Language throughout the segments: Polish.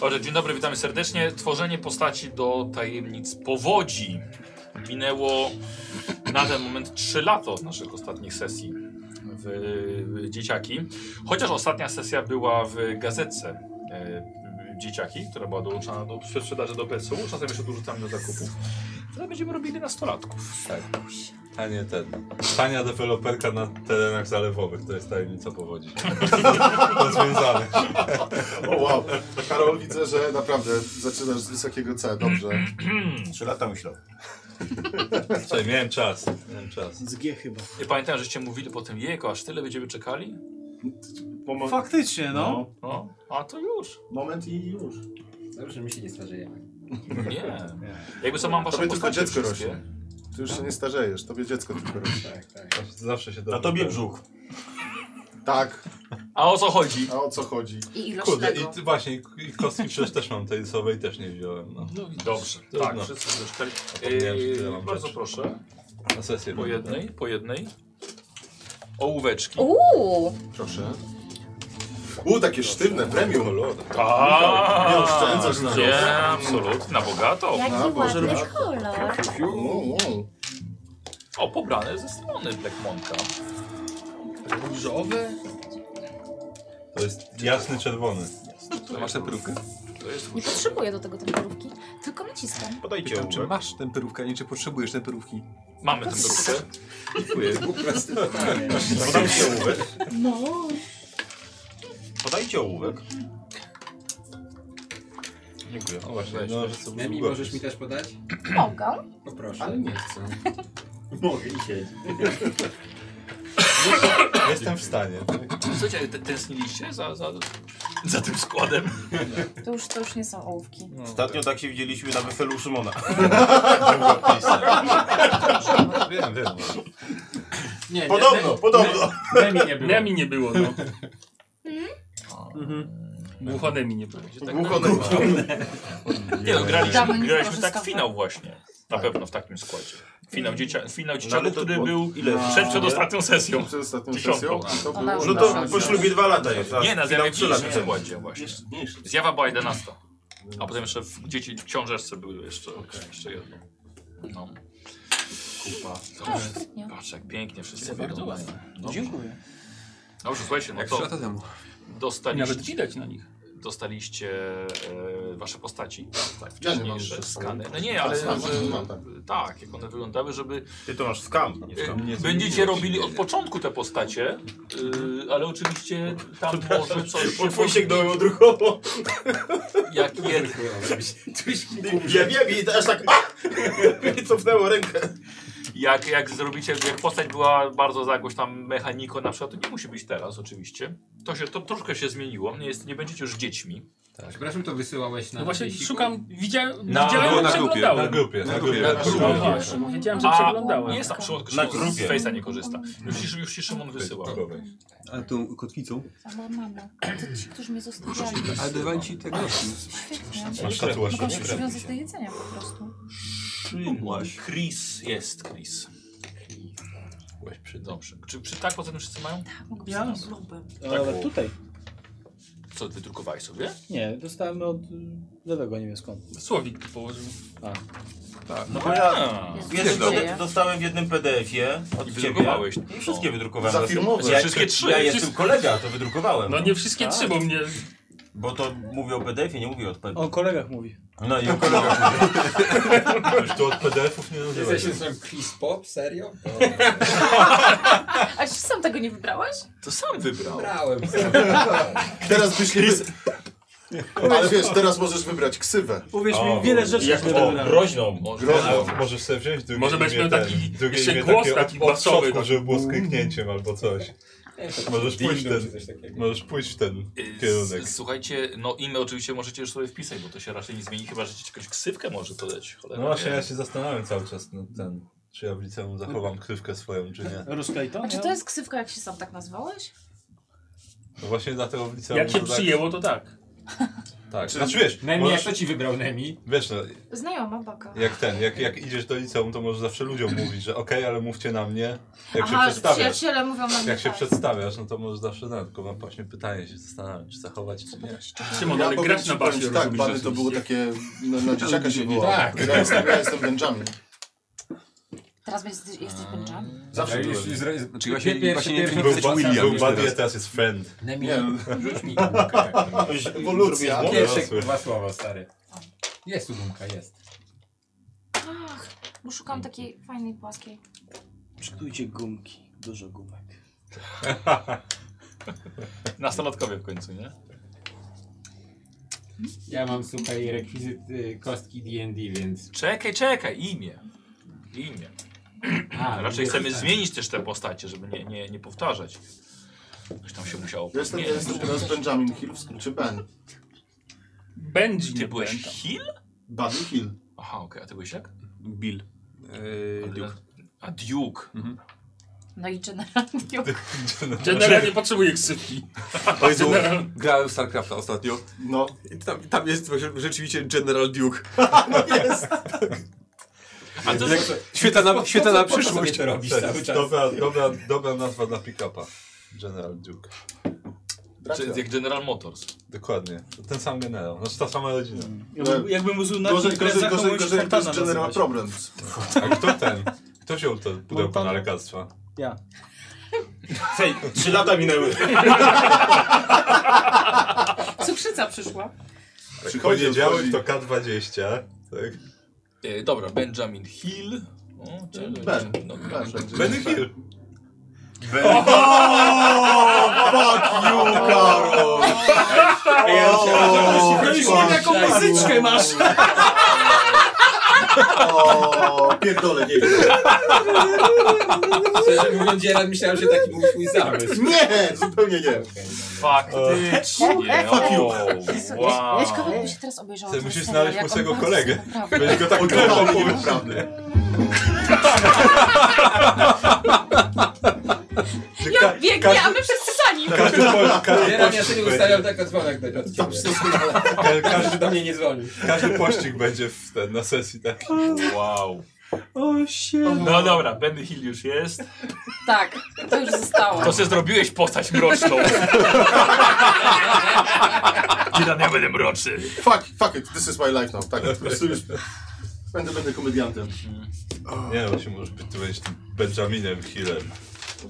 Dobrze, dzień dobry, witamy serdecznie. Tworzenie postaci do tajemnic powodzi. Minęło na ten moment 3 lata od naszych ostatnich sesji w, w Dzieciaki. Chociaż ostatnia sesja była w gazetce e, Dzieciaki, która była dołączona do sprzedaży do PSU. Czasem jeszcze dorzucamy do zakupów. Teraz będziemy robili nastolatków. Tak. Tanie ten. Tania deweloperka na terenach zalewowych, to jest tajemnica powodzi. Rozwiązane. O wow. Karol, widzę, że naprawdę zaczynasz z wysokiego C, dobrze. Trzy lata myślał. Słuchaj, miałem czas. Miałem czas. Z G chyba. Nie pamiętam, żeście mówili potem, jejko, aż tyle będziemy czekali? Pomo- Faktycznie, no. No. No, a to już. Moment i już. Dobrze, my się nie starzejemy. Nie. Jakby co mam Tobie wasze tylko postacie dziecko wszystkie. rośnie. Ty już się nie starzejesz, tobie dziecko tylko rośnie. Tak, tak. Zawsze się Na dobrze tobie bawię. brzuch. Tak, A o co chodzi? a o co chodzi? I ilość Kurde, tego. i ty, właśnie, i- i kostki przecież też mam tenisowej, też nie wziąłem. No. Dobrze, To tak, no. wszyscy doszkali. Zapomniałem, że tyle mam bardzo rzeczy. proszę, Na sesję po będę. jednej, po jednej. Ołóweczki. Uuu, Proszę. U, takie sztywne, premium. A, Nie oszczędzasz na Tak. Nie, absolutnie, na bogato. jaki Boże, ładny no. Roberto. kolor. U, u. O, pobrane ze strony Black Monka. Różowy? To jest jasny czerwony. Masz tę perukę? To jest Nie potrzebuję do tego temperówki, tylko naciskam. Podajcie Pytam, czy ołówek. masz temperówkę, nie czy potrzebujesz temperówki. Mamy tę perukę. Dziękuję. Podajcie ołówek. No. Podajcie ołówek. Dziękuję. O właśnie, Weź, no, weź. że sobie Nemi, ugodzić. możesz mi też podać? Mogę. Poproszę. Ale nie chcę. mogę i siedź. Jestem w stanie. Słuchajcie, te- tęskniliście za, za, za tym składem? To już, to już nie są ołówki. Ostatnio tak się widzieliśmy na weselu Szymona. Wiem, wiem. Nie, nie, Podobno, podobno. Nemi nie było. Nemi nie było, no. Hmm? No. Głucho Nemi nie było. Będzie tak Głuchone. Nie no, graliśmy, Dawno nie graliśmy tak skorzystałam. finał właśnie. Na pewno w takim składzie. Finał, Hmm. dziecia, finał dzieciaków, Tak. No, ale to który było- był ile? przed, przed ostatnią sesją. Przed ostatnią Dziesiątą. sesją to Ona było... No to po ślubie dwa lata jest. a Nie, na finał zjawie trzy lata. w składzie właśnie. Zjawa była 11. A potem jeszcze w, dzieci w książeczce były jeszcze, jeszcze jedno. No. Kupa. O, Dobrze. sprytnie. Patrz jak pięknie wszyscy Bardzo biorą. ładnie. Dziękuję. Dobrze, słuchajcie, no Jak trzy to lata temu. Nawet dostaliście, widać na nich. dostaliście e, wasze postaci, tak, Ja nie mam wcześniejsze jeszcze skany. skanu. No nie, ale Ja znam, że, mam, tak. tak, jak one wyglądały, żeby Ty to masz skam. E, Będziecie robili od początku te postacie, e, ale oczywiście tam może coś się Twój sięgnąłem odruchowo. jak jed... Ja wiem i aż tak a! Mnie cofnęło rękę. jak, jak zrobicie, jak postać była bardzo za jakąś tam mechaniką na przykład, to nie musi być teraz oczywiście. To się, to troszkę się zmieniło, nie, jest, nie będziecie już dziećmi. Przepraszam, to wysyłałeś na No właśnie Facebooku? szukam, widziałem, Na- widziałem było że na przeglądałem. Na grupie, na grupie. Na grupie. Na grupie. właśnie, bo wiedziałem, że A- przeglądałem. Nie jest tam Szymon, Na Szymon z grupie. Face'a nie korzysta. Już, ci- już ci Szymon wysyła. Ale tą kotwicą. Ale mama, to ci, którzy mnie zostawiali. Ale dawaj ci tego. Świetnie. Masz tatuaż, Mogą nie się krępuj przywiązać do jedzenia po prostu. Chris jest Chris. Byłeś przy dobrze. Czy, czy tak poza tym wszyscy mają? Tak, mogę Ja? być lubem. Tak. No, Ale tutaj. Co wydrukowałeś sobie? Nie, dostałem od y, lewego, nie wiem skąd. Słowik tu położył. Tak. No bo ja A. Jest jeden nadzieja. do- dostałem w jednym PDF-ie I od ciebie. wydrukowałeś. I wszystkie wydrukowałem. Za Ja- firmowe. Ja, Wszystkie trzy. Ja jestem kolega, to wydrukowałem. No nie Tak. wszystkie trzy, bo mnie... Bo to mówię o PDF-ie, nie mówię o PDF. O kolegach mówi. No i o kolega. Już tu od PDF-ów nie nazywaj. Jesteś jestem Chris Pop? Serio? A czy sam tego nie wybrałeś? To sam wybrał. Brałem. Teraz byś nie... Ale wiesz, teraz możesz wybrać ksywę. Powiesz O, mi wiele rzeczy, Jak które o, wybrałem. groźną. A Możesz sobie wziąć drugie Może imię, będziesz miał ten, taki drugie jeszcze imię głos takie taki od, od basowy, przodku, tak. żeby było z kliknięciem albo coś. Możesz pójść w ten, możesz pójść w ten Y, kierunek. s- Słuchajcie, no imię oczywiście możecie już sobie wpisać, bo to się raczej nie zmieni, chyba że ci jakąś ksywkę może to dać. Cholera, No właśnie, wie. ja się zastanawiam cały czas nad ten, czy ja w liceum zachowam krywkę swoją, czy nie. Rozklejton? A czy to jest ksywka, jak się sam tak nazwałeś? No właśnie dlatego w liceum... Jak się to tak- przyjęło, to tak. Tak. Znaczy wiesz, Nemi, jak możesz, to ci wybrał Nemi? wiesz, no, Znajoma baka. jak ten, jak, jak idziesz do liceum, to możesz zawsze ludziom mówić, że okej, ale mówcie na mnie, jak Aha, się że przedstawiasz. przyjaciele mówią na mnie Jak się tak. przedstawiasz, no to możesz zawsze na, tylko mam właśnie pytanie, się zastanawiam, czy zachować, czy nie. Szymon, ale powiem grać ci, na powiem basie, ci Tak, rozumiesz, bany to rzeczywiście. było takie, no, na, na dzieciaka się było. Tak. Ja jestem, ja jestem Benjamin. Teraz jesteś, jesteś Mm. pęczami? Zawsze byłem. Znaczy właśnie, właśnie nie Był, wiem, ba- William. był buddy, a teraz jest friend. Nemi, Nie, rzuć mi gumkę. Ewolucja. Zrobię- Pierwsze Dorosły. dwa słowa, stary. Jest tu gumka, jest. Ach, bo Mm. szukam takiej fajnej, płaskiej. Przytujcie gumki. Dużo gumek. Nastolatkowie w końcu, nie? Ja mam, słuchaj, rekwizyt y, kostki D&D, więc... Czekaj, czekaj, imię. Imię. A, Raczej lubię chcemy czytać. zmienić też te postacie, żeby nie, nie, nie powtarzać. Coś tam się musiało Ja jestem, ja podmienić. jestem teraz Benjamin Hill, w skrócie Ben. Będzie. Ty nie byłeś pamiętam. Hill? Buddy Hill. Aha, okej, a ty byłeś jak? Bill. Eee, Duke. A Duke. No i generalnie Generalnie potrzebuję ksywki. Ojcu, General. grałem w StarCrafta ostatnio. No. I tam, tam jest rzeczywiście General Duke. A to jest... Świetna na, świetna na Po co sobie przyszłość. to robisz To cały jest czas? dobra, dobra, dobra nazwa dla pick-upa. General Duke. Czy jak General Motors. Dokładnie. Ten sam generał. Znaczy ta sama rodzina. Jakbym, jakbym użył na Gorzej, gorzej, gorzej, komuś gorzej, jak to jest Fontana General nazywać. Problems. A kto ten? Kto wziął to pudełko na Montana. lekarstwa? Ja. Hej, trzy lata minęły. cukrzyca przyszła. Tak Przychodzi, poniedziałek odchodzi. to K20. Tak. E, dobra, Benjamin Hill. O, czy- Ben. No, Ben będzie. Benny Hill. Karol! No już nie taką Tak, muzyczkę masz! O, pierdolę, nie wiem. Szczerze mówiąc, Gerard, myślałem, że taki był twój zamysł. Nie, zupełnie nie. Faktycznie. Fuck you. O, Wow. wow. Jaś kawałek by się teraz obejrzała. Ty ten musisz serial, znaleźć jak on łysego bardzo kolegę. sobie naprawdę- Będzie go tak Odkrywał krępał mnie po naprawdę. Ja biegnie, a my wszyscy sani. Każdy Polak, każdy Gerard, ja sobie pościg ustawiam będzie. tak jak dzwonek do Tam ciebie. doskonale. Ka- Każdy Każdy, do mnie nie dzwonił. każdy pościg będzie w ten, na sesji tak? taki. Wow. O, się. No dobra, Benny Hill już jest. Tak, to już zostało. To sobie zrobiłeś postać mroczną. Gidan, ja będę mroczny. Fuck, fuck it, this is my life now. Tak, po prostu już będę, będę komediantem. Nie no, się może być, ty będziesz tym Benjaminem Hillem.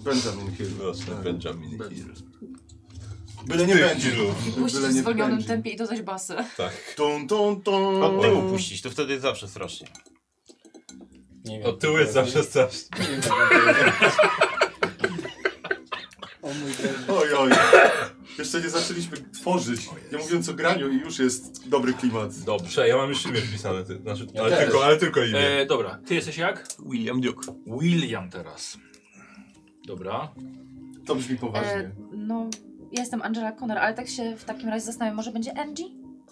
Benjamin Hill. Roczny Benjamin Ben- Hill. Byle nie Ty będzie. Hillu. Puścić Byle w nie zwolnionym będzie. tempie i dodać basy. E, Tak. Tum, tum, tum. Od tyłu puścić, to wtedy jest zawsze strasznie. Nie wiem. Od tyłu jest zawsze strasznie. Nie wiem, jak to jest. O mój Boże. Oj, oj. Jeszcze nie zaczęliśmy tworzyć. Nie mówiąc o graniu i już jest dobry klimat. Dobrze. Prze, ja mam już imię wpisane, ty, znaczy, Ja ale, też. tylko, ale tylko imię. E, dobra, ty jesteś jak? William Duke. William teraz. Dobra. To brzmi E, poważnie. no, ja jestem Angela Connor, ale tak się w takim razie zastanawiam, może będzie Angie?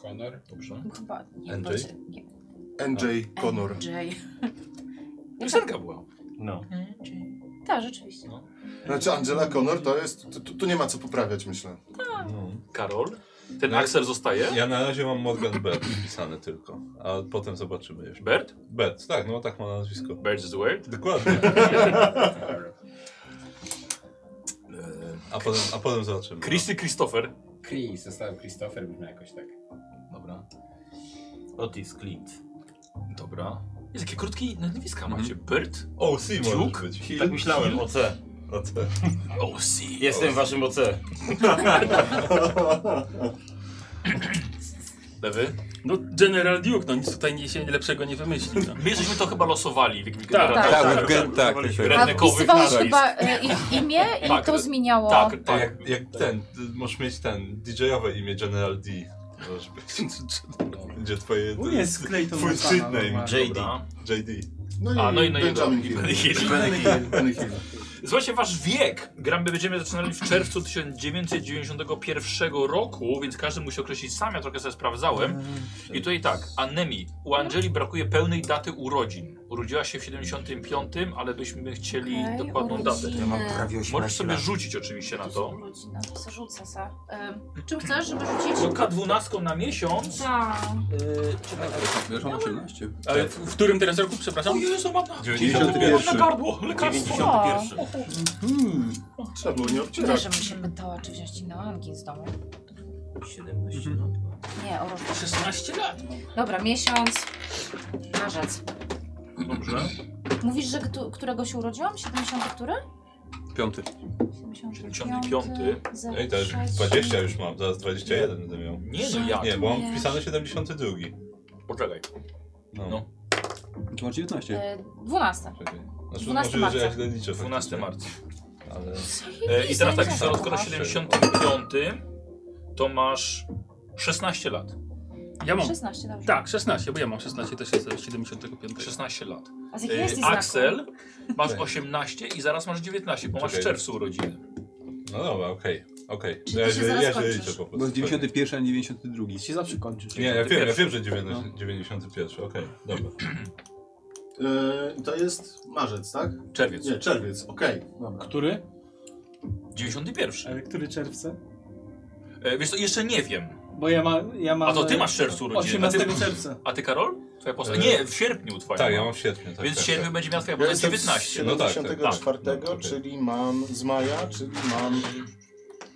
Konor? Dobrze. Bo Chyba nie. Angie? będzie- nie. NJ e, Connor. Angie. Piosenka była. No. Tak, rzeczywiście. No. Znaczy Angela Connor to jest... Tu, tu, tu nie ma co poprawiać, myślę. No. Karol. Ten No. Axel zostaje. Ja na razie mam Morgan Bert wpisany tylko, a potem zobaczymy jeszcze. Bert? Bert, tak, no tak ma na nazwisko. Bert is the word. Dokładnie. A potem, a potem zobaczymy. Christy Christopher. Chris, został Christopher, brzmi jakoś tak. Dobra. Otis Clint. Dobra. Jest takie krótkie nazwiska macie. Bert? O, C Duke? może być. Tak myślałem, OC. A te- OC. Jestem waszym OC. Lewy. No General Duke, no nic tutaj nie, się lepszego nie wymyśli. No. My żeśmy to chyba losowali w jakimś Tak, generatorze. Tak, w gen- tak. tak. A Redneckowych wpisywałeś nazwisk. chyba e, ich imię i Tak, to tak. zmieniało. Tak, A tak. jak, jak ten, ty możesz mieć ten DJ-owe imię General D. Możesz być. No, Będzie twoje. U jest Clayton Twój Montana, streetname. normalnie. JD. Dobra. JD. No i, A, no i- no i- Benjamin i Benny Hill. Hill. Benny Hill. Benny Hill. Słuchajcie, wasz wiek. Gramy będziemy zaczynali w czerwcu 1991 roku, więc każdy musi określić sam, ja trochę sobie sprawdzałem. I tutaj tak, anemii. U Angeli brakuje pełnej daty urodzin. Urodziła się w 75, ale byśmy chcieli Okej, dokładną datę. urodziny. Ja mam prawie 18 Możesz sobie lat. rzucić oczywiście na no, to. Urodzina, to se rzucę se. Ym, czym chcesz, żeby rzucić? No K12 na miesiąc. Tak. Yy, czekaj, Wiesz, mam 18. Ale E, w, w którym teraz roku, przepraszam? o Jezu, mam na, 91. na gardło, lekarstwo. Tak. 91. Trzeba było nie Wiesz, obcierać. żebym się pytała, czy wziąć inną angin z domu. 17 Mhm. lat. mam. Nie, o roz- 16 lat. Dobra, miesiąc. Marzec. Dobrze. Mówisz, że któ- którego się urodziłam? 70 który? Piąty. 75. No i też 20 już mam, zaraz 21 będę miał. Nie no ja. Nie, bo mam Nie. wpisane 72. Poczekaj. No. No. Masz 19. E, 12. Czekaj. Znaczy, 12 możliwe, że ja marca. źle liczę. 12 faktycznie, marca. Ale... E, I teraz tak, skoro na masz? 75 to masz 16 lat. Ja mam. 16, dobrze. Tak, 16, bo ja mam 16 też jestem z 75. 16 lat. A z jakiego E, jesteś znaku? Axel, masz 18 i zaraz masz 19, bo masz w Czekaj. czerwcu urodziny. No dobra, okej. Okej. Czy Ja, ty się źle- zaraz ja źle kończysz? liczę po prostu. Bo jest 91, a nie 92. Się zawsze kończysz. Nie, ja wiem, ja 91. wiem, że 90, 91, okej, dobra. No. Yy, to jest marzec, tak? Czerwiec. Nie, czerwiec, okej. Dobra. Który? 91. Ale który czerwca? E, Wiesz co, jeszcze nie wiem. Bo ja, ma, ja mam... A to ty masz w czerwcu urodziny. A ty, 18 czerwca. a ty Karol? Twoja postać? E, Nie, w sierpniu twoja. Tak, ja mam w sierpniu, tak. Więc tak, sierpień tak. będzie miała twoja Ja postać jestem z 19. sier- No tak, tak, 74, tak. No, okej. czyli mam z maja, czyli mam...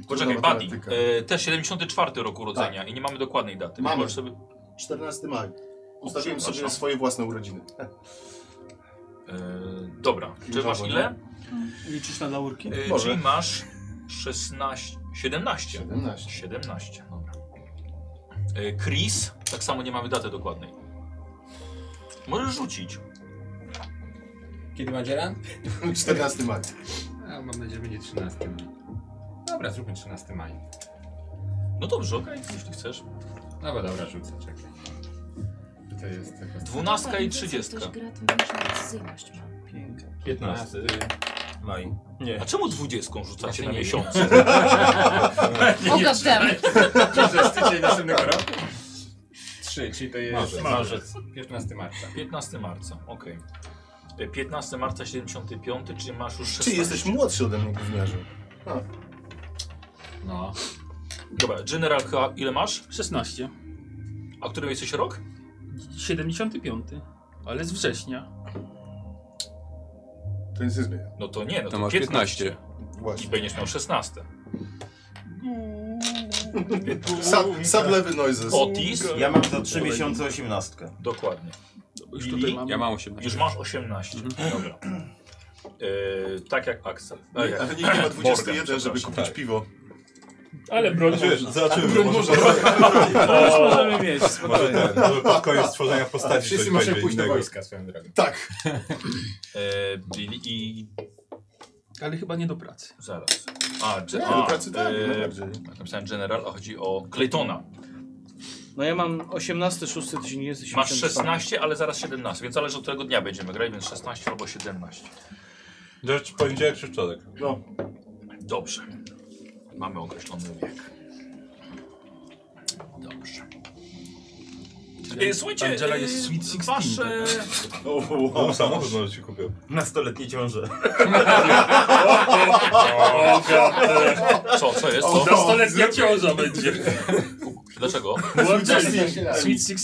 Poczekaj, Kurwa, Buddy, matematyka. e, też 74 rok urodzenia i nie mamy dokładnej daty. Mamy. Możesz sobie... 14 maja. Ustawiłem sobie Przepraszam. swoje własne urodziny. E, dobra, czy masz Kurwa, ile? Liczysz na laurki? E, Może. czyli masz 16, 17. 17. 17, dobra. E, Chris, tak samo nie mamy daty dokładnej. Możesz rzucić. Kiedy ma dzieran? 14 maja. A, No, mam nadzieję, że będzie 13 maj. Dobra, zróbmy 13 maj. No dobrze, okej, jeśli chcesz. No bo dobra, rzucę, czekaj. To jest tylko... 12 i Widzę, co 30. Ktoś gra, to większą decyzyjność ma. Pięknie. 15. Maj. A czemu 20 rzucacie Właśnie na nie wiem. miesiąc? O, goddamn. Przez tydzień następnego roku? 3, czyli to jest Marzec. marzec. 15 marca. 15 marca, okej. E, 15 marca 75, czyli masz już 16. Ty jesteś młodszy ode mnie, gówniarzu. No. Dobra, General H, ile masz? 16. A który jesteś rok? 75. Ale z września. To nic nie zmienia. No to nie, no to, To masz 15. I Właśnie. będziesz miał 16. Sad, lewy noises. Otis, Ja mam za 3 miesiące 18. dokładnie. Już tutaj I- mam. Ja mam 18. Już masz 18. Dobra. E, tak jak Axel. E, jak Ale nikt nie ma 21, Morgan, żeby przepraszam. kupić piwo. Ale broń. No Wiesz, zobaczymy, może, Już możemy mieć, może spokojnie. ten, może pod koniec tworzenia postaci Wszyscy coś muszą będzie pójść do innego. wojska swoją drogą. Tak. E, Billy i Ale chyba nie do pracy. zaraz. A, dże, Tak, a do pracy tak, e, najbardziej. napisałem General, a chodzi o Claytona. No ja mam 18 6 1974. Masz 16, ale zaraz 17, więc zależy od którego dnia będziemy grać, więc 16 albo 17. Rzecz poniedziałek czy wtorek? No, Dobrze. Mamy określony wiek. Dobrze. E, słuchajcie, Angela e, jest Sweet 16. wasze... No. O, No, samochód może ci kupił. Nastoletnie ciąże. tak. Co, co jest? Co? Nastoletnia ciąża no, będzie. Dlaczego? Sweet 16.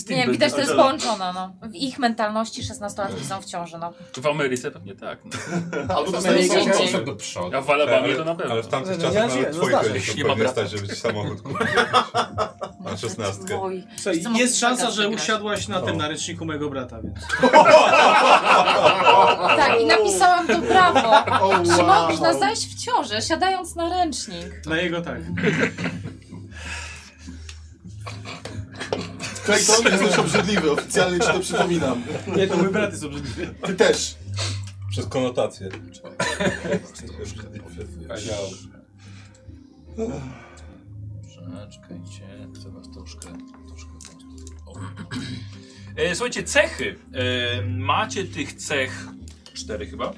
Nie, będzie. widać, to jest połączone, no. W ich mentalności 16-latki są w ciąży, no. W Ameryce pewnie tak. No. albo dostajesz Ameryce samochód. dzieci. do przodu. A w Alabamie Ale- to na pewno. Ale w tamtych No, czasach ja nawet żyję, no twoich zdarza się. rodziców Nie ma powinien brata. stać, żeby ci samochód kupił. Na szesnastkę. Oj. Słuchaj, Chcę mu jest szansa, pokazać, że wygrać. usiadłaś na No. tym, na ręczniku mojego brata, więc... Tak, i napisałam to prawo. O, Czy wow. No, można zajść w ciążę, siadając na ręcznik? Na jego tak. Clayton, jesteś obrzydliwy, oficjalnie ci to przypominam. Nie, to mój brat jest obrzydliwy. Ty też. Przez konotację. Powiedział. Dobrze, czekajcie, chcę was troszkę, troszkę... o. E, słuchajcie, cechy. E, macie tych cech cztery chyba.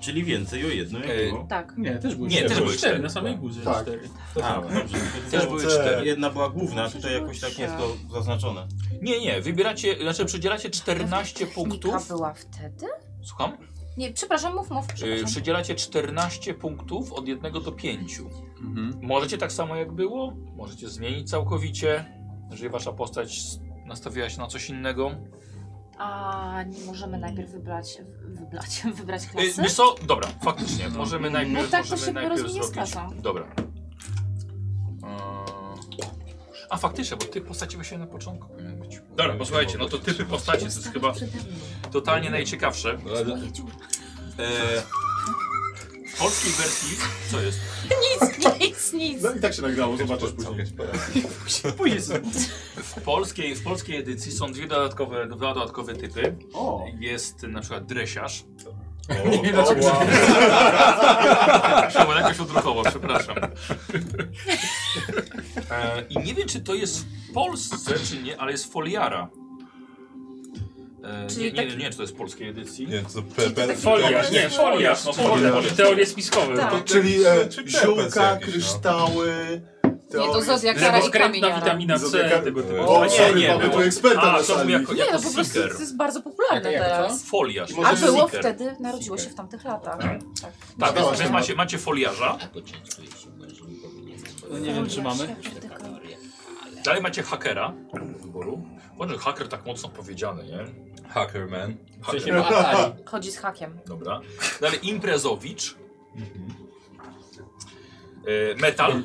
Czyli więcej o jedno jak Ej. było. Tak. Nie, też były Nie, cztery. też były Cztery, cztery. na samej górze Tak. cztery. A, bo dobrze. Też były cztery. Jedna była główna, tutaj jakoś tak nie jest to zaznaczone. Nie, nie, wybieracie, znaczy przydzielacie 14 Technika punktów. była wtedy? Słucham? Nie, przepraszam, mów, mów, Yy, przepraszam. przydzielacie 14 punktów od 1 do 5. Mhm. Możecie tak samo jak było, możecie zmienić całkowicie, jeżeli wasza postać s- nastawiła się na coś innego. A nie możemy najpierw wybrać, wybrać, wybrać Yy, klasy? wiesz co? Dobra, faktycznie, możemy najpierw, No tak, to możemy się najpierw rozwinie z zrobić. klasą. Dobra. Eee, A faktycznie, bo ty postaci właśnie na początku powinien być. Dobra, posłuchajcie, no to typy postaci to jest chyba Totalnie najciekawsze. Eee, w polskiej wersji, co jest? Nic, nic, nic. No i tak się nagrało, zobaczysz później. Później sobie. W polskiej, w polskiej edycji są dwie dodatkowe, dwa dodatkowe typy. O! Jest na przykład dresiarz. Nie wiem dlaczego. Przepraszam, jakoś odruchowo, przepraszam. E, I nie wiem, czy to jest w Polsce, czy nie, ale jest foliara. E, Czyli tak- nie, nie, taki- nie, nie, czy to jest w polskiej edycji. Nie, to PPR. folia, nie, folia, no folia, Folia. teorie spiskowe. Tak. To- Czyli e, Czy pepec ziółka, jakiś, no. kryształy... Nie, to zodiak kara i Lewokrętna kamieniara. witamina C, Zodiaka- tego typu. O, nie, sorry, nie, mamy było. tu eksperta A, na to sali. jako- Nie, no po prostu seeker. to jest bardzo popularne Jak- jak teraz. Foliarz. I A może było seeker. wtedy, narodziło się w tamtych latach. Tak. Tak, więc, Dawałaś więc nam- macie, macie foliarza, No nie wiem, czy mamy. dalej macie hakera do wyboru. Boże, haker tak mocno powiedziane, nie? Hacker man. W sensie ma Atari. Chodzi z hakiem. Dobra. Dalej imprezowicz. E, metal.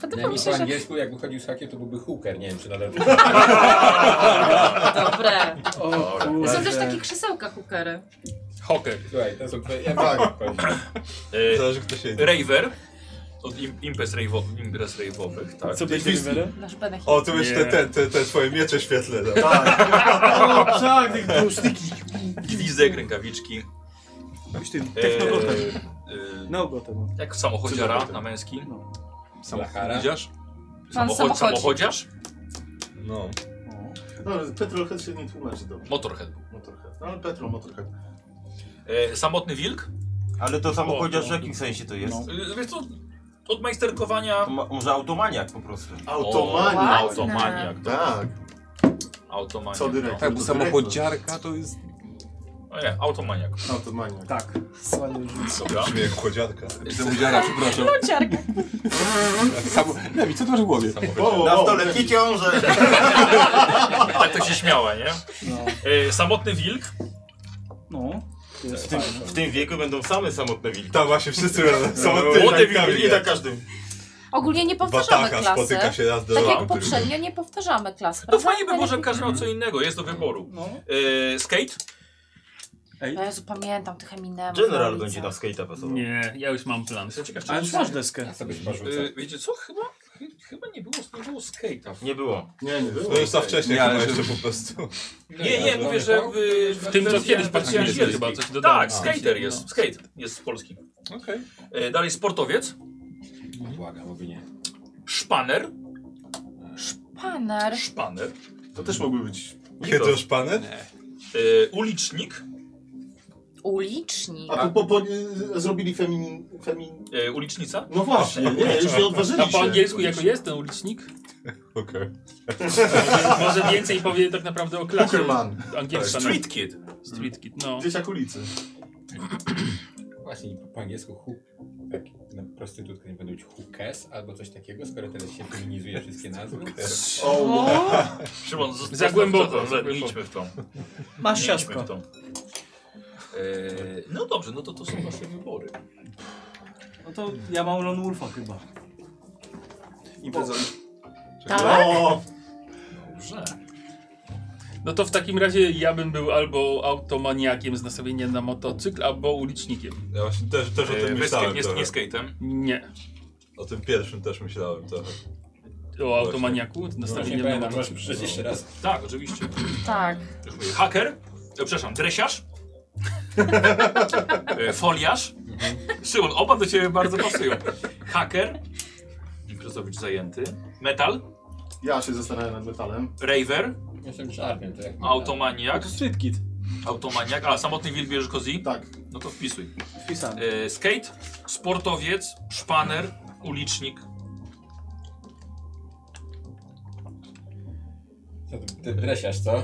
Podoba mi Przynajmniej się, po że... angielsku jak wychodził z hakiem, to byłby hooker, nie wiem czy nadal... Dobre. O, tak. Są też kurde. takie krzesełka hookery. Hocker. Słuchaj, to są twoje... Ja wiem, E, Zależy kto się raver. Od im, imprez, rave'o, imprez rave'owych, tak. Co będzie rewelem? Nasz Benech. O, tu jeszcze Nie. te, te, te twoje miecze świetle. tak? O, tak, tych tłusztyki. Gwizdek, rękawiczki. Byś Eee. ty E, e, No go temu. jak samochodziara na męski. Salahara. Widzisz? Pan Samochod, samochodzi. samochodziarz. No. No, Petrolhead się nie tłumaczy dobrze. Motorhead. był. Motorhead. No, ale Petrol, Motorhead. E, samotny wilk. Ale to samo O, chociaż w no. jakim sensie to jest? E, wiesz co, od majsterkowania... To ma, może automaniak po prostu. Automania. O, Automaniak. Tak. Automaniak. Co dyrektor? Tak, bo To samochodziarka to jest... No. O nie, automaniak. dyrektor. Automania. Tak. Dobra. Brzmi jak kłodziadka. Samochodziara, przepraszam. Ciarka. Samo... Lewi, co ty masz w głowie? O, Na o, stoletni ciąże. Tak to się śmiała, nie? E, samotny wilk. No. W tym, w tym wieku będą same samotne wilki. Tam właśnie wszyscy razem. Są Młody I na każdym. Ogólnie nie powtarzamy Bataka klasy. spotyka się raz do Tak jak roku. poprzednio nie powtarzamy klas. No prawda? fajnie by może każdy miał co innego, jest do wyboru. No. E, skate? O Jezu, pamiętam tych Eminemów. General ulicach. będzie na skate'a pasował. Nie, ja już mam plan. Jestem ciekaw, czy Ale już masz deskę. Ja sobie chyba rzucę. e, Wiecie co, chyba, chy- chyba nie było, nie było skate'a. Nie było. Nie, nie było. No już za wcześnie Nie, chyba ale jeszcze po prostu. Nie, nie, mówię, że w, W tym, co wersji- kiedyś wersji patrzyliśmy, angielskiej. chyba coś dodałem. Tak, A, skater no. jest, skate jest z Polski. E, dalej sportowiec, Błagam, oby nie. szpaner, Paner. szpaner, To też mogły być. Kiedy już panet? e, ulicznik, Ulicznik. A po, po, po, y, zrobili femin, femin. e, ulicznica. No właśnie, nie, już nie odważyli A się. po angielsku jako jest ten ulicznik? Okej. Może- Może więcej powie tak naprawdę o klasie. Hookerman. Angielska. no. Tak, Street kid. Street Kid, no. Dzieciak ulicy. Właśnie, po angielsku hook... Tak, na prostytutkę nie będą być hookes albo coś takiego, skoro teraz się feminizuje wszystkie nazwy. O, wow. Szymon, z- Za głęboko, za- za Nie głęboko. idźmy w tą. E, Masz Nie idźmy siaszko. w tą. E, no dobrze, no to to są wasze wybory. No to ja mam Lone Wolfa chyba. Tak? O, Dobrze. No to w takim razie ja bym był albo automaniakiem z nastawieniem na motocykl, albo ulicznikiem. Ja właśnie też, też o E, tym bez skate, myślałem nie, trochę. nie skatem. Nie. O tym pierwszym też myślałem trochę. O automaniaku z nastawieniem na Pamiętam, motocykl. możesz przeczytać jeszcze raz. Tak, oczywiście. Tak. Już mówię, Haker, e, przepraszam, dresiarz, e, foliarz. Szymon, oba do ciebie bardzo pasują. Haker, imprezowicz zajęty, metal, ja się zastanawiam nad metalem. raver, Jestem czarny, to jak... automaniak, Street Kid. Automaniak. A, samotny wilk bierzesz Kozi? Tak. No to wpisuj. Wpisane. E, skate, sportowiec, szpaner, ulicznik. Co ty, ty dresiarz, co?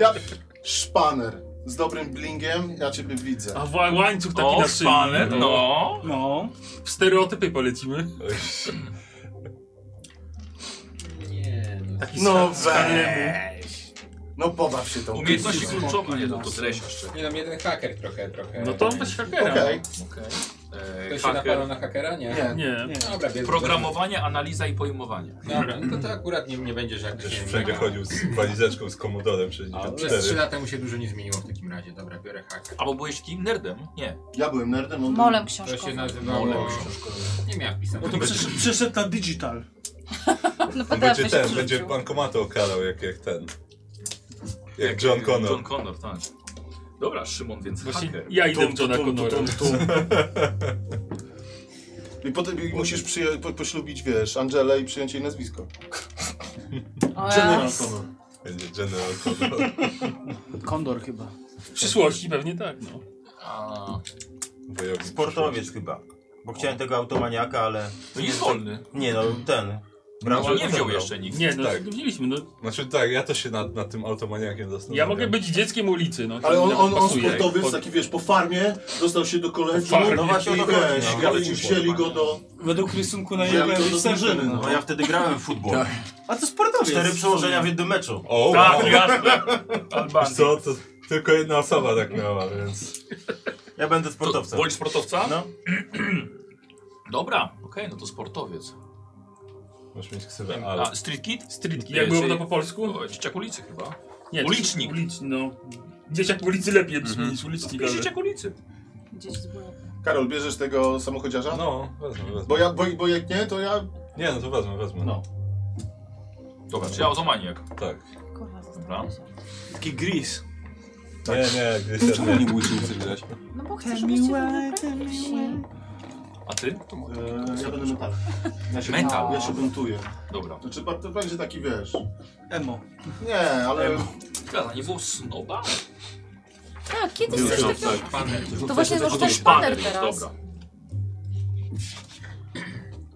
Ja, szpaner. Z dobrym blingiem, ja ciebie widzę. A wa- łańcuch taki O, na szyi. szpaner, no. No. W stereotypy polecimy. Nie, no. Taki No z- z haremu. weź. No pobaw się tą Umiejętności kryzysem. kluczowe, nie, to to dreś jeszcze. Nie no, jeden haker trochę, trochę. No to weź hakera. Okej. E, Ktoś się hacker. naparł na hakera? Nie. Nie. Nie. Dobra, więc... Programowanie, analiza i pojmowanie. Dobra, no to, to akurat nie, nie będziesz jak... Też wszędzie chodził z walizeczką z komodorem 64. Przez 3 lata mu się dużo nie zmieniło w takim razie. Dobra, biorę haker. Albo byłeś kim? Nerdem? Nie. Ja byłem nerdem, on Molem To się książkowym. nazywało... Nie miałem wpisane. No to przysz- przyszedł na digital. No On PDF będzie się ten, będzie przerzucił. bankomaty okradał jak, jak ten. Jak John Connor. John Connor, tak. Dobra, Szymon, więc Właśnie hacker. ja idę w Johna Connora. I potem i musisz przyja- po, poślubić, wiesz, Angelę i przyjąć jej nazwisko. O General ja. Connor. Będzie General Connor. Kondor chyba. W przyszłości pewnie tak, no. A, Wojownik Sportowiec chyba. Bo chciałem tego automaniaka, ale... no jest wolny. Nie no, ten. Znaczy, No, Brał, nie wziął jeszcze nikt. Nie, no Tak. widzieliśmy, no. Znaczy tak, ja to się nad, nad tym automaniakiem zastanawiam. Ja mogę być dzieckiem ulicy, no. Ale on, to on, on pasuje. sportowiec, taki wiesz, po farmie, dostał się do koleżu, farmie. no właśnie, i No wiesz, właśnie, ale ci wzięli go do... Według rysunku na Wzięli jego go do starzyny, drużyny, no. No ja wtedy grałem w futbol. A to sportowiec. Cztery przełożenia w jednym meczu. O, wow. Tak, jasne. Wiesz co, to tylko jedna osoba tak miała, więc... Ja będę To, sportowcem. wolisz sportowca? No. Dobra, okej, no to sportowiec. Możesz mieć ksywę, ale... A, street kid? Streetki, Nie, jak było czyli- to po polsku? O, Dzieciak ulicy chyba. Nie, Ulicznik. Ulicznik, no. Dzieciak ulicy lepiej brzmi niż ulicznik, ale... Dzieciak ulicy. Gdzieś z góry. Karol, bierzesz tego samochodziarza? No, wezmę, wezmę. Bo, ja, bo, bo jak nie, to ja... Nie, no to wezmę, wezmę. No. Dobra, czyli automaniak. Tak. Kurwa, zastanawiam się. Taki gris. Nie, nie, gdzieś Czemu tam... nie mówisz, że nie chcesz grać? No bo chcę, żebyście wybrali. A ty? E, ja będę metal. Ja się, Metal. Ja się buntuję. Dobra. Znaczy, ba- to będzie taki, wiesz... Emo. Nie, ale... Gada, nie było snoba? Tak, kiedyś coś takiego... Panel. To właśnie A może to ten szpaner jest, teraz. Dobra.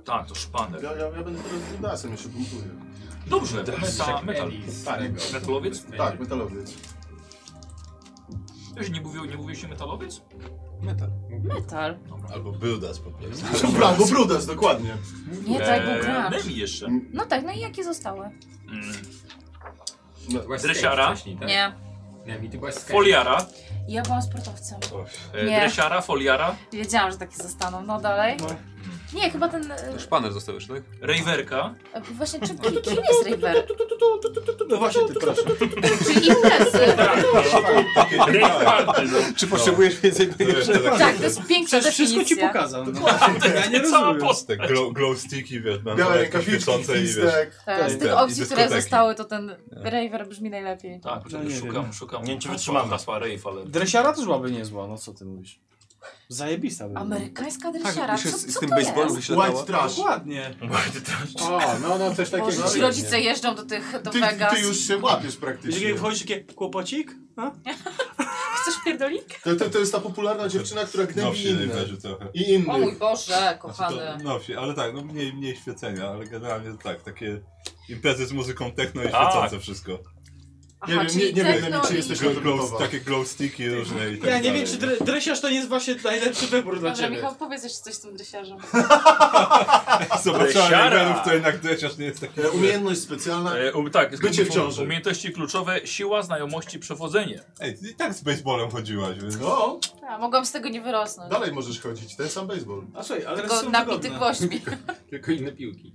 Tak, to szpaner. Ja, ja, ja będę teraz brudasem, ja się buntuję. Dobrze, meta, metal. Tak, Metalowiec? tak, metalowiec. Ktoś nie mówił, nie mówił się metalowiec? Metal. Albo Buildas po prostu. Albo brudas, dokładnie. Nie, tak, bo E, gracz. Nemi jeszcze. No tak, no i jakie zostały? Mm. Byłaś Dresiara? skate wcześniej, tak? Nie. Nemi, ty byłaś skate. Foliara. Ja byłam sportowcem. E, Nie. dresiara, foliara. Wiedziałam, że takie zostaną. No dalej. Nie, chyba ten... e, Szpaner zostawisz, tak? Rejwerka. e, Właśnie, czym, kim, kim jest River? No właśnie, ty proszę. Czyli imprezy. Tak, Rejfarty, no. Czy potrzebujesz więcej pieniędzy? Tak, to jest piękna Przecież wszystko ci definicja. pokazał. No. Ja nie rozumiem. Te glow, glow sticki, wiesz, mam Białe takie rękawiczki, świecące i wiesz... listek. Tak, z Tak, i tych opcji, które dyskoteki. zostały, to ten Raver brzmi najlepiej. Tak, poczekaj, No nie szukam, wiem. szukam. Nie wiem, czy hasła- wytrzymamy. Hasła rejf, ale... Dresiara też byłaby niezła, no co ty mówisz? Zajebista by była. Tak, Amerykańska dresiara, już co, jest z co tym to jest? baseballem, że się White latało. trash. Dokładnie. No, O, no, no, coś takiego. Boże, ci rodzice jeżdżą do tych, do Tak Ty, Vegas. ty już się łapiesz Wiesz, praktycznie. jak wchodzisz takie kłopocik? A? Chcesz pierdolik? To, to, to jest ta popularna dziewczyna, która No, gnębi się inne. leży trochę. I O mój innych. Boże, Znaczy kochany. to Nowsi, ale tak, no mniej, mniej świecenia, ale generalnie tak, takie imprezy z muzyką techno i Tak. świecące wszystko. Nie wiem, nie, czyli nie wiem, techno Nemi, czy i- jesteś Glow, glow, gotowa. takie glow sticki różne i tak Ja nie dalej. wiem, czy dre- dresiarz to nie jest właśnie najlepszy wybór dla Dobra, ciebie. Michał, powiedz jeszcze coś z tym dresiarzem. Zobaczyłem Siara! numerów, to jednak dreciarz nie jest taki... E, Umiejętność specjalna. E, u, tak, jest Bycie w ciąży. Umiejętności kluczowe, siła, znajomości, przewodzenie. Ej, ty i tak z baseballem chodziłaś, więc... No, A, mogłam z tego nie wyrosnąć. dalej możesz chodzić, ten sam baseball. A słuchaj, ale Tylko są nabity wygodne. gwoźdźmi. Tylko inne piłki.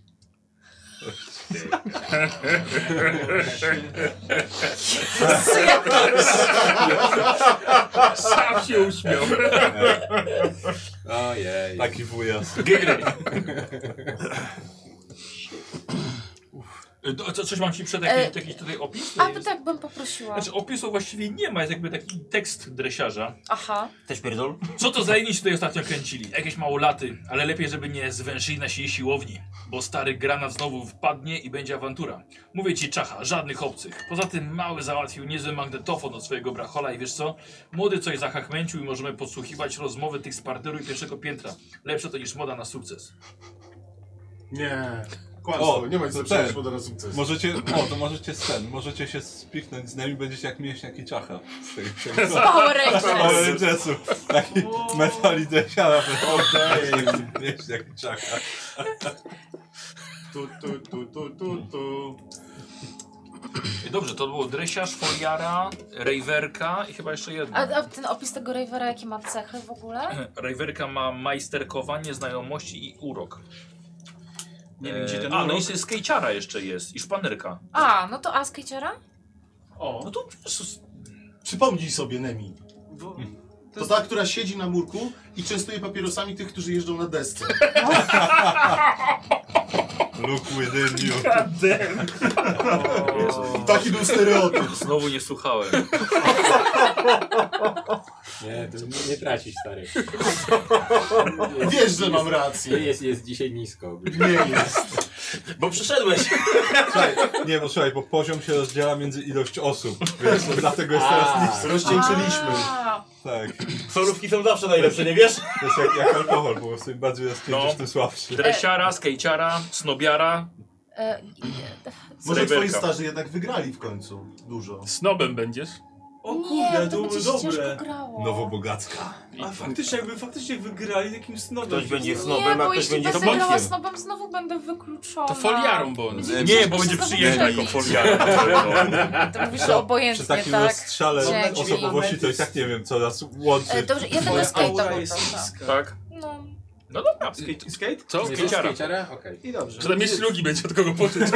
Co ja Sam się uśmiał. Ojej. Taki wujas. Gry. Y, do- Co, coś mam ci przed E, jakiś, jakiś tutaj opis? A Tutaj to jest- tak bym poprosiła. Znaczy opisu właściwie nie ma, jest jakby taki tekst dresiarza. Aha. Też pierdol? Co to za inni się tutaj ostatnio kręcili? Jakieś małolaty, ale lepiej, żeby nie zwęszyli nasi siłowni, bo stary granat znowu wpadnie i będzie awantura. Mówię ci, czacha, żadnych obcych. Poza tym mały załatwił niezły magnetofon od swojego brachola i wiesz co? Młody coś zachachmęcił i możemy podsłuchiwać rozmowy tych z parteru i pierwszego piętra. Lepsze to niż moda na sukces. Nie. Kłamstwo, O, nie ma nic to lepszego ten. niż woda na sukces. Możecie, o to możecie ten, możecie się spiknąć z nami, będziecie jak mięśniak i czacha. Z tej księgi. Power Rangers. Ale Jesu, taki metal i dresiara. Okej. Mięśniak i czacha. Tu, tu, tu, tu, tu, tu. Dobrze, to było dresiarz, foliara, rejwerka i chyba jeszcze jedno. A, a ten opis tego Ravera, jakie ma cechy w ogóle? Rejwerka ma majsterkowanie, znajomości i urok. Nie wiem, gdzie ten A, no i urok. se- skejciara jeszcze jest i szpanerka. A, no to a skatera? No O. to Jezus, Przypomnij sobie Nemi. Hm. To ta, która siedzi na murku i częstuje papierosami tych, którzy jeżdżą na desce. Look within you. tak Jezus. Taki był stereotyp. Znowu nie słuchałem. Nie, to nie, nie tracisz, stary. Wiesz, że mam Nie rację. jest, jest dzisiaj nisko. Nie jest. Bo przyszedłeś. Słuchaj, nie, bo słuchaj, bo poziom się rozdziela między ilość osób, więc to dlatego jest A. teraz nisko. Rozcieńczyliśmy. A, Tak, Solówki są zawsze najlepsze, nie wiesz? to jest jak, jak alkohol, bo im bardziej rozcieńczysz, No. tym słabszy. Dresiara, skejciara, snobiara. e, Może Rejberka. twoi starzy jednak wygrali w końcu. Dużo. Snobem będziesz. O nie, kurde, to to będzie było się ciężko dobre. grało. Nowobogacka. A faktycznie, jakby faktycznie wygrali jakimś snobem. Ktoś będzie było. nie, snobem, a bo ktoś jeśli będzie będę grała snobkiem. snobem, znowu będę wykluczona. To foliarą bądź. Będzie Nie, ciężko się znowu przeliczyć. To mówisz że Przy obojętnie, takim tak? rozstrzale Dzięki. osobowości to i tak nie wiem, co nas E, łączy. Dobrze, ja tego Moja skate'a aura jest poproszę. niska. Tak. No, No dobra. Skate? skate? Co? Nie, Skejciara. skejciara? Okej. I dobrze. Czy tam jest ślugi, będzie od kogo pożyczyć.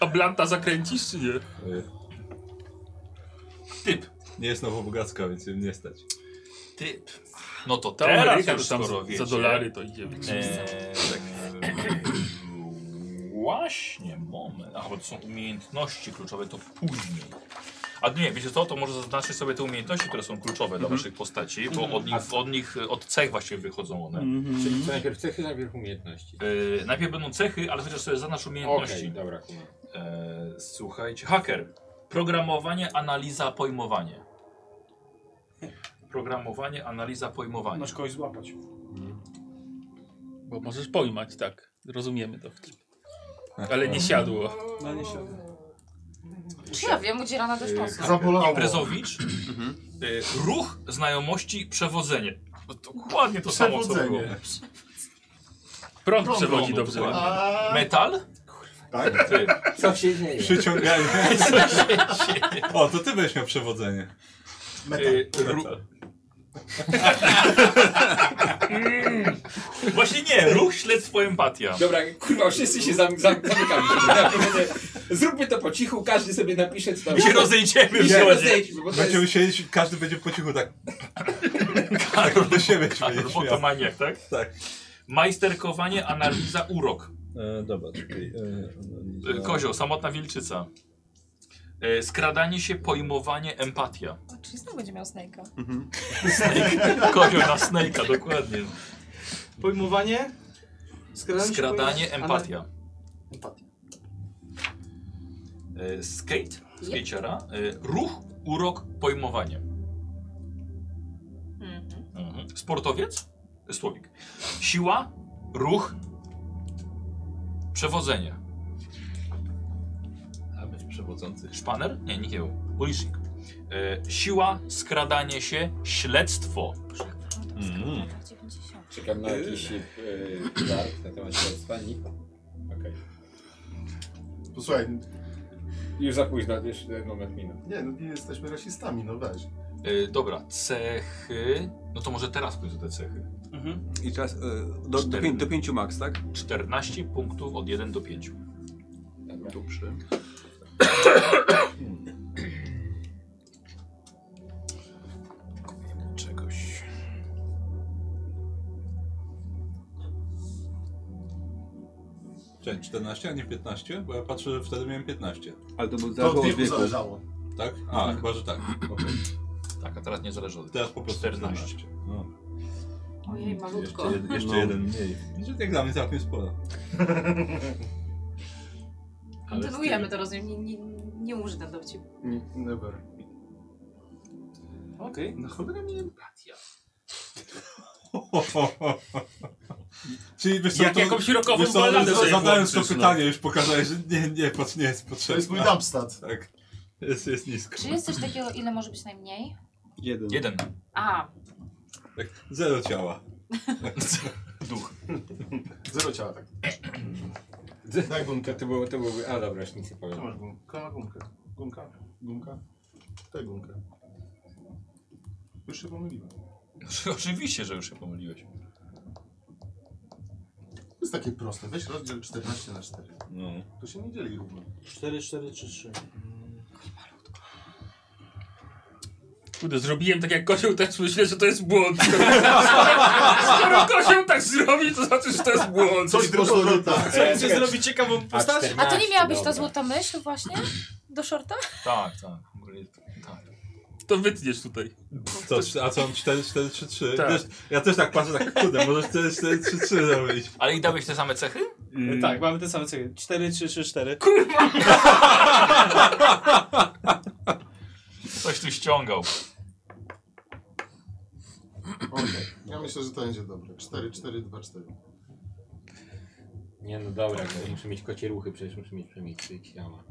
A blanta zakręcisz, czy nie? Y, Typ. Nie jest nowobogacka, więc im nie stać. Typ. No to Ta teraz Ameryka już to tam skoro za wiecie. dolary to idzie. Eee, tak. Właśnie, moment. A, bo to są umiejętności kluczowe, to później. A nie, wiecie co, to może zaznaczcie sobie te umiejętności, które są kluczowe dla waszych postaci, bo od nich, od nich, od cech właściwie wychodzą one. Czyli co najpierw cechy, najpierw umiejętności. Eee, najpierw będą cechy, ale chociaż sobie zaznacz Okej, umiejętności. dobra, kuma. Eee, słuchajcie, haker. Programowanie, analiza, pojmowanie. Programowanie, analiza, pojmowanie. Masz kogoś złapać. Bo możesz pojmać, tak. Rozumiemy to. Ale nie siadło. No nie siadam. czy ja wiem, gdzie rana dość mocno. Zabolało. Imprezowicz. Mhm. Y, Ruch, znajomości, przewodzenie. No Dokładnie to samo co było. Przewodzenie. Prąd Prąd przewodzi prądu, dobrze. dokładnie. A, Metal? Tak? Ty. Co się dzieje? Przyciąganie. O, to ty będziesz miał przewodzenie. Y, ru- Mm. Właśnie nie, ruch, śledztwo, empatia. Dobra, kurwa, wszyscy się zam, zam, zamykamy. Ja pierdolę. Zróbmy to po cichu, każdy sobie napisze, co tam I się rozejdziemy I w się zgodzie. rozejdźmy, bo to Będziemy jest... siedzieć, każdy będzie po cichu tak. Tak, do siebie się będzie Albo to śmiał. maniak, tak? Tak. Majsterkowanie, analiza, urok. E, dobra, czekaj. Y, Kozioł, samotna wilczyca. Y, Skradanie się, pojmowanie, empatia. O, Czyli znowu będzie miał snake'a. Mm. Kozioł na snake'a, dokładnie. Pojmowanie? Skradanie, się Skradanie, pojmuje- empatia. Ana- Empatia. E, Skate, skatera, e, ruch, urok, pojmowanie. Mhm. Mhm. Sportowiec, e, słowik. Siła, ruch, przewodzenie. A będzie przewodzący. Szpaner? Nie, nikt nie był. Ulicznik. E, Siła, skradanie się, śledztwo. Mm. Tak, 90. Czekam na jakiś e, żart na temat śledztwa. Nikt. Okej. Posłuchaj, Już za późno, już ten moment minął. nie, no nie jesteśmy rasistami, no weź. E, Dobra, cechy. No to może teraz pójdę te cechy. Mhm. I czas e, do, do, Cztery. pię- do 5 max, tak? 14 punktów od 1 do 5. Dobra. Dobrze. Czegoś. Czekaj, 14, a nie 15? Bo ja patrzę, że wtedy miałem 15. Ale to był To zależało od od wieku wieku. zależało. Tak? A, chyba, że tak. Okej. Tak, a teraz nie zależy od Teraz po prostu 14. 14. No. Ojej, malutko. Jeszcze, jed, jeszcze No. jeden mniej. Znaczy, jak dla mnie całkiem sporo. Kontynuujemy to, rozumiem. Nie, nie, nie umrze ten dowcip. Never. Okej. Na cholera mi empatia. Czyli wiesz, Jak to- jakąś rokową wiesz co, balladę za- sobie zadając to włączysz, no. pytanie, już pokazałeś, że nie, nie, patrz, nie jest potrzebne. To jest mój dumpstat. Tak. Jest, jest nisko. Czy jest coś takiego, ile może być najmniej? Jeden. Jeden. A, Tak, zero ciała. Duch. Zero ciała, tak. Tak, gumka. To, było, to byłby... A dobra, już nic nie Tu powiem. masz gumka, gumkę. Gumka, gumka. Tę gumkę. Już się pomyliłem. Oczywiście, że już się pomyliłeś. To jest takie proste. Weź rozdziel 14 na 4. No. To się nie dzieli równo. 4, 4 czy 3. Kurde, zrobiłem tak jak kozioł, też myślę, że to jest błąd. Skoro kozioł tak zrobi, to znaczy, że to jest błąd. Coś poszło nie tak. Co chcesz zrobić Tak, ciekawą postać? a to nie miała być ta złota myśl właśnie? Do shorta? Tak, tak. W ogóle jest- tak. To wytniesz tutaj. Co, cz- a co on 4, 4, 3, 3? Tak. Wiesz, ja też tak patrzę, tak kurde, możesz 4, 4, 3, 3 zrobić. Ale i dałeś te same cechy? Mm. Tak, mamy te same cechy. 4, 3, 3, 4. Coś tu ściągał. Okej. Ja myślę, że to będzie dobre. 4, 4, 2, 4. Nie no dobra, bo muszę mieć kocie ruchy, przecież muszę mieć przemiksy ciała.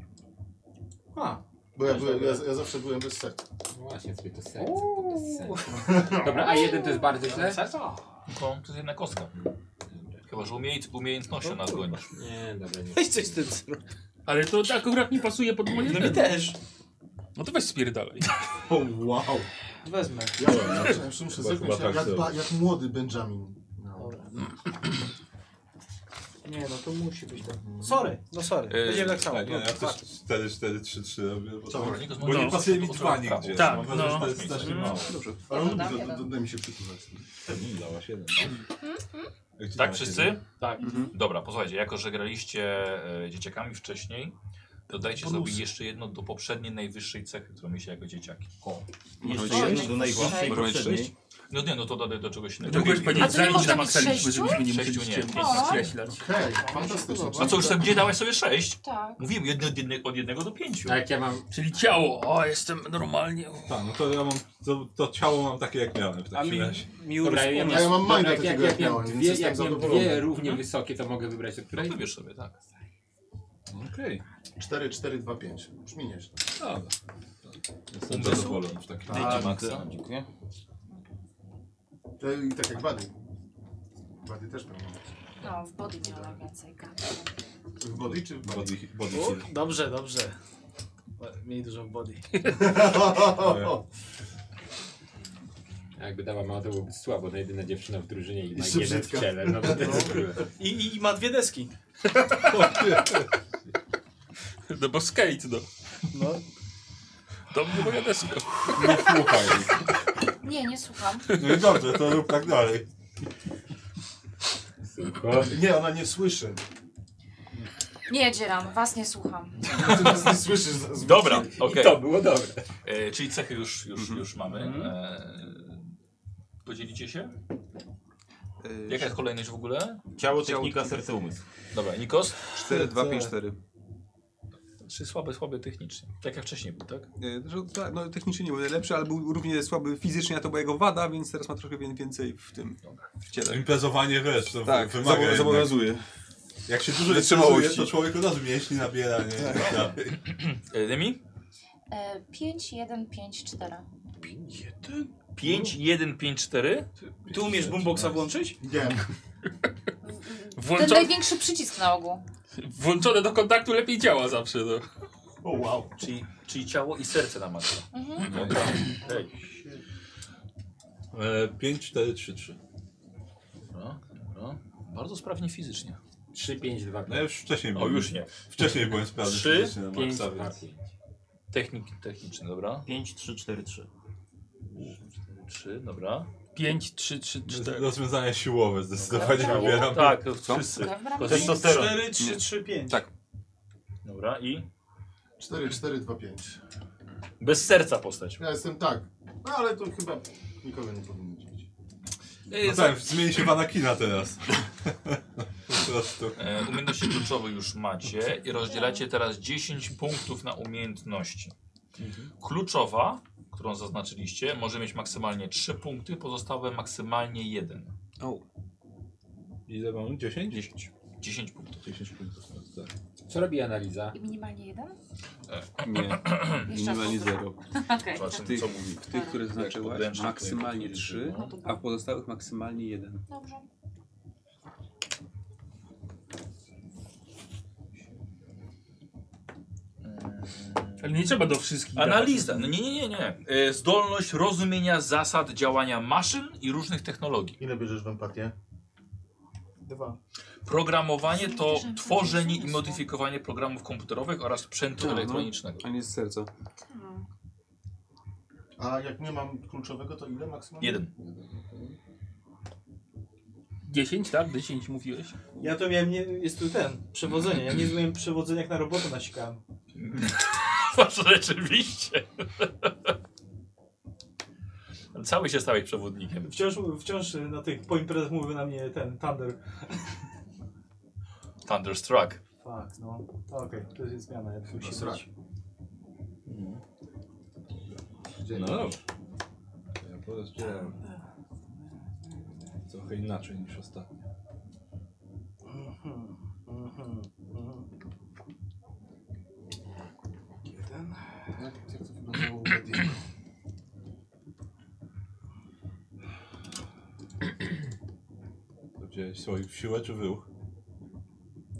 Bo ja, byłem, ja, ja zawsze byłem bez serca. No właśnie, sobie to serce, to bez sensu. Dobra, a jeden to jest bardzo źle? To, to jest jedna kostka. Chyba, że umiej, umiejętnością nas gonisz. Nie, dobra, nie. Weź coś z tym zrobić. Ale to tak akurat nie pasuje pod moje No mi ten. też. No to weź spierdalaj. O, wow. Wezmę. Ja przepraszam, jeszcze muszę Chyba- zepnąć chyba jak, tak jak, ba- zrobię. jak młody Benjamin. No. Dobra. Nie no, to musi być tak. Sorry, no sorry. Yy, Będziemy tak samo. Tak, nie, No, ja tak. też 4, 4, 3, 3 robię. Bo, Co? to, Niego z bo mojego- nie pasuje mi od- dwa od- nigdzie. Tak, Mam wrażenie, no. że to jest strasznie mało. Dobrze. Ale on Dam mówi, jeden. daj mi się przytulać. Dałaś jeden. Tak wszyscy? Tak. Dobra, posłuchajcie, jako że graliście e, dzieciakami wcześniej, dodajcie sobie jeszcze jedno do poprzedniej najwyższej cechy, którą mieliście jako dzieciaki. Oj, Jeszcze jedno do najwyższej najwyższej Może mieć poprzedniej. sześć? No nie, no to dodaj do czegoś To innego. byłeś A powiedzieć, to nie zanim można mieć się napisaliśmy, sześciu? żebyśmy nie Sześciu musieli nie. cię O. skreślać. Okej, fantastycznie. A co, już sobie gdzie dałeś sobie sześć? Tak. Mówiłem, jedno, od, jedne, od jednego do pięciu. Tak, ja mam... Czyli ciało, o jestem normalnie. Tak, no to ja mam, to, to ciało mam takie jak miałem w A takim mi, razie. miór Dobra, ja A ja mam minda dobra, jak, jak, takiego jak jak miałem miałem, więc dwie, jestem jak miałem dwie zadowolony. równie wysokie, to mogę wybrać od której? No wybierz sobie, tak. Okej, 4, 4, 2, 5. Brzmi nieźle. dobra. Jestem zadowolony w takim A, razie. Tak, Maxa, dziękuję. To I tak jak Buddy. Buddy też tak ma. No, w body miała więcej gadki. W Buddy czy w Buddy? Body, body U, heal. Dobrze, dobrze. Miej dużo body. A Jakby dała mała, to byłoby słabo, no jedyna dziewczyna w drużynie i ma Jeszcze jeden w brzydka. ciele. No, bo to jest I, i, I ma dwie deski. No bo skate, no. No. To była moja deska. Nie słuchaj. Nie, nie słucham. No i dobrze, to rób tak dalej. Tylko... Nie, ona nie słyszy. Nie, dzieram, was nie słucham. Ty nas nie słyszysz. za- z- Dobra, I okej. to było dobre. E, czyli cechy już, już, już mamy. E, podzielicie się? Jaka jest kolejność w ogóle? Ciało, technika, serce, umysł. Dobra, Nikos? 4, 2, 5, 4. Czy słabe, słabe technicznie? Tak jak wcześniej był, tak? Nie, że tak, no, technicznie nie był najlepszy, ale był równie słaby fizycznie, a to była jego wada, więc teraz ma trochę wie- więcej w tym w ciele. Imprezowanie wiesz, to Tak, wymaga zobo- jednak. zobowiązuje. Jak się dużo Wytrzymałości. imprezuje, to człowiek od razu mięśni nabiera, nie? Tak. E, Demi? E, 5, 1, 5, 4. 5, 1, 5, 4. Ty umiesz boomboxa włączyć? Nie. Ten Włączo... największy przycisk na ogół. Włączone do kontaktu lepiej działa zawsze, no. O wow. Czyli, czyli ciało i serce na maksa. Mhm. Dobra. E, 5, 4, 3, 3. Dobra, dobra. Bardzo sprawnie fizycznie. 3, 5, 2, 5. No ja już wcześniej O, byłem. już nie. Wcześniej byłem sprawny Trzy, fizycznie na Pięć, maksa, dwa, więc. pięć. Technik, techniczny, dobra. 5, 3, 4, 3. 3, dobra. 5, 3, 3, 4. Rozwiązania siłowe zdecydowanie Tak. wybieram. Tak, Co? wszyscy. Testosteron. 4, 3, 3, 5. Tak. Dobra, i 4, 4, 2, 5. bez serca postać. Ja jestem tak. No ale to chyba nikogo nie powinien dziwić. No Yy, tak, zmieni się w Anakina teraz. po prostu. E, umiejętności kluczowe już macie i rozdzielacie teraz 10 punktów na umiejętności. Mhm. Kluczowa, którą zaznaczyliście, może mieć maksymalnie 3 punkty, pozostałe maksymalnie 1. Ile mamy? 10? 10. 10 punktów. 10 punktów. Tak. Co robi analiza? I minimalnie jeden? Nie, Jeszcze minimalnie raz. zero. Okej. Zobaczymy, Tych, co mówi. w Tak. tych, które zaznaczyłaś, podręcznik, maksymalnie który- trzy, No to a w pozostałych maksymalnie jeden. Dobrze. Ale nie trzeba do wszystkich. Analiza. No nie, nie, nie, nie. E, Zdolność rozumienia zasad działania maszyn i różnych technologii. Ile bierzesz w empatię? Dwa. Programowanie to Zbliżam się tworzenie i do sensu. modyfikowanie programów komputerowych oraz sprzętu Tak, no. elektronicznego. A nie z serca. A jak nie mam kluczowego, to ile maksymalnie? Jeden. 10, tak? 10 mówiłeś. Ja to miałem, nie, jest tu ten, przewodzenie. Ja nie zmieniłem przewodzenia, jak na robotę nasikałem. Masz rzeczywiście. Cały się stałeś przewodnikiem. Wciąż, wciąż na tych, po imprezach mówi na mnie ten, Thunder. Thunderstruck. Fuck, no. To Okej, to jest zmiana, jak musi Srak. być. No dobrze. To Ja porozdzielam. Trochę inaczej niż ostatnio. Mhm, mhm, mhm. Jeden. Jak, jak to wyglądało u Bediego? To wziąłeś swoich w siłę czy w ruch?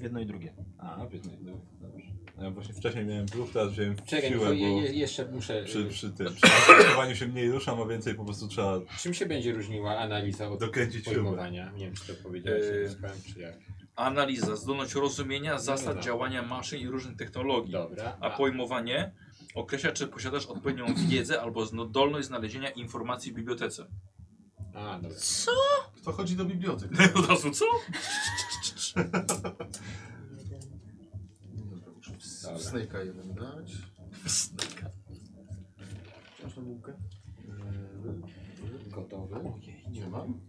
Jedno i drugie. A, w jednej, drugiej. Dobrze. No ja właśnie wcześniej miałem w ruch, teraz wziąłem w Czekaj, siłę, bo je, bo je, jeszcze muszę... przy, y, przy tym, przy aktywowaniu się mniej ruszam, a więcej po prostu trzeba Czym się będzie różniła analiza od dokręcić siłę. pojmowania? Nie wiem, czy to powiedziałeś, Yy. yy... czy jak. Analiza, zdolność rozumienia zasad no. działania maszyn i różnych technologii. Dobra. A pojmowanie określa, czy posiadasz odpowiednią wiedzę albo zdolność znalezienia informacji w bibliotece. A, dobra. Kto chodzi do bibliotek? Od razu co? Dobra, muszę w, w Dobra. Snake'a jeden dać. Wciąż na bułkę? Gotowy. Ojej, nie mam.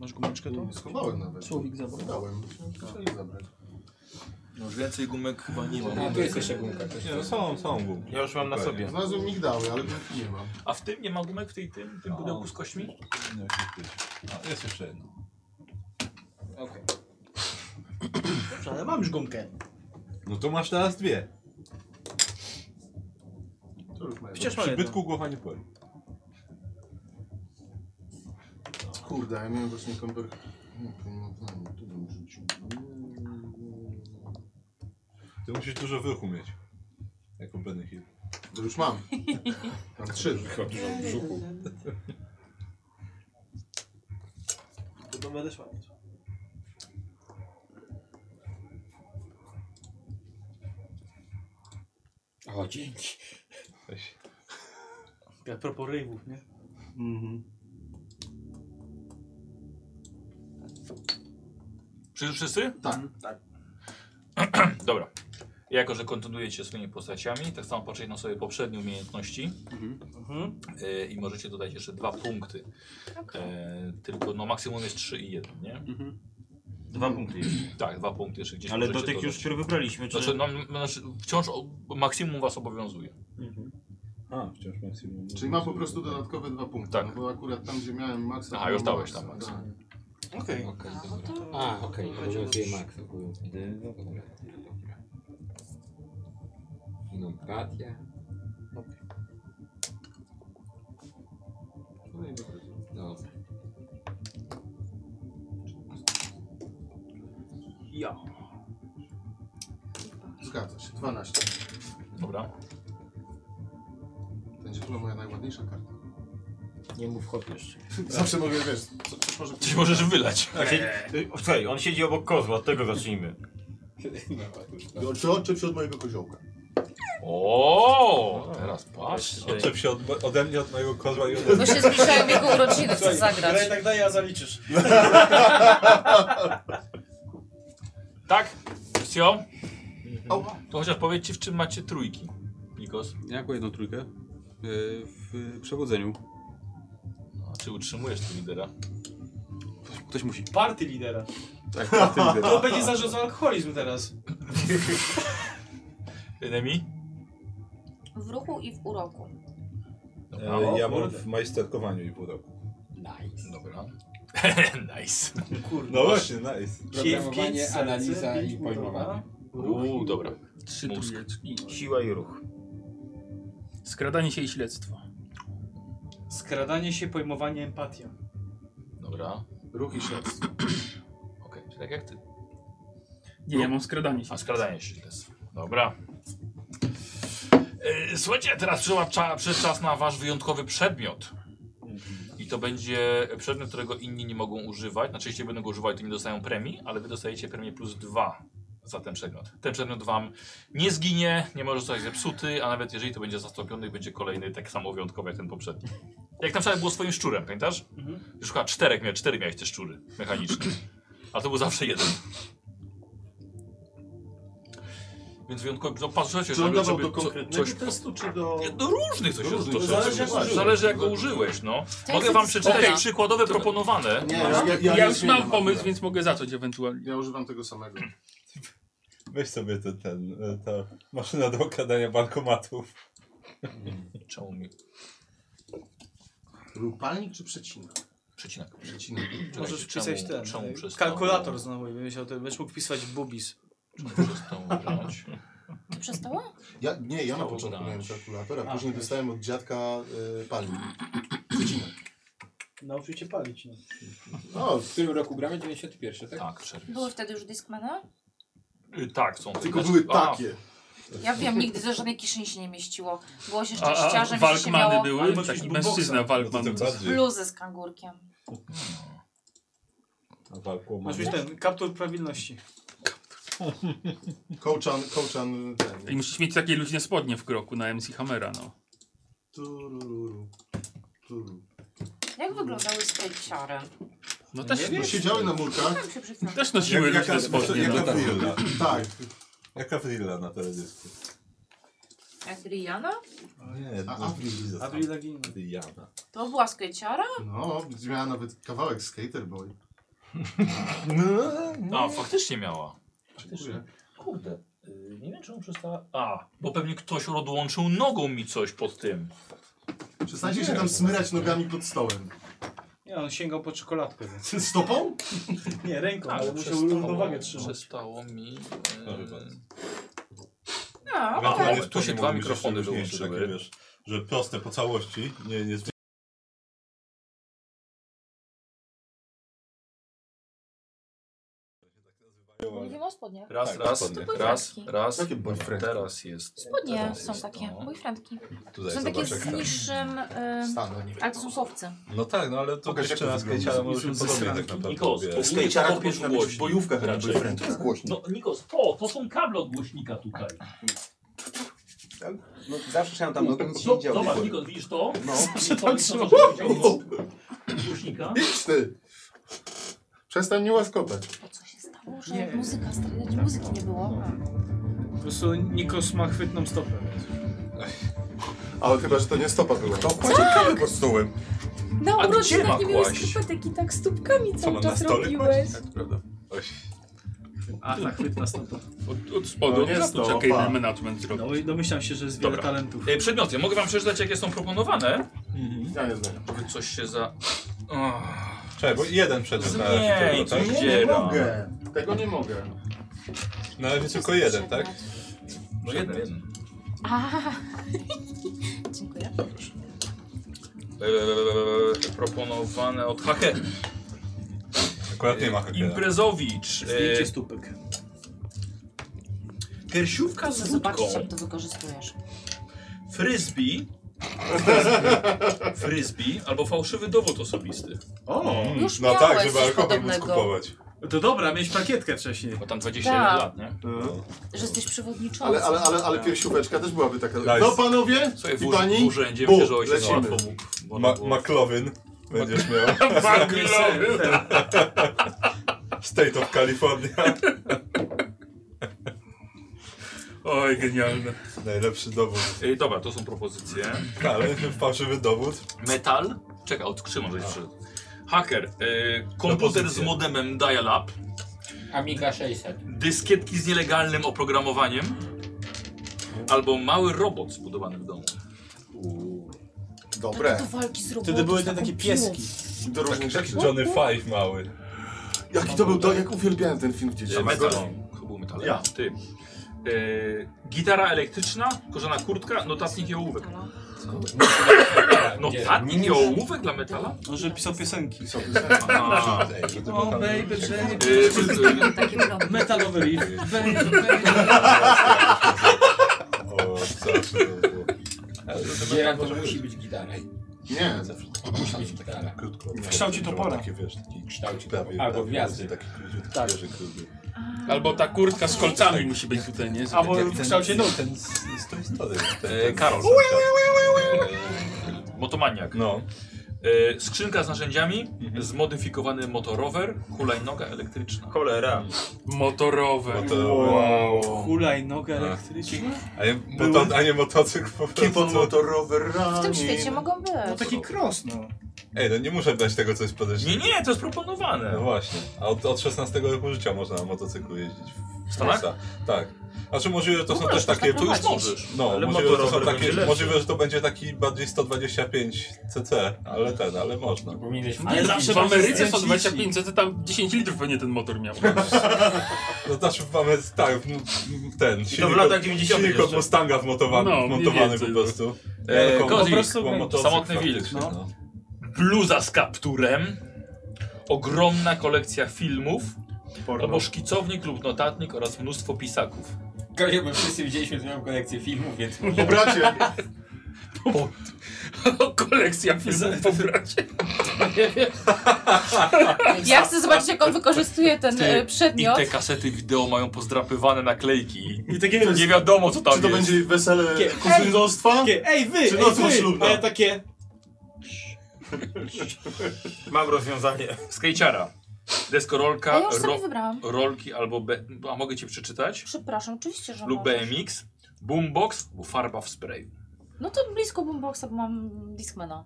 Masz gumeczkę to? Nie schowałem nawet. Słowik zabrał. Tak. Dałem. Musiałem zabrać. No już więcej gumek chyba nie A, mam. tu jest jeszcze gumka. coś Nie, tu. no są, są gumki. Ja już mam na sobie. Znalazłem migdały, ale gumki nie mam. A w tym nie ma gumek w tej tym, tym pudełku z kośćmi? Powinno się być. A, jest No, jeszcze jedno. Okej. Dobrze, ale mam już gumkę. No to masz teraz dwie. To już mają. Wciąż mam jedną. Przybytku głowa nie boli. Kurde, ja miałem właśnie komper... Nie, to nie mam planu, tu bym rzucił. Ty musisz dużo w ruchu mieć. Jako Benny Hill. To już mam. Mam trzy. Dużo w brzuchu. To to będę szła. O, dzięki. Weź. A propos rejwów, nie? Czy już wszyscy? Tak. Tak. Dobra. Jako, że kontynuujecie swoimi postaciami, tak samo patrzeć na sobie poprzednie umiejętności Mhm. e, i możecie dodać jeszcze dwa punkty. E, tylko no maksimum jest 3 i 1, nie? Dwa punkty jeszcze. Tak, dwa punkty jeszcze gdzieś Ale do możecie tych już, dodać. które wybraliśmy, czy... Znaczy, no, m- znaczy, wciąż o, maksimum was obowiązuje. A, wciąż maksimum. Czyli mam po prostu dodatkowe dwa punkty. Tak. No bo akurat tam, gdzie miałem maksa... Aha, to już mam dałeś tam maksa, maksa. tak. Okej. Okej, A, no dobra. to A, okej, To okay. będzie obowiązuje dobrze. Max. ogólnie. Dobra. No, Katia. No, Ja. Zgadza się, 12. Dobra. To Będzie chyba moja najładniejsza karta. Nie mów hop jeszcze. Zawsze mogę, wiesz, co, coś może... Czy możesz wylać? Słuchaj, on siedzi obok kozła, od tego zacznijmy. no. Oczy oczy przed mojego koziołka. O, teraz patrz. Odczep się od, ode mnie, od mojego kozła i ode mnie. Bo się zbliżają jego urodziny, chcę zagrać. Graj tak daj, a zaliczysz. Tak, Sio? To chociaż powiedzcie, w czym macie trójki, Nikos. Jaką jedną trójkę? Yy, W przewodzeniu. No, A czy utrzymujesz tu lidera? Ktoś musi. Party lidera. Tak, party lidera. To będzie zarzucał alkoholizm teraz. Enemy? W ruchu i w uroku. No. E, ja mam w majsterkowaniu i pół roku. Nice. Dobra. nice. Kurde. No właśnie, nice. Programowanie, analiza i pojmowanie. no. Uuu, dobra. Trzy Mózg. trójeczki. Siła i ruch. Skradanie się i śledztwo. Skradanie się, pojmowanie, empatia. Dobra. Ruch i szef. Okej, czyli tak jak ty. Nie, ja mam skradanie się. A skradanie się jest. Dobra. E, Słuchajcie, teraz przyszła cza- przyszedł czas na wasz wyjątkowy przedmiot. I to będzie przedmiot, którego inni nie mogą używać. Znaczy, jeśli będą go używali, to nie dostają premii, ale wy dostajecie premię plus dwa za ten przedmiot. Ten przedmiot wam nie zginie, nie może zostać zepsuty, a nawet jeżeli to będzie zastąpiony, będzie kolejny tak samo wyjątkowy jak ten poprzedni. Jak na przykład było swoim szczurem, pamiętasz? Już chyba czterech miałeś, cztery miałeś te szczury mechaniczne. A to był zawsze jeden. Więc wyjątkowy, no patrzcie, Czy on żeby, dawał żeby do co- konkretnego coś testu, czy do... nie, Do różnych coś Do No różnych, to to zależy, zależy, jak użyłeś. zależy jak go użyłeś, no. Tak, To Mogę jest wam przeczytać Okej. przykładowe proponowane. Nie, Ja, nie już zmieniam mam pomysł, akurat. więc mogę zacząć ewentualnie. Ja używam tego samego. Weź sobie ten, ten, e, ta maszyna do okradania bankomatów. Czemu mi Rupalnik czy przecina? przecinek? Przecina. Czekajcie, Możesz wpisać czemu- ten. e, czemu y, przestało- kalkulator znowu i będziesz miał to- będziesz mógł pisać bubis. Przestało grać. To przestało? Ja, nie, ja na Stało początku grać. miałem kalkulator, a później dostałem od dziadka y, palnik. Przecina. Nauczył cię palić. No. O, W którym roku gramy? 91, tak? Tak, czerwiec. Były wtedy już Discmana? Y, Tak, są. E, tylko znaczy- były a, takie. Ja wiem, nigdy do żadnej kieszeni się nie mieściło. Było się A, a szczęściarzem, że się walkmany miało ale były? musisz Taki być mężczyzna boksem. No to walkman. tym bardziej. bluzę z kangurkiem. A walką Masz mamy. mieć ten kaptur prawilności. Kołczan, kołczan ten. I musisz mieć takie luźne spodnie w kroku na MC Hammera, no. Turururu. Tururu. Jak wyglądały skejciary? No też, No, siedziały na murkach. Tam Tak się przyznam. też nosiły Jak- luźne jaka- spodnie. jaka- No. No tak. frilla. Tak. Jaka frilla na teledysku? Jak Rihanna? Nie, A- no, Avril. zostaw. Avril Lavigne. Jana. To była skejciara? No, miała nawet kawałek Skater Boy. A, faktycznie miała. Faktycznie. Kurde. y, Nie wiem, czemu przestała. A, bo pewnie ktoś odłączył nogą mi coś pod tym. Przestańcie się tam smyrać nogami pod stołem. Nie, on sięgał po czekoladkę. więc- Tak, Stopą? Nie, ręką, ale musiał Tak, przestało- równowagę trzymać. Przestało mi. Proszę bardzo. No, okej. Ewentualnie Tu się spodnie dwa mogą być jeszcze mikrofony luźniejsze, wyłączyły. takie, wiesz, Że proste po całości, nie, nie Mówimy o spodniach. Raz, raz, spodnie. raz, Boyfriendki. raz. Tak, Jakie boyfriendki? Teraz jest. Spodnie teraz są jest takie, to. boyfriendki. Tutaj Są takie zobacz, z jak tak. niższym... y, Stanę. Ale to są sowce. No tak, no ale to Pokaż, jeszcze jak na to wygląda. skejcie, ale może się podobnie tak naprawdę Nikos, robię. to W skejciarach Kopiesz powinna być głośno. bojówka chyba Raczej. boyfriend. To jest głośno. No, Nikos, to, to są kable od głośnika tutaj. No, zawsze chciałem tam, no to nic się Do- nie działo. Zobacz, Nikos, widzisz to? No. Zawsze tam trzyma. Głośnika. Idź ty! Przestań mnie łaskotać. To co się stało, że muzyka, stary, muzyki nie było? Po prostu Nikos ma chwytną stopę. Więc. Ale chyba, że to nie stopa była. To kładzie kawę pod stołem. Na A gdzie ma urodzinach nie miałeś kłaść? skarpetek i tak stópkami Co cały mam na czas stole robiłeś. kłaść? Tak, prawda. Oś. A, tak, chwytna stopa. Od, od spodu, No nie od spodu, stopa. czekaj, management zrobił. No i domyślam się, że jest wiele Dobra. talentów. E, Przedmioty, mogę wam przeczytać, jakie są proponowane. Ja nie znam. Żeby coś się za. Och. Czekaj, bo jeden przedmiot na Zmień, razie coś tylko, tak? nie mogę. Tego nie mogę. Na razie No tylko jeden, tak? No jeden, jeden. Aha. Dziękuję. Eee, proponowane od Hake. Akurat nie ma hakera. Imprezowicz. E, Zdjęcie Eee, stópek. piersiówka z wódką. Zobaczyć, No, jak to wykorzystujesz. Frisbee. Frisbee albo fałszywy dowód osobisty. O! Już No miałeś tak, żeby coś alkohol móc podobnego. kupować. To dobra, miałeś plakietkę wcześniej. Bo tam 21 Tak. lat, nie? Że jesteś przewodniczącym. Ale, ale, ale, ale piersióweczka też byłaby taka. Nice. No panowie Słuchaj, i w, pani, w urzędzie bu, myślę, że ojciec lecimy. łatwo mógł. bo Ma to było- Tak, no. Maklowin będziesz miał. Tak, Maklowin. State of California. Oj, genialne. Najlepszy dowód. Ej, E, dobra, to są propozycje. Ale fałszywy dowód. Metal. Czekaj, od Krzyma żeś przyszedł. Hacker. Y, komputer z Propozycje. modemem dial-up. Amiga 600. Dyskietki z nielegalnym oprogramowaniem. Albo mały robot zbudowany w domu. Dobre. No To walki z robotem. Wtedy były te takie pieski. Do różnych rzeczy. Johnny Five mały. Jaki to był, to, jak uwielbiałem ten film w dzieciństwie. metal. Chyba E, był metal. Ja. Ty. Y, gitara elektryczna, korzona kurtka, notatnik i ołówek. tak. No Notatnik i ołówek dla metala? No, że pisał piosenki. Tak. Aha. O, baby, E, Y, y, Takie wyglądy. Metalowy riff. O, zawsze to było. Gieran to musi być gitara. Nie, Musi być gitara. Krótko. W kształcie topora. Takie wiesz, taki Kształcie prawie, albo prawie gwiazdy. Taki króciutki, Tak. wieży krótki. Albo ta kurtka z kolcami musi być tutaj, nie? Żeby Albo tak- w kształcie nóg. Ten z, z tej strony. Ten, E, Karol. ten- y, Motomaniak. No. E, skrzynka z narzędziami, zmodyfikowany motorower, hulajnoga elektryczna. Cholera. Motorowe. No to- Wow. Hulajnoga elektryczna? A nie, moto, a nie motocykl po Keep on prostu. motorower W tym running. świecie mogą być. No taki cross, no. Ej, no nie muszę brać tego, co jest podejrzane. Nie, nie, to jest proponowane. No właśnie. A od, od 16 roku życia można na motocyklu jeździć. W Stanach? USA. Tak. Znaczy możliwe, to No są możesz, też takie... tak można prowadzić. Możesz. No, Ale możliwe, że to są motorower będzie takie, lepszy. możliwe, że to będzie taki bardziej 125 cc, ale ten, ale można. Powinieneś Ale mówić. zawsze w Ameryce 125, to tam 10 litrów pewnie ten motor miał. No znaczy mamy tak, w- w- ten silnik, latach od- 90 silnik od jeszcze. Mustanga wmontowany, No, mniej wmontowany po więcej. prostu. E, Jako- Kozik, jako motocykl samotny wilk, faktycznie, no. Bluza z kapturem, ogromna kolekcja filmów, albo szkicownik lub notatnik oraz mnóstwo pisaków. Gorzej, bo wszyscy widzieliśmy twoją kolekcję filmów, więc może... Bracie, Kolekcja filmów po bracie. Ja chcę zobaczyć, jak on wykorzystuje ten e, I przedmiot. te kasety wideo mają pozdrapywane naklejki. I takie, Nie wiadomo co tam czy to jest. będzie wesele Kie- kuzynostwa? takie ej wy, Czy ej noc wy! poślubna? A ja takie, Mam rozwiązanie. Skejciara, A deskorolka, ja już sobie ro wybrałam. rolki albo... Be a mogę cię przeczytać? Przepraszam, oczywiście, że Lub możesz. BMX, boombox, bo farba w sprayu. No to blisko boomboxa, bo mam Discmana.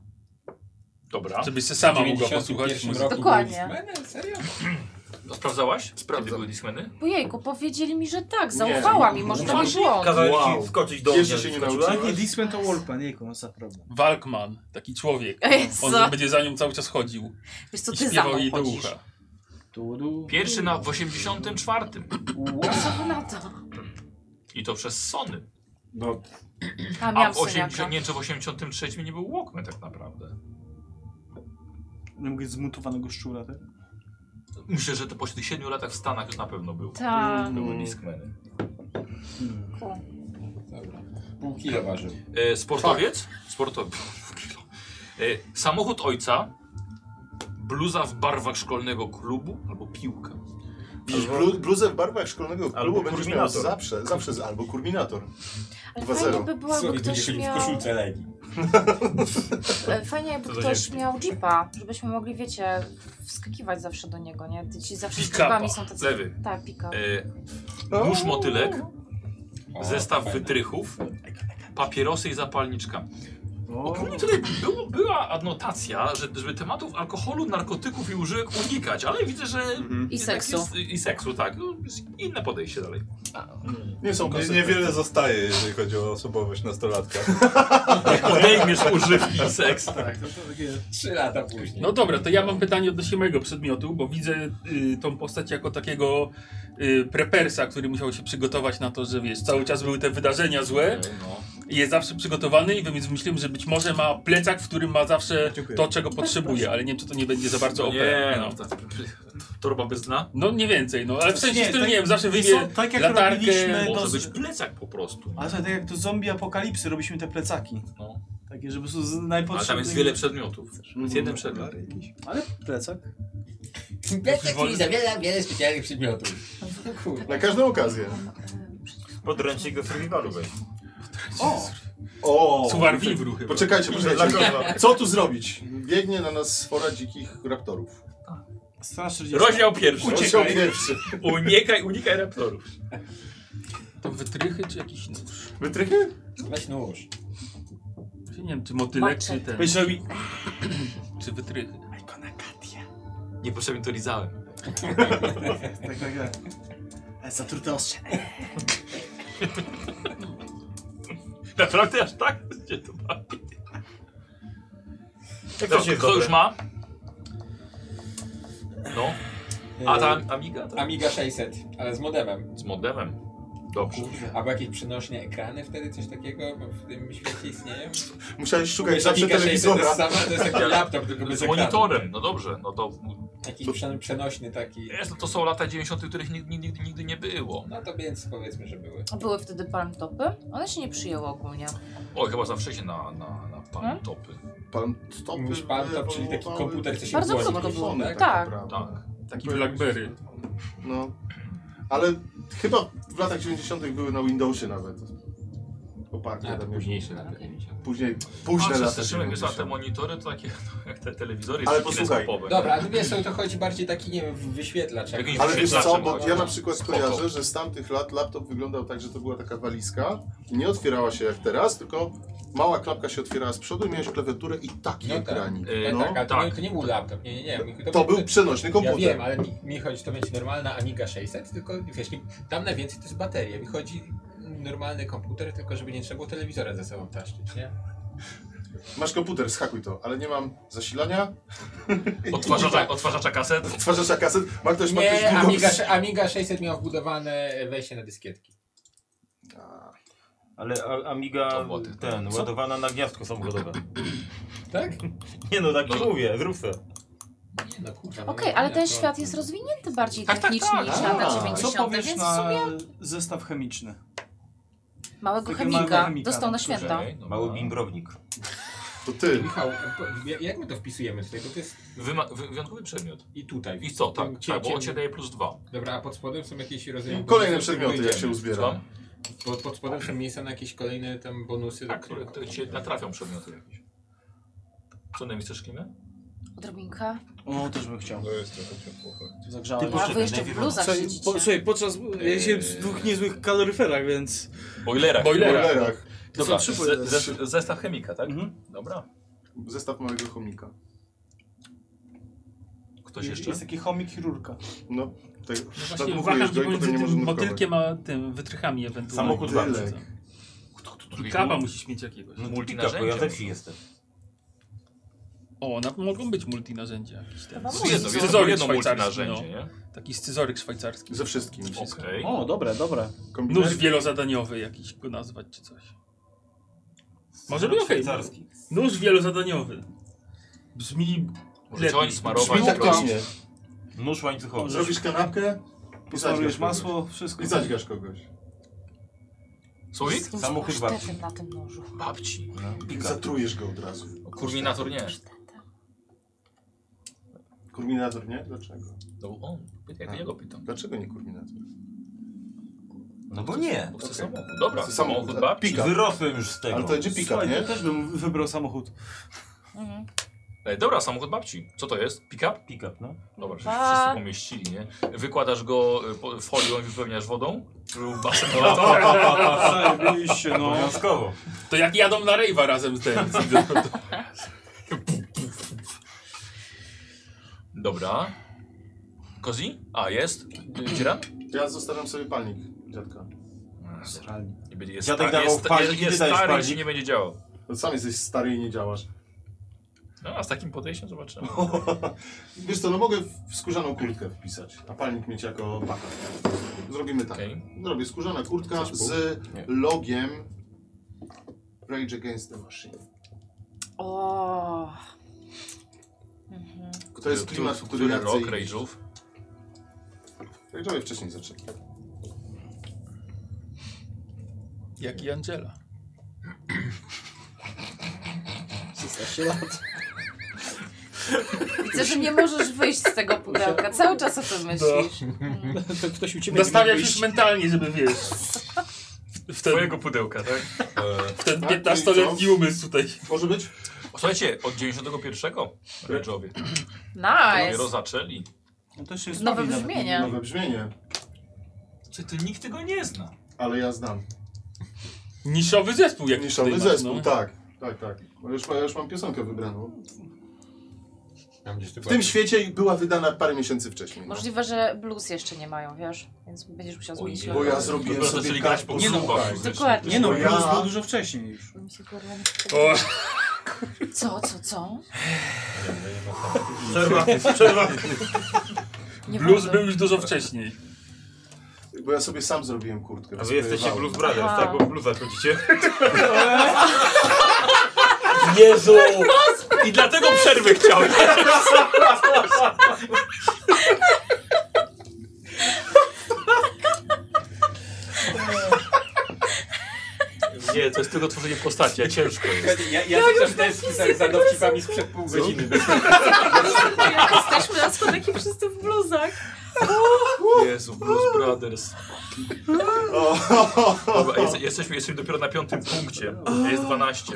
Dobra. Żebyś się sama mogła 91 posłuchać muzyki. roku Dokładnie. byłeś z Menem? Serio? Sprawdzałaś? Sprawdzam. Kiedy były Discmany? Ojejku, powiedzieli mi, że tak, zaufała no, mi, może to był błąd. Kazałeś Wow. ci wskoczyć do mnie. Jeszcze się nie wskoczyłaś? nauczyłem. nie Discman to Walkman, jejku, no za problem. Walkman, taki człowiek. Ej, On co? będzie za nią cały czas chodził. Wiesz co, I ty za mną śpiewał jej do chodzisz. ucha. Tu, du. Pierwszy na w 84. Co wy na to? I to przez Sony. No, A, A miałam w 80, syniaka. nie, czy w 83 nie był Walkman tak naprawdę. Nie mogę zmutowanego szczura, tak? Myślę, że to po tych 7 latach w Stanach już na pewno był. Tak. Były Discmany. Dobra. Pół kilo ważył. E, sportowiec? Sportowiec. E, samochód ojca. Bluza w barwach szkolnego klubu albo piłka. Widzisz, blu, bluzę w barwach szkolnego klubu Albo będziesz miał Kurminator. zawsze, zawsze z, albo kurminator. Ale 2-0. fajnie by było, jakby Słowik będzie ktoś chodził w miał... koszulce Legi. e, Fajnie jakby ktoś miał jeepa, żebyśmy mogli, wiecie, wskakiwać zawsze do niego, nie? Ci zawsze z Pick-upa. jeepami są tacy... Lewy. Tak, pika. E, nóż motylek, O, zestaw fajne. wytrychów, papierosy i zapalniczka. O, Ogólnie tutaj było, była anotacja, że, żeby tematów alkoholu, narkotyków i używek unikać, ale widzę, że. I jednak seksu. Jest, I seksu, tak. No, jest inne podejście dalej. Nie są Nie, kasety. niewiele zostaje, jeżeli chodzi o osobowość nastolatka. Odejmiesz używki i seks. No, tak, to, to takie... Trzy lata później. No dobra, to ja mam pytanie odnośnie mojego przedmiotu, bo widzę y, tą postać jako takiego y, prepersa, który musiał się przygotować na to, że wiesz, cały czas były te wydarzenia złe No. i jest zawsze przygotowany i więc myślałem, że być może ma plecak, w którym ma zawsze Dziękuję. to, czego potrzebuje, ale nie wiem, czy to nie będzie za bardzo OP. Nie, no. no. ta- Torba bez dna. No nie więcej, no ale w sensie, Nie, w którym tak- nie wiem, zawsze wiesz wyjmie co, tak jak latarkę. robiliśmy- bo- Może Dos- być plecak po prostu. Ale słuchaj, tak jak to zombie apokalipsy, robiliśmy te plecaki. No. Takie, żeby są z Ale no najpotrzebniejsze. tam Mm, jest wiele przedmiotów. Jest jeden przedmiot. Ale plecak? Biblioteka czyli zawiera wiele specjalnych przedmiotów. No Na każdą okazję. E, Podręcznik do survivalu weź. O! O! Suwar Vivru chyba. Poczekajcie, poczekajcie. Dla kozła. Co tu zrobić? Biegnie na nas sfora dzikich raptorów. Strona 40. Rozdział pierwszy. Rozdział pierwszy. Unikaj, unikaj raptorów. To wytrychy czy jakiś no nóż? Wytrychy? Weź nóż. Ja nie wiem, czy motylek, czy ten. Weź robi- czy wytrychy. Niepotrzebnie to lizałem. Tak, tak, tak. Ale zatrute ostrze. Naprawdę aż tak? Gdzie to bawi? Jak Dobra, to się kto dobre? już ma? No. A Mm. ta Amiga? Tak? E, Amiga 600, ale z modemem. Z modemem. Dobrze. Albo jakieś przenośne ekrany wtedy, coś takiego bo w tym świecie istnieje? Musiałeś szukać Mówię, zawsze Amiga 600 To telewizora. jest, sama, to jest taki laptop, tylko bez Z ekranu. monitorem, no dobrze, no to... Jakiś przen- przenośny taki. Wiesz, no to są lata 90., których nigdy, nigdy, nigdy nie było. No to więc powiedzmy, że były. Były wtedy palmtopy. One się nie przyjęły ogólnie. O, chyba za wcześnie na, na, na Hmm? palmtopy. Pan Mówisz palmtop, czyli taki komputer, co się Bardzo włączy. krótko było. tak Tak. naprawdę. Tak. Taki Blackberry. No. Ale chyba w latach 90. były na Windowsie nawet. Oparte. A, to tam późniejsze już. lata 90. Później, późne A, lata przez Szymek, wiesz, a 90. te monitory to takie no, jak te telewizory Ale takie posłuchaj. kineskopowe. Dobra, a ty wiesz, co, to chodzi bardziej taki, nie wiem, wyświetlacz. Jakiś jakiś. Ale wiesz co, Przepraszam, bo no. ale- ja na przykład Spoko. kojarzę, że z tamtych lat laptop wyglądał tak, że to była taka walizka. Nie otwierała się jak teraz, tylko mała klapka się otwierała z przodu, miałeś klawiaturę i taki No tak. ekranik. Tak, No. tak, ale to, nie, to nie był laptop, nie, nie, nie. Michu, To był przenośny komputer. Ja wiem, ale mi, mi chodzi, to będzie normalna Amiga 600, tylko wiesz, nie- tam najwięcej to jest bateria. Mi chodzi normalny komputer, tylko żeby nie trzeba było telewizora ze sobą taszczyć, nie? Masz komputer, schakuj to, ale nie mam zasilania. Odtwarzacza, odtwarzacza kaset. Odtwarzacza kaset. Ma ktoś, ma ktoś Nie, długopis? Amiga, Amiga 600 miał wbudowane wejście na dyskietki. Ale a- Amiga ten, Co? ładowana na gniazdko samochodowe. Tak? Nie no, tak No. ci mówię, zrób se. Nie no, kurwa. Okej, ale ten świat jest rozwinięty bardziej technicznie niż lata 90. Co powiesz więc na w sumie zestaw chemiczny? małego Takiego małego chemika chemika, dostał na tak, święta. okej. Mały bimbrownik. To ty. Michał, e, po- jak my to wpisujemy tutaj? Bo to jest Wyma- wy- wyjątkowy przedmiot. i tutaj. I co, tak, Tym tak bo on cięciem- cię daje plus dwa. Dobra, a pod spodem są jakieś rozdziały. Kolejne przedmioty, jak się uzbiera. Co? Bo pod spodem są miejsca na jakieś kolejne tam bonusy, Tak, do które, których... które cię natrafią przedmioty jakieś. Co najmniej chcesz klimę? Odrobinkę. O, też bym chciał. To jest trochę ciepło. Zagrzałem. Ty poczekaj, A wy jeszcze w najpierw- bluzach Słuchaj, siedzicie. Po, słuchaj, podczas... Ja się w Eee. dwóch niezłych kaloryferach, więc... Boilerach. Boilerach. Boilerach. To Dobra, są trzy ze, płyty. ze, zestaw chemika, tak? Dobra. Zestaw małego chomika. Ktoś Jest, jeszcze? jest taki chomik chirurga. No, tak Właśnie nadmuchujesz waham go i pomiędzy potem nie możesz tym nurkować. motylkiem a tym wytrychami ewentualnie. Samochód walczy. I kawa musisz mieć jakiegoś. No Multinarzędzia. Bo ja we wsi jestem. O, na, mogą być multinarzędzia jakieś te. Chyba No, Jedno, jedno, Scyzoryk jedno szwajcarski, multinarzędzie, no. nie? Taki scyzoryk szwajcarski. Ze wszystkim. Okej. O, dobre, dobre. Nóż Kombinezon. wielozadaniowy jakiś go nazwać czy coś. Może być okej. Szwajcarski. Nóż wielozadaniowy. Brzmi... Może lepiej. joint smarować. Brzmi Tak, lepiej. nie. Nóż łańcuchowy. Zrobisz kanapkę i Posmarujesz zadźgasz masło, wszystko. kogoś. I zadźgasz kogoś. Słowik? Z tym Samochód pasztetem babci. na tym nożu. Babci. I zatrujesz go od razu. Kurminator nie. Kurminator nie? Dlaczego? To był on. Pytaj, ja go pytam. Dlaczego nie kurminator? No bo nie. Bo chcę Okej. samochód. Dobra, Chcę samochód, samochód tak. babci. Pika. Wyrosłem już z Ale tego. to będzie pika, Słuchaj, nie? ja też bym wybrał samochód. Mhm. Ej, E, Dobra, samochód babci. Co to jest? Pick-up? Pick-up, no. Dobra, że Pa. wszyscy pomieścili, nie? Wykładasz go y, po- folią i wypełniasz wodą? Lub basen Zajebiście, no. Obowiązkowo. To jak jadą na rejwa razem z tym. Dobra. Kozi? A, jest? Y, Dzieran? Ja zostawiam sobie palnik dziadka. Nie będzie- Jest, Dziadek sta- dawał jest, palnik, jest, ty jest dajesz stary, palnik. ci nie będzie działał. No, sam jesteś stary i nie działasz. No, a z takim podejściem zobaczymy. Wiesz co, no mogę w skórzaną kurtkę wpisać, a palnik mieć jako baka. Zrobimy tak. Okej. Zrobię skórzana kurtka Chcesz z Nie. logiem Rage Against the Machine. O. Mhm. To jest Który- klimat, który- który, który ja chcę rok iść. Rage'ów? Rage'owie wcześniej zaczęli. tak? Jak i Angela. 16 lat. Widzę, że nie możesz wyjść z tego pudełka. Cały czas o tym myślisz. No. To ktoś u ciebie Nastawiam nie się wyjść. już mentalnie, żeby wiesz. W ten, Twojego pudełka, tak? W ten Tak, 15-letni umysł tutaj. Może być? Słuchajcie, od 91 Redżowie. Dopiero Nice. zaczęli. No to jest Nowe nowy nawet. brzmienie. Nowe brzmienie, Czy ty nikt tego nie zna? ale ja znam. Niszowy zespół jak Niszowy tutaj masz, zespół, no. tak. Tak, tak. Bo Już, ja już mam piosenkę wybraną. W była. Tak. tym świecie była wydana parę miesięcy wcześniej. no. Możliwe, że blues jeszcze nie mają, wiesz? Więc będziesz musiał zmienić Bo ja zrobiłem Dopiero sobie zaczęli tak grać po posłuchaj. klubach. Dokładnie. Nie no, Bo ja- plus było dużo wcześniej już. Mi się kurwa nie chce. O. Co, co, co? Przerwa, przerwa. Nie Blues wolno. był już dużo wcześniej. Bo ja sobie sam zrobiłem kurtkę. A wy jesteście Wyjebałem. Blues Brothers, Aha. tak? Bo w bluzach chodzicie. Jezu! I dlatego przerwy chciałem. Nie, to jest tylko tworzenie postaci, a ciężko jest. Ja, ja, ja też tak tęsknię za dowcipami sprzed pół godziny. Jesteśmy na schodach i wszyscy w bluzach. Jezu, Blues Brothers. Dobra, jest, jesteśmy, jesteśmy dopiero na piątym punkcie. Jest 12.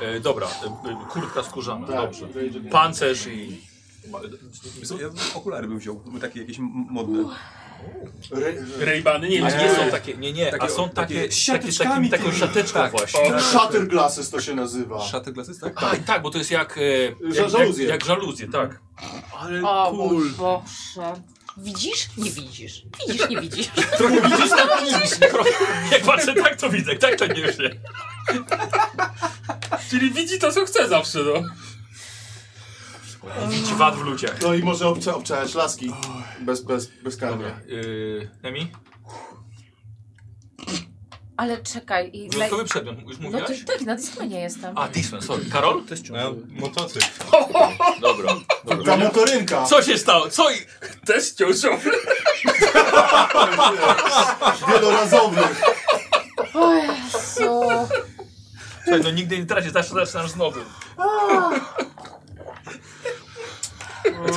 E, dobra, e, e, kurtka skórzana, Tak, dobrze. Pancerz i... Ja okulary bym wziął, były takie jakieś m- modne. Rejbany, nie, A nie, nie nie. są takie, nie, nie, a są takie, takie, z takie, siateczkami taką tymi. siateczką Tak, właśnie. tak. Shutter glasses to się nazywa. Szaty glasses, tak? A, i tak, bo to jest jak... E, jak, jak, żaluzje. jak żaluzje, tak. Ale O mój Boże. Widzisz? Nie widzisz. Widzisz, nie widzisz. Trochę widzisz, tak nie widzisz. Trochę- Jak patrzę tak, to widzę, tak to nie wiem. Czyli widzi to, co chce zawsze, no. Widzi wad w ludziach. No i może obcza, obczajać laski. Bez, bez, bez karmy. Yy, Nemi? Ale czekaj. I Wyjątkowy przedmiot, już No mówiłaś? to tak, na Discmanie jestem. A, Disman, sorry. Karol? Też No, Ja motocykl. Dobra. Ta motorynka! Co się stało? Co? i- Też chciał żołnierz. Wielorazowy! O Jezu. Słuchaj, no nigdy nie tracisz, zawsze zaczynasz znowu.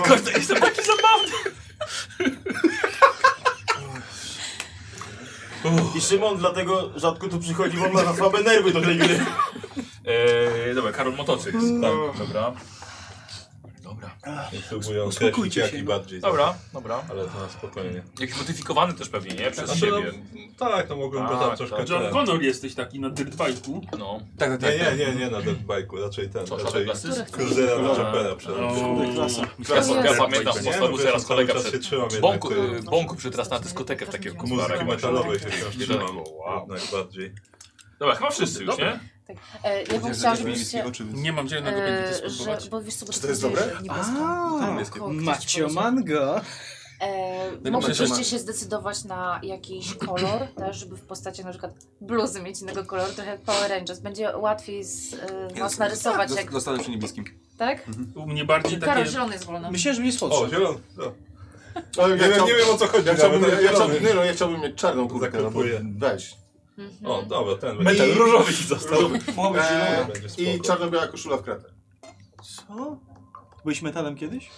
Kurde, jestem taki zabawny. I Szymon dlatego rzadko tu przychodzi, bo ma za słabe nerwy do tej gry. Eee, dobra, Karol motocykl. Tak, dobra. Dobra. Próbuję Uspokójcie określić się, jaki no. bardziej. Dobra, dobra. Ale to na spokojnie. Jakiś modyfikowany też pewnie, nie? Przez A to- siebie. Tak, to mogłem go Tak, tam tak. troszkę... John ten- Connor jesteś taki na dirtbike'u. No. Tak, Nie, nie, nie, nie na dirtbike'u, raczej ten, Co, raczej klasy? kruzera na czepera No. Ja, ja Dirtbike, pamiętam, nie? bo znowu Wiesz, zaraz cały kolega czas się przed... trzymam jednak Bąku, tej y, bąku przyszedł raz na dyskotekę w takich Muzyki okularach. metalowej się wciąż Nie trzymam. tak. Jednak bardziej. Dobra, chyba wszyscy już, Dobra. nie? Tak. E, ja bym chciała, żebyście... Nie mam zielonego E, pojęcia, co że, no spróbować. bo wiesz co, bo Czy to jest dobre? że niebieską. A, jest tylko- Macio Mango. E, Będę moglibyście przetrzymać. się zdecydować na jakiś kolor, też, żeby w postaci na przykład bluzy mieć innego koloru, trochę jak Power Rangers. Będzie łatwiej z, e, was narysować, jak, Zostanę przy niebieskim. tak? U mnie bardziej Karol takie... zielony jest wolny. Myślałem, że nie jest O, słodszy. zielony. no. Ale Nie wiem, nie wiem o co chodzi. Ja chciałbym, nawet, ja, ale chciałbym, zielony. nie no, ja chciałbym mieć czarną kurtkę. No, bo Zakupuję. weź. O, dobra, ten Metal będzie. różowy ci został. Eee, E, Będzie spoko. I czarno-biała koszula w kratę. Co? Byłeś metalem kiedyś?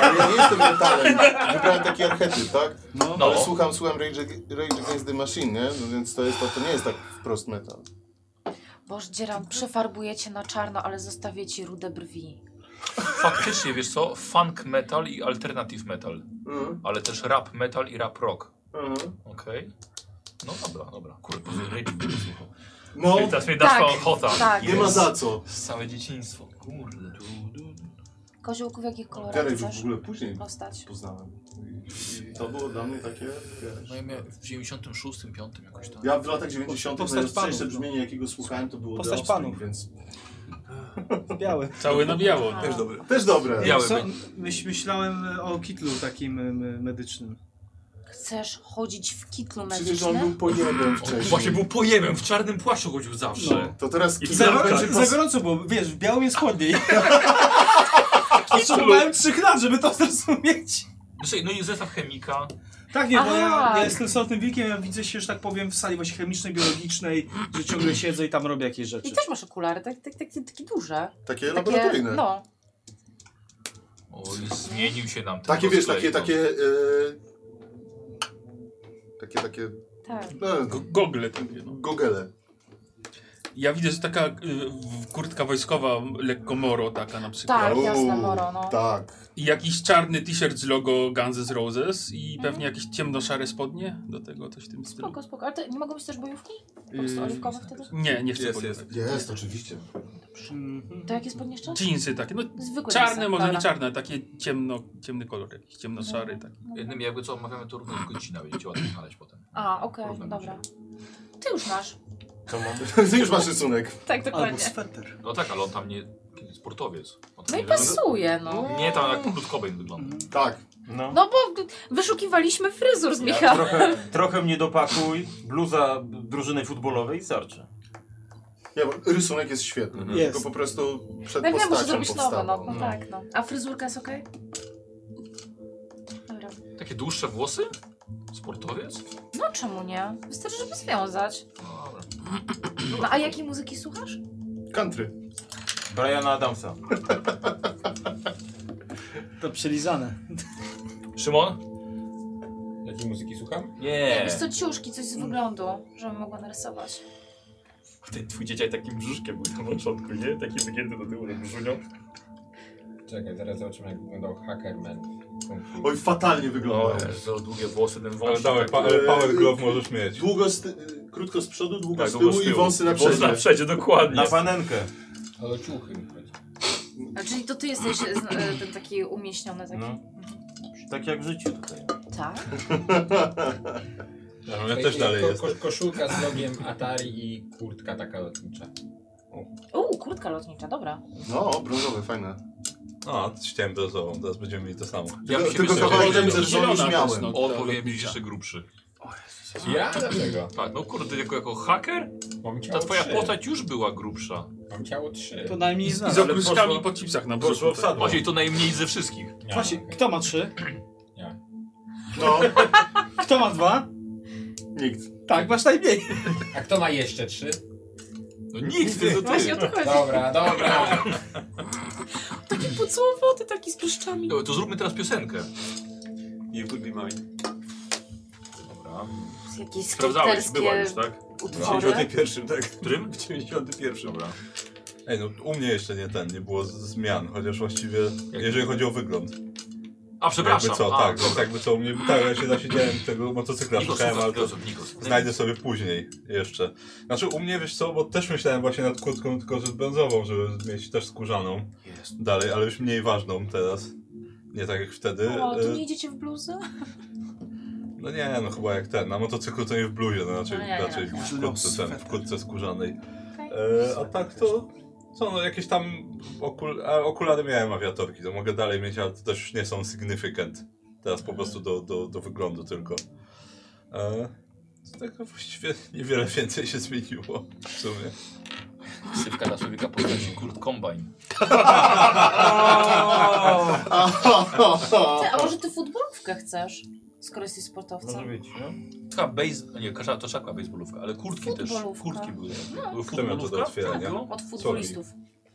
Ale ja nie jestem mentalem. Wybrałem taki archetyp, tak? No. No. Ale słucham, słucham Rage, Ag- Rage Against the Machine, nie? No, więc to, jest, to, to nie jest tak wprost metal. Boże, dzieram, przefarbujecie na czarno, ale zostawię ci rude brwi. Faktycznie, wiesz co? Funk metal i alternative metal. Ale też rap metal i rap rock. Okej. No dobra, dobra. Kurde, No, no, teraz mnie dasz Tak, tak, ochota. tak. nie ma za co. Całe dzieciństwo. Kurde. Koziołku w jakich kolorach Garek już w chcesz ogóle później postać? poznałem. I- I to było dla mnie takie, wiesz... No ja miałem w 96, 5 jakoś tam. Ja w latach 90. Postać najostrzejsze panów, no. brzmienie, jakiego słuchałem, to było Postać The Offspring, panów. więc... Biały. Całe na biało. Też dobry. Też dobre. Biały Co? był. Myś, myślałem e, o kitlu takim em, medycznym. Chcesz chodzić w kitlu Przecież on medycznym? był pojebem On wcześniej. właśnie był pojemem, w czarnym płaszczu chodził zawsze. No. To teraz I Za, killer tak. gorąco- będzie za pas... gorąco było, wiesz, w białym jest chłodniej. Potrzebowałem trzech lat, żeby to zrozumieć. Znaczy, no i zestaw chemika. Tak, nie, bo ja, Aha. ja jestem słodnym wilkiem, ja widzę się, że tak powiem, w sali właśnie chemicznej, biologicznej, że ciągle siedzę i tam robię jakieś rzeczy. I też masz okulary, tak, tak, tak, takie duże. Takie laboratoryjne. No. Oj, zmienił się nam ten Takie wiesz, cosplay, takie, no. takie... Yy, takie, takie... Tak. No, G- Gogle takie, no. Gogele. Ja widzę, że taka y, w- kurtka wojskowa, lekko moro taka na przykład. Tak, jasne, moro, no. Tak. I jakiś czarny t-shirt z logo Guns N' Roses i pewnie jakieś ciemnoszare spodnie do tego, coś w tym stylu. Mhm. Spoko, spoko. Ale to nie mogą być też bojówki? Po prostu Yy, oliwkowe wtedy? Nie, nie chcę Jest, powiedzieć. jest. Jest, oczywiście. Mhm. To jakie spodnie jeszcze? Jeansy takie, no Zwykłe czarne, jeansy, może nie dobra. Mhm. czarne, takie ciemno, ciemny kolor jakiś, ciemnoszary taki. Jednym jakby co omawiamy to równo godzina, będziecie łatwo znaleźć potem. A, okej, dobra. Ty już masz. To Ty już masz rysunek. Tak, dokładnie. sweter. No tak, ale on tam nie... sportowiec. On tam No i nie pasuje, no. Nie, tam jak krótkowej wygląda. Tak. No. No bo wyszukiwaliśmy fryzur z Ja, Michałem. trochę, trochę mnie dopakuj, bluza drużyny futbolowej i starczy. Nie, bo rysunek jest świetny, Jest. tylko po prostu przed No ja wiem, muszę postacią zrobić nowe, powstawał. no, no tak, no. A fryzurka jest okej? Dobra. Takie dłuższe włosy? Sportowiec? No czemu nie? Wystarczy, żeby związać. No a jakiej muzyki słuchasz? Country. Briana Adamsa. To przelizane. Szymon? Jakiej muzyki słucham? Nie. Nie. Wiesz co, ciuszki, coś z wyglądu, żebym mogła narysować. Ten twój dzieciak takim brzuszkiem był na początku, nie? Taki wygięty do tyłu, brzunią. No, Czekaj, zaraz zobaczymy jak wyglądał Hackerman. Oj, fatalnie wyglądał. To długie włosy, ten tak Ale wąsik. dawaj, pa, ale power glove możesz mieć. Długo z ty- y, krótko z przodu, długo Tak, z, tyłu długo z i tyłu. wąsy na Wąsy przedzie. na przedzie, dokładnie. Na panenkę. Ale ciuchy mi chodzi. A, czyli to ty jesteś e, zna- e, ten taki umieśniony taki. Mhm. No. Tak jak w życiu tutaj. Tak? No, Ja też dalej ko- jestem. ko- Koszulka z logiem Atari i kurtka taka lotnicza. Uuu, kurtka lotnicza, dobra. No, brązowe, fajne. No, ściem brązową, teraz będziemy mieli to samo. Ja bym się Tylko wystraszył. kawałek Zielona zerżony też, już miałem. no, On powinien być jeszcze grubszy. Ja? Dlaczego? Tak, no kurde, jako, jako haker? No Ta ciało twoja trzy. postać już była grubsza. Mam ciało trzy. To najmniej I znane. z okruszkami po chipsach na brzuchu. poszło w sadło. Właśnie to najmniej ze wszystkich. Właśnie, kto ma trzy? Ja. No. Kto ma dwa? Nikt. Tak, masz najmniej. A kto ma jeszcze trzy? No nikt, ty, to ty. Właśnie o to chodzi. Dobra, dobra. Taki podsłowoty, taki z pryszczami. Dobra, to zróbmy teraz piosenkę. You could be mine. Dobra. Jakieś Sprawdzałeś, skaterskie była już, tak? utwory. tak? Którym? W 91. Dobra. Ej, no u mnie jeszcze nie ten, nie było z- zmian, chociaż właściwie, jeżeli chodzi o wygląd. A, przepraszam. Jakby co, A, tak, dobra. więc jakby co, u mnie, tak, ja się zasiedziałem tego motocykla, Nikos, szukałem, ale to Nikos, Nikos. znajdę sobie później jeszcze. Znaczy u mnie, wiesz co, bo też myślałem właśnie nad kurtką, tylko że brązową, żeby mieć też skórzaną Jest. dalej, ale już mniej ważną teraz. Nie tak jak wtedy. O, E, tu nie idziecie w bluzę? No nie, no chyba jak ten, na motocyklu to nie w bluzie, no raczej, No nie, nie, raczej nie. w kurtce, ten, w kurtce skórzanej. E, a tak to, co no jakieś tam okul a, okulary miałem awiatorki, to mogę dalej mieć, ale to też już nie są significant. Teraz po prostu do, do, do wyglądu tylko. E, to tak właściwie niewiele więcej się zmieniło w sumie. Sywka dla człowieka postaci Kurt Combine. No, Ty, tak. a może ty futbolówkę chcesz? Skoro jesteś sportowcem. Taka base, nie, kasza, to szakła baseballówka, ale kurtki też. Futbolówka. Kurtki były. No. Kto miał to do tak, otwierania? no. Od futbolistów.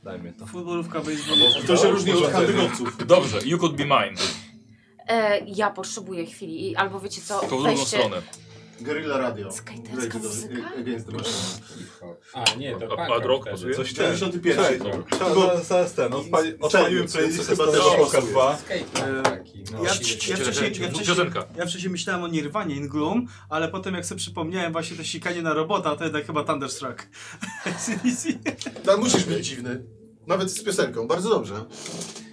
Daj mi to. Futbolówka Albo- baseball. To się różni od handygowców. Dobrze, you could be mine. E, ja potrzebuję chwili, i, albo wiecie co, To w drugą weźcie... stronę. Guerrilla Radio. Skaterska muzyka? Against the Machine. A nie, to A- pak. a drog pasuje? Coś ten. 71. Czekaj, Dobra. czekaj, zaraz- Zaraz ten, no, odpali- odpaliłem playlistę z chyba tego też Polka pasuje. 2. no. Ja, ja, wcześniej, ja, wcześniej, Piosenka. ja wcześniej myślałem o Nirvanie in Gloom, ale potem jak sobie przypomniałem właśnie to sikanie na robota, to jednak chyba Thunderstruck. Tam musisz być dziwny. Nawet z piosenką, bardzo dobrze.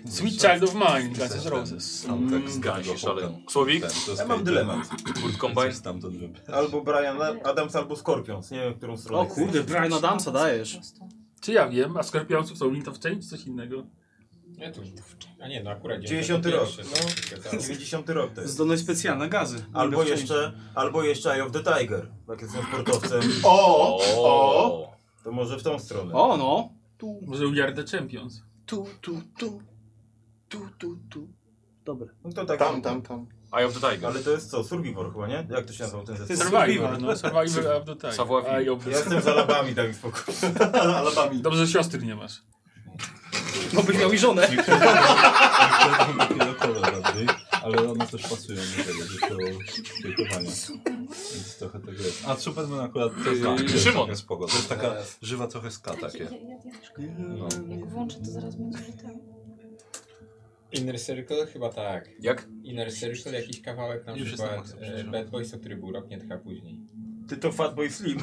Sweet Child of Mine, Guns N' Roses. Soundtrack Tak, z Zgadza się, Gandhi, szaleją. Słowik? Ja mam dylemat. Kurt Combine. Stamtąd wybrałem. Albo Brian Adams, albo Scorpions. Nie wiem, w którą stronę. O kurde, Brian Adamsa dajesz. Czy ja wiem, a Skorpionców są Lint of Change, coś innego. Nie, to... A nie, no akurat 90 rok. 91, tak. No, 90 rok to Z jest. donoś specjalne gazy. Albo Mogę jeszcze, albo jeszcze Eye of the Tiger. Jak jestem sportowcem. O! O! To może w tą stronę. wciąć. O no. Może We Are the Champions. Tu, tu, tu. Tu, tu, tu. Dobra. No to tak. Tam, tam, tam. Eye of the Tiger. Ale to jest co? Survivor chyba, nie? Jak to się nazywał ten zespół? Survivor, no Survivor of the Time. Savoir Vivre. Eye of the- Ja jestem z Alabami, daj mi spokój. Alabami. Tak Dobrze, że siostry nie masz. Bo byś miał i No. żonę. Chwilę kola bardziej, ale one też pasują do tego, do tego projektowania. Więc trochę tak jest. A Superman akurat to Tak. znam. Yy, to jest Szymon. takie Spoko. To jest taka żywa trochę Tak ska takie. No. Jak włączę, to zaraz będzie ten. Inner Circle chyba tak. Jak? Inner Circle jakiś kawałek na przykład e, Bad Boys, o który był rok, nie trwa później. Ty to Fatboy Slim.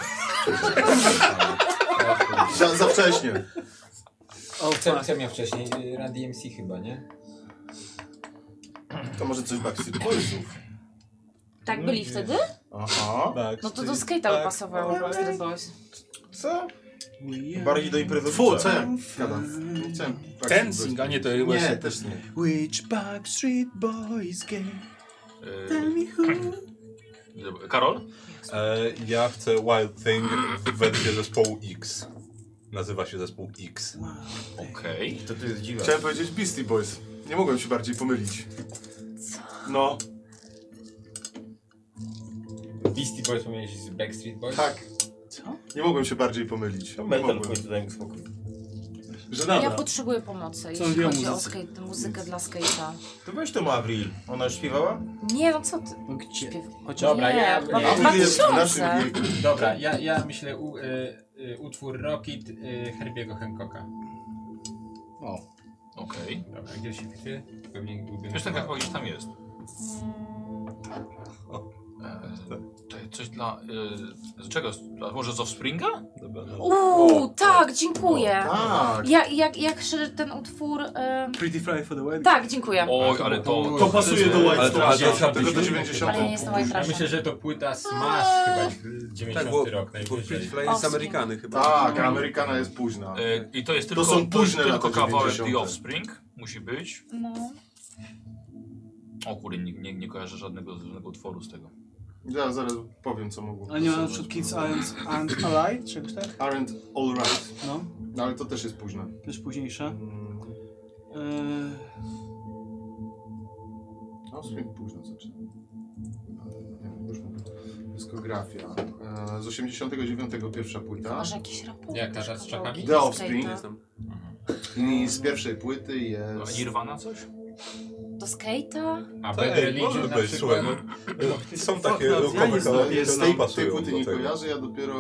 Za, za wcześnie. O, co, co miał wcześniej? Y, Run DMC chyba, nie? To może coś Backstreet Boysów. No Tak byli wtedy? Aha. Tak. No E, to do tak. skate'a pasowało Backstreet Boys. Co? Bardziej do imprezy. Fu, co ja gadam? Nie chciałem Backstreet Boys Dancing, a nie to powiedzieć. Nie, chyba się- też nie. Which Backstreet Boys game? Tell me who. E, Karol? E, ja chcę Wild Thing w wersji zespołu X. Nazywa się zespół X. Okej. To to jest dziwne. Chciałem powiedzieć Beastie Boys. Nie mogłem się bardziej pomylić. No. Beastie Boys pomielić z Backstreet Boys? Tak. Nie mogłem się bardziej pomylić. Nie metal, mogłem. chuj, daj mu spokój. Ja Żenada. potrzebuję pomocy, jeśli mówiła chodzi o muzyce? skate, muzykę dla skate'a. To weź to Avril. Ona już śpiewała? Nie, no co ty? Gdzie? Dobra, ja... Nie, chyba w 2000. Dobra, ja, ja myślę u, y, y, utwór Rocket y, Herbiego Hancocka. O. Okej. Dobra, gdzie się chwyty? Pewnie byłby... Wiesz tak jak gdzieś tam jest. E, to jest coś dla... E, z czego? A może z Offspringa? no. Uuu, tak, dziękuję. O, tak. Ja, jak, jak się ten utwór... em, Pretty Fly for the Wedding. Tak, dziękuję. Oj, ale to... To pasuje do White Ale to- ale to- Stripes. ale to- Tylko do Ale nie jestem White Ja myślę, że to płyta Smash chyba 90 Tak, bo- rok najwyżej. Fly jest Amerykany chyba. Tak, Amerykana jest późna. E, I to jest To tylko, są to jest późne tylko lata kawałek 90.. The Offspring. Musi być. No. O kurde, nie, nie, nie kojarzę żadnego, żadnego utworu z tego. Ja zaraz powiem co mogło. A nie ma na przykład Kids and, and Alive, czegoś tak? Aren't all right. No. No ale to też jest późne. Też późniejsze. Eee, No, swing późno zaczyna. Nie wiem, już mówię. Dyskografia. E, Z 89 pierwsza płyta. Może jakiś rapunek. Jak ta z czakami? The Offspring. I z pierwszej płyty No, jest... A Nirvana coś? Do skate'a? A Tak, Bad ej, Religion może na być, przykład. słuchaj, no, są takie Ja rockowe nie znam, kawałki, jest które tej, nam tej pasują płyty do nie tego. kojarzę, ja dopiero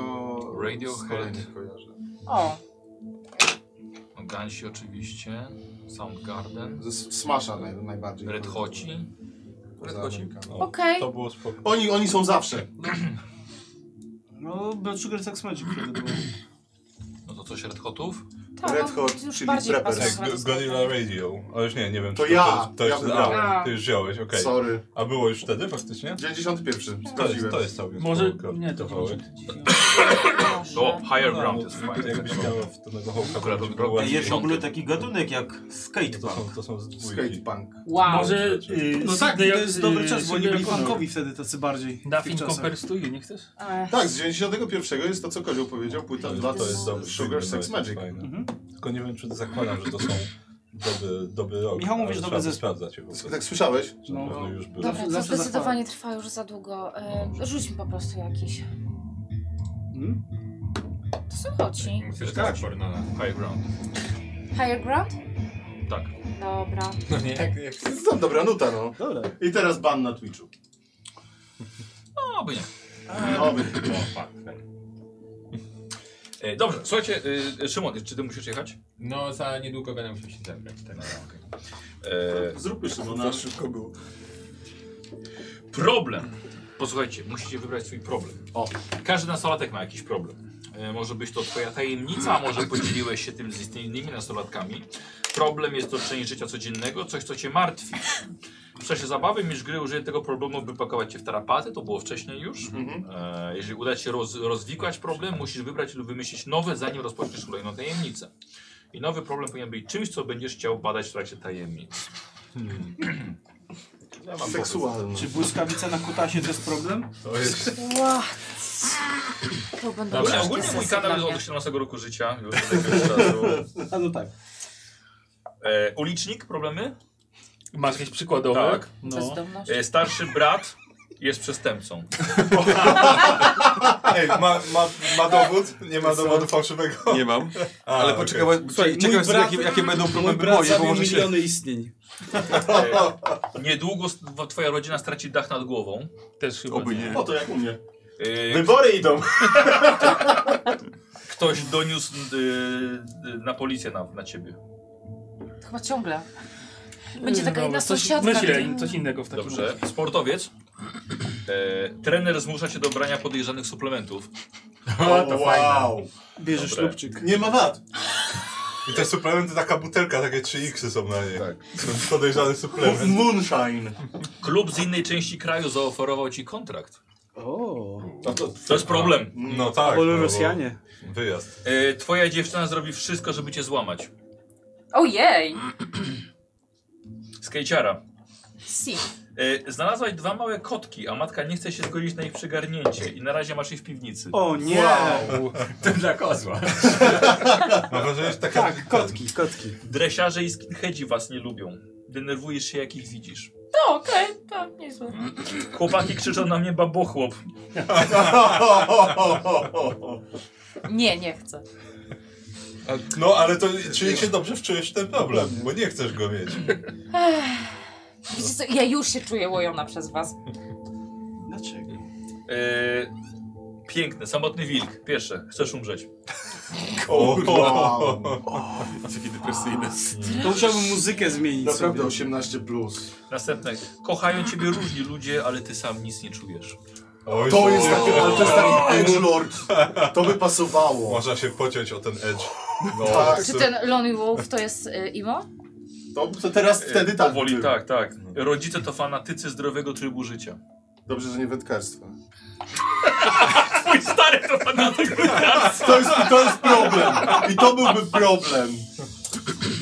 z Radiohead. kolejnych kojarzę. O. No, Gansi oczywiście. Soundgarden. Ze Smasha naj, najbardziej. Red Hoci. Red Hoci. No, Okej. To było spoko. Oni, oni są zawsze. No, Blood Sugar Sex Magic wtedy było. No to coś Red Hotów? Tak, Red no, Hot, już czyli bardziej Preppers. pasuje Tak, Go- chyba do Tak, Gorilla Radio. Ale już nie, nie wiem, To czy ja, to jest, to ja jest wybrałem. a, ty już wziąłeś, okej. Sorry. A było już wtedy faktycznie? 91. To jest, sprawdziłem. to jest całkiem Może- spoko nie, to kawałek. To Higher No, Ground jest no, fajny. Jakbyś miał w tego hołka Akurat wchodzić, rok bo A ładnie jest w ogóle dziesiąty. taki gatunek jak skatepunk. To są, to są z dwójki. Skatepunk. Wow. Może... y, No tak, to Sydney- jest dobry y, czas, bo Sydney oni byli O'Connor. punkowi wtedy tacy bardziej. w tych Nothing czasach. compares to you, nie chcesz? Ech. Tak, z 91 jest to, co Kozioł powiedział, płyta dla To jest dobry Sugar Sex Magic. Mhm. Tylko nie wiem, czy zakładam, że to są dobry, dobry rok. Michał mówi, ale że trzeba dobry by zespół. sprawdzać je po prostu. Tak słyszałeś? Że na pewno już był. Dobra, to zawsze zdecydowanie trwa już za długo. E, Rzuć mi po prostu jakiś. Mhm. To są Hoci. Musisz tak. Bornala. Higher Ground. Higher Ground? Tak. Dobra. No nie, jak, jak... To dobra nuta, no. Dobra. I teraz ban na Twitchu. No, oby nie. Oby. E, dobrze, słuchajcie, y, Szymon, czy ty musisz jechać? No za niedługo będę musiał się zebrać. Tak. E, Zróbmy Szymona. Szybko było. problem. Posłuchajcie, musicie wybrać swój problem. O. Każdy nastolatek ma jakiś problem. E, może być to twoja tajemnica, a może podzieliłeś się tym z innymi nastolatkami. Problem jest to część życia codziennego, coś co cię martwi. W czasie zabawy niż gry użyję tego problemu, by pakować cię w tarapaty, to było wcześniej już. E, jeżeli uda ci się roz, rozwikłać problem, musisz wybrać lub wymyślić nowy, zanim rozpoczniesz kolejną tajemnicę. I nowy problem powinien być czymś, co będziesz chciał badać w trakcie tajemnic. Ja mam Seksualny. Czy błyskawica na kutasie to jest problem? To jest What? To będą Dobrze, ciężkie ogólnie mój sesje kanał dla jest mnie. od 18 roku życia, już od jakiegoś czasu. A no tak. E, ulicznik, problemy? Masz jakieś przykładowe? Tak. No. Bezdomność. E, starszy brat, Jest przestępcą. Ej, ma, ma, ma dowód? Nie ma Co? dowodu fałszywego? Nie mam. A, ale okej. poczekaj, bo- słuchaj, ciekaw jestem, jakie, jakie będą problemy moje, bo może się... istnień. E, Niedługo st- wo- twoja rodzina straci dach nad głową. Też chyba. Oby nie. O, to jak u mnie. Yy, Wybory idą. Ktoś doniósł yy, yy, na policję na, na ciebie. Chyba ciągle. Będzie taka Dobra, jedna coś- sąsiadka. tak? Myślę, która- coś innego w takim Dobrze. razie. Sportowiec. E, trener zmusza cię do brania podejrzanych suplementów. O, to wow. Bierzesz Dobre. ślubczyk. Nie ma wad. I te suplementy, taka butelka, takie 3x są na niej. Tak. Podejrzany suplement. Moonshine. Klub z innej części kraju zaoferował ci kontrakt. O. To, jest problem. No tak. Polu no bo- Rosjanie. Wyjazd. E, twoja dziewczyna zrobi wszystko, żeby cię złamać. Ojej! Skejciara. Si. E, znalazłaś dwa małe kotki, a matka nie chce się zgodzić na ich przygarnięcie i na razie masz je w piwnicy. O nie! Wow. To dla kozła. Mam wrażenie, że taka... Tak, kotki, kotki. Dresiarze i skinheadzi was nie lubią. Denerwujesz się jak ich widzisz. No okej, to niezłe. Chłopaki krzyczą na mnie babochłop. Nie, nie chcę. No ale to czyli się dobrze wczujesz w ten problem, bo nie chcesz go mieć. Ech. Wiecie co, ja już się czuję łojona przez was. Dlaczego? E, piękny, samotny wilk. Pierwsze, chcesz umrzeć. Takie depresyjne. To musiałbym muzykę zmienić Naprawdę sobie. 18 plus. Następne. Kochają ciebie różni ludzie, ale ty sam nic nie czujesz. To jest taki, ale to jest taki edgelord. To by pasowało. Można się pociąć o ten edge. No, Tak. Czy ten Lonely Wolf to jest y, Imo? To, to teraz wtedy tak. E, Powoli, tak, tak. Rodzice to fanatycy zdrowego trybu życia. Dobrze, że nie wędkarstwo. Twój stary to fanatyk. To jest, to jest problem. I to byłby problem.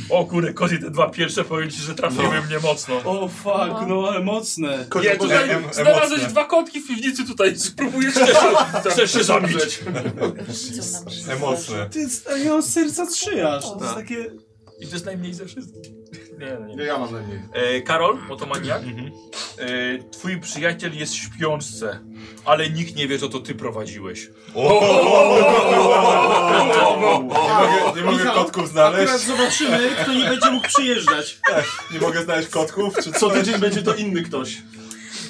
O kurde, kozi te dwa pierwsze powiem ci, że trafiły mnie mocno. O fuck, no ale mocne. Nie, tutaj znalazłeś dwa kotki w piwnicy, tutaj spróbujesz chcesz, chcesz się zabić. Emocne. Ty, a ja mam serca trzy aż. To jest Tak. takie... I to jest najmniej ze wszystkich. Nie, no Nie, ja mam najmniej. E, Karol, otomaniak. E, twój przyjaciel jest w śpiączce, ale nikt nie wie, co to ty prowadziłeś. Nie mogę, nie mogę Michał, kotków znaleźć. Akurat zobaczymy, kto nie będzie mógł przyjeżdżać. Nie mogę znaleźć kotków? Czy Co coś? tydzień będzie to inny ktoś.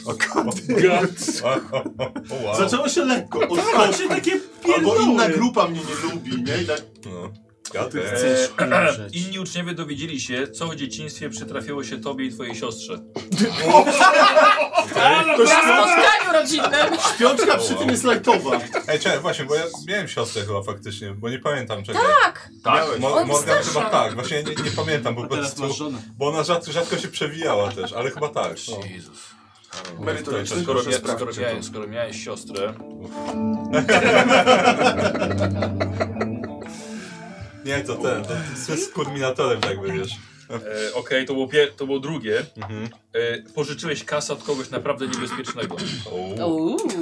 O koty. O, wow. Zaczęło się lekko. Od Tak, kotku. się takie Albo pierdoły. inna grupa mnie nie lubi, nie? I tak... No. E, Gaty. e, Inni uczniowie dowiedzieli się, co w dzieciństwie przytrafiło się tobie i twojej siostrze. To się- spotkaniu rodzinnym. Śpiączka przy tym jest lajtowa. Ej, czekaj, właśnie, bo ja miałem siostrę chyba faktycznie, bo nie pamiętam czego. Tak! Tak, Mo- Ona Morgan starsza. chyba tak, właśnie nie, nie pamiętam, bo po teraz prostu, masz żonę. bo ona rzadko, rzadko się przewijała też, ale chyba tak. No. Merytorycznie, To- to- skoro, to- mia- to- skoro, miałeś, skoro miałeś siostrę. Nie, to ten, to, to z kurminatorem tak by wiesz. E, Okej, to, było pie- to było drugie. E, pożyczyłeś kasę od kogoś naprawdę niebezpiecznego.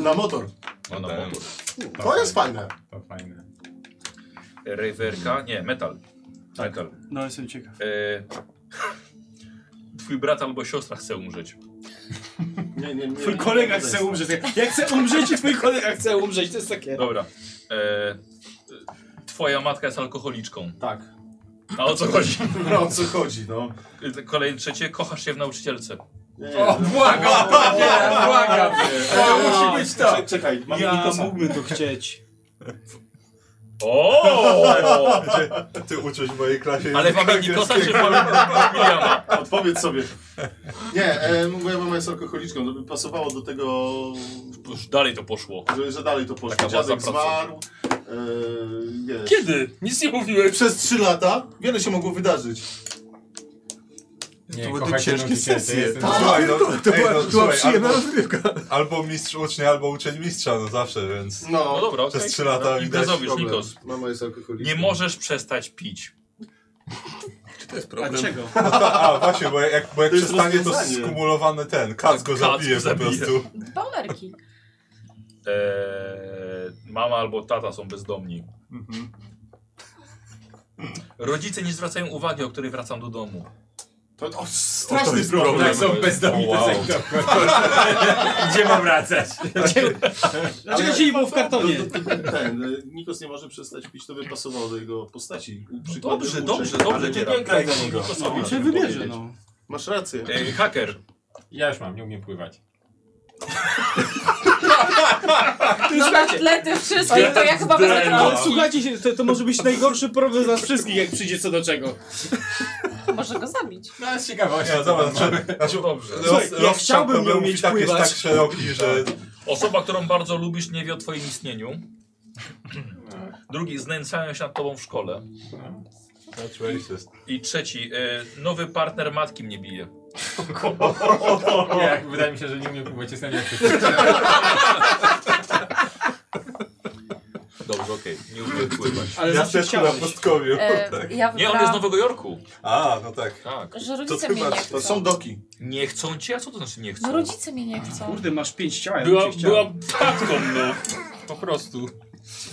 Na motor. No, na Tak. motor. To jest fajne. To fajne. Rewerka, nie, metal. Metal. No jestem ciekaw. E, twój brat albo siostra chce umrzeć. Nie, nie, nie. Twój kolega chce umrzeć. Ja chcę umrzeć i twój kolega chce umrzeć. To jest takie... Dobra. E, e, twoja matka jest alkoholiczką. Tak. A o co chodzi? No o co chodzi, no. E, Kolejne trzecie, kochasz się w nauczycielce. Nie, o, błagam, nie, błagam. To No, musi być tak. Czekaj, mamy Ja Nikosa. mógłbym to chcieć. O! Ty uczysz w mojej klasie Ale języka mamy Nikosa czy angielskiego. mamy Williama? Odpowiedz sobie. Nie, e, moja mama jest alkoholiczką, to by pasowało do tego, Już dalej to poszło. że, że dalej to poszło. Taka była Dziadek zapracowana. zmarł. E, wiesz. Kiedy? Nic nie mówiłeś. Przez 3 lata wiele się mogło wydarzyć. Nie, To będą kochać ciężkie nauczycielce sesje. jest- Słuchaj, no, To ej, była- no, to była słuchaj, przyjemna albo- rozrywka. Albo mistrz ucznia, albo uczeń mistrza, no zawsze, więc... No No, dobra, Przez okej. trzy lata widać Imprezowiec, problem. Nikos. mama jest alkoholiczką. Nie możesz przestać pić. To jest A czego? No to, a właśnie, bo jak, bo jak To jest przestanie to rozwiązanie. skumulowany ten, kac go Kac zabije go po zabije. prostu. Bonerki. Eee, mama albo tata są bezdomni. Mhm. Rodzice nie zwracają uwagi, o której wracam do domu. To, to straszny jest problem. problem. Są bezdomni, to Wow. są dokładnie. Gdzie mam wracać? Ale- Dlaczego ci nie było w kartonie? Do- do- do- Ten, e, Nikos nie może przestać pić, to by pasowało do jego postaci. Przykładem dobrze, uczeń, dobrze, ale dobrze, nie nie rab- biegaj tak, do niego. to No, sobie on się chciałem wybierze, powiedzieć. no. Masz rację. E, Ej, haker. Ja już mam, nie umiem pływać. atlety wszystkie, to ja tak chyba wezmę Ale trąbki. słuchajcie się, to, to może być najgorszy problem z nas wszystkich, jak przyjdzie co do czego. Może go zabić. No, z ciekawości. Nie, zobacz, znaczy, dobrze. Słuchaj, ja chciałbym to nie był umieć tak pływać. jest tak szeroki, że... Osoba, którą bardzo lubisz, nie wie o twoim istnieniu. Drugi, znęcają się nad tobą w szkole. That's racist. I trzeci, e, nowy partner matki mnie bije. Jak, wydaje mi się, że No, nie umiem pływać, jestem jak Dobrze, okej, nie umiem pływać. Ale Ja zawsze też chciałeś. na pustkowiu. E, ja Nie, on wybrałam- jest z Nowego Jorku. A, no tak. Tak. Że rodzice mnie nie chcą. doki. Nie chcą cię? A co to znaczy nie chcą? No rodzice mnie nie chcą. Kurde, masz pięć ciał, ja bym Była, cię chciał. była wpadką, no. Po prostu.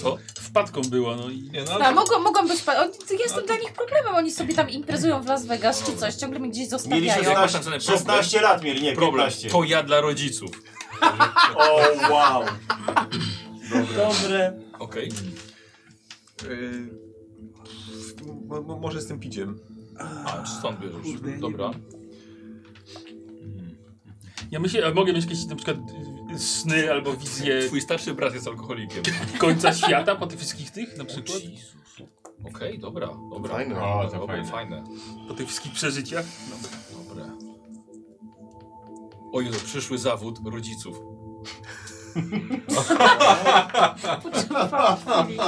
Co? Wpadką była, no. I... No, mogą, mogą być. pa- Oni, jestem dla nich problemem. Oni sobie tam imprezują w Las Vegas czy coś. Ciągle mnie gdzieś Mieli zostawiają. 16, 16 lat mieli, nie, Problem, 15. to ja dla rodziców. O wow. Dobre. Okej. Yy, mo- mo- może z tym piciem. A, czy stąd bierzesz? Kurde, ja nie Dobra. Ja myślę, a mogę mieć jakieś na przykład y, sny albo wizje Twój starszy brat jest alkoholikiem. końca świata po tych wszystkich tych na przykład. Okej, dobra, dobra. Fajne. O, O, to to fajne. fajne. Po tych wszystkich przeżyciach. Dobra. O Jezu, przyszły zawód rodziców. Potrzebowałam chwili.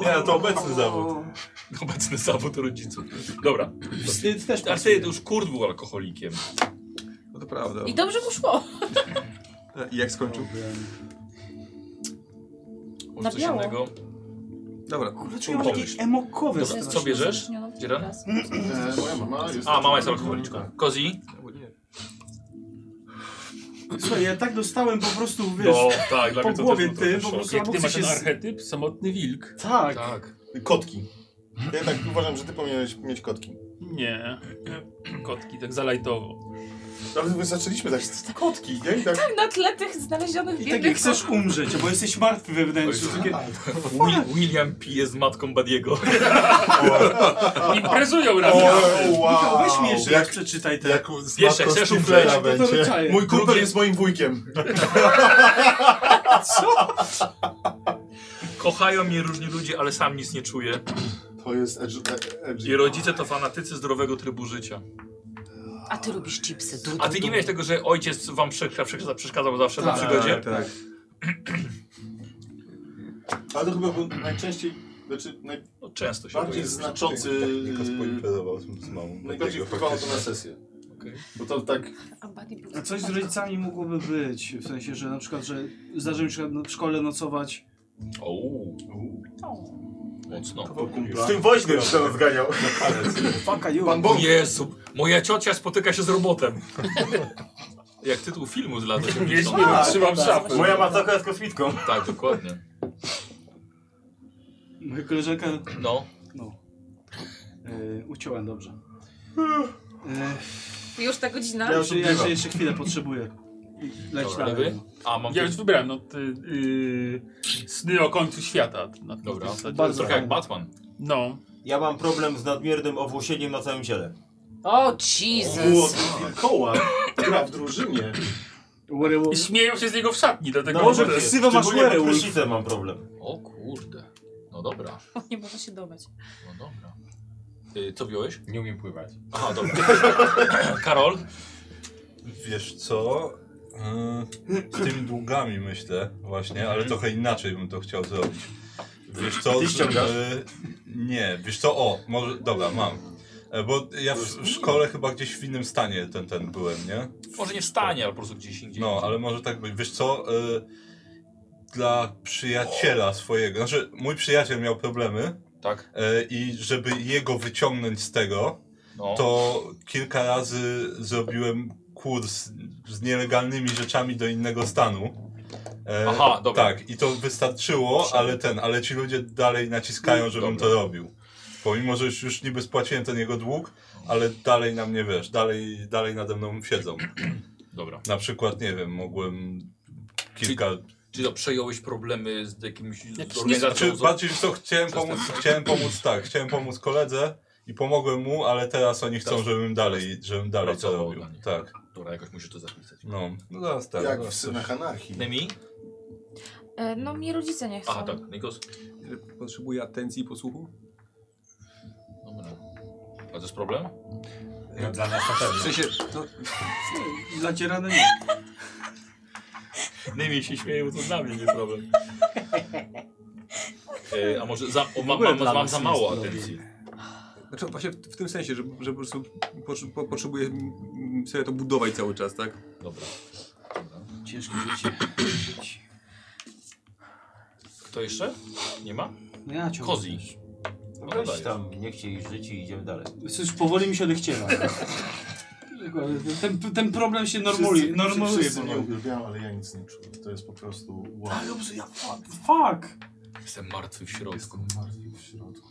Nie, to obecny zawód. Obecny zawód rodziców. Dobra. Wstyd też A wtedy to już kurt był alkoholikiem. No to prawda. I dobrze mu szło. I jak skończył? Może coś biało. innego? Dobra. Kurde, czy ja mam takie emokowe Dobra, co straszne. bierzesz? Dzieran? E, moja mama jest... A, mama jest alkoholiczką. Kozi? Słuchaj, ja tak dostałem po prostu, wiesz, No, tak, dla po mnie to głowie też był ty, trochę szok. po prostu Jak albo ty chcę masz się ten z... archetyp? Samotny wilk. Tak. Tak. Kotki. Ja jednak uważam, że ty powinieneś mieć kotki. Nie. Kotki, tak zalajtowo. Nawet my zaczęliśmy tak, co to kotki, nie? I tak... Tak na tle tych znalezionych I tak jak biednych chcesz umrzeć, bo jesteś martwy wewnętrznie. Oj, Takie... Wi- William pije z matką Badiego. Imprezują razem. O, Michał, Tak. wow. weź mi jeszcze raz Jak, przeczytaj te... Jak Jeszcze, chcesz umrzeć? To będzie. czaję. mój kumpel Drugie- jest moim wujkiem. Kochają mnie różni ludzie, ale sam nic nie czuję. To jest edgy. e- edgy. I rodzice to fanatycy zdrowego trybu życia. A ty lubisz chipsy. Du, A ty nie tak- miałeś tego, że ojciec wam przeszkadza- przeszkadza- przeszkadzał zawsze na przygodzie? Tak, tak. Ale to chyba był najczęściej, znaczy najbardziej No, często się boję. znaczący, Tylko e, spoimperował z mamą. najbardziej Dlatego wpływało to na faktycznie. sesję. Bo to tak, A Buddy był A coś z rodzicami mogłoby być, w sensie, że na przykład, że zdarzy mi się na przykład w szkole nocować. Ouu, mocno. to kumpla. Z tym woźnym się nas zganiał. Faka you. Pan Bóg. Jezu, moja ciocia spotyka się z robotem. Jak tytuł filmu z lat 80. Jeździłem, trzymam szafę. Moja macoka jest kosmitką. Tak, dokładnie. Moja koleżanka... No, No. E, uciąłem dobrze. E, Już ta godzina? Tak, ja, jeszcze, ja jeszcze- jeszcze chwilę potrzebuję. Leć dobra, dalej. lewy. A, mam Ja ja już wybrałem, no ty, y, sny o końcu świata. Na Dobra, na- to jest trochę jak fajnie. Batman. No. Ja mam problem z nadmiernym owłosieniem na całym ciele. O Było Jesus. koła, gra w drużynie. I śmieją się z niego w szatni, dlatego No, że... tak jest. ksywa masz Szczególnie pod werewolf. prysznicem mam problem. O kurde. No dobra, Nie można się domyć. no dobra. Y, co wziąłeś? Nie umiem pływać. Aha, dobra. Karol? Wiesz co? Yy, Z tymi długami myślę właśnie, ale trochę inaczej bym to chciał zrobić. Wiesz co? Ty ściągasz? Yy, Nie, wiesz co? O, może, dobra, mam. E, Bo ja w, w szkole chyba gdzieś w innym stanie ten, ten byłem, nie? Może nie wstanie, ale po prostu gdzieś indziej. No, ale może tak być. Wiesz co? Y, dla przyjaciela swojego. Znaczy, mój przyjaciel miał problemy Tak? e, i żeby jego wyciągnąć z tego, No. to kilka razy zrobiłem kurs z nielegalnymi rzeczami do innego stanu. E, Aha, dobra. Tak, i to wystarczyło, ale ten, ale ci ludzie dalej naciskają, żebym Dobra. to robił. Pomimo, że już, już niby spłaciłem ten jego dług, ale dalej na mnie wiesz, dalej, dalej nade mną siedzą. Dobra. Na przykład, nie wiem, mogłem kilka. Czy to przejąłeś problemy z jakimś z Czy organizacją? Znaczy, bardziej co chciałem pomóc, chciałem pomóc tak, chciałem pomóc koledze i pomogłem mu, ale teraz oni chcą, żebym dalej, żebym dalej to robił. Tak. Dobra, jakoś muszę to zapisać. No, no zaraz tak. Jak zaraz coś. w synach anarchii. Nemi? E, No mi rodzice nie chcą. tak. tak, Nikos. Potrzebuje atencji i posłuchu? Dobra. A to jest problem? No, dla nas na pewno. W sensie, no, Zacierane nie. Najmniej się śmieje, bo to dla mnie nie problem. E, a może za, o, mam, ogóle mam, dla mam nas za jest mało problem. atencji. Znaczy właśnie w, w tym sensie, że, że po prostu potrze- po, potrzebuję mm, sobie to budować cały czas, tak? Dobra. Ciężkie życie. Kto jeszcze? Nie ma? No ja ciągle. Kozi. No Oddajesz. weź tam, nie chcieli żyć i idziemy dalej. Cóż, powoli mi się odechciewa. Ten, ten problem się normuje. Wszyscy- normalizuje wszyscy mnie powoli. uwielbiają, ale ja nic nie czuję. To jest po prostu wow. Ale obs- ja fuck. fuck. Jestem martwy w środku. Martwi w środku.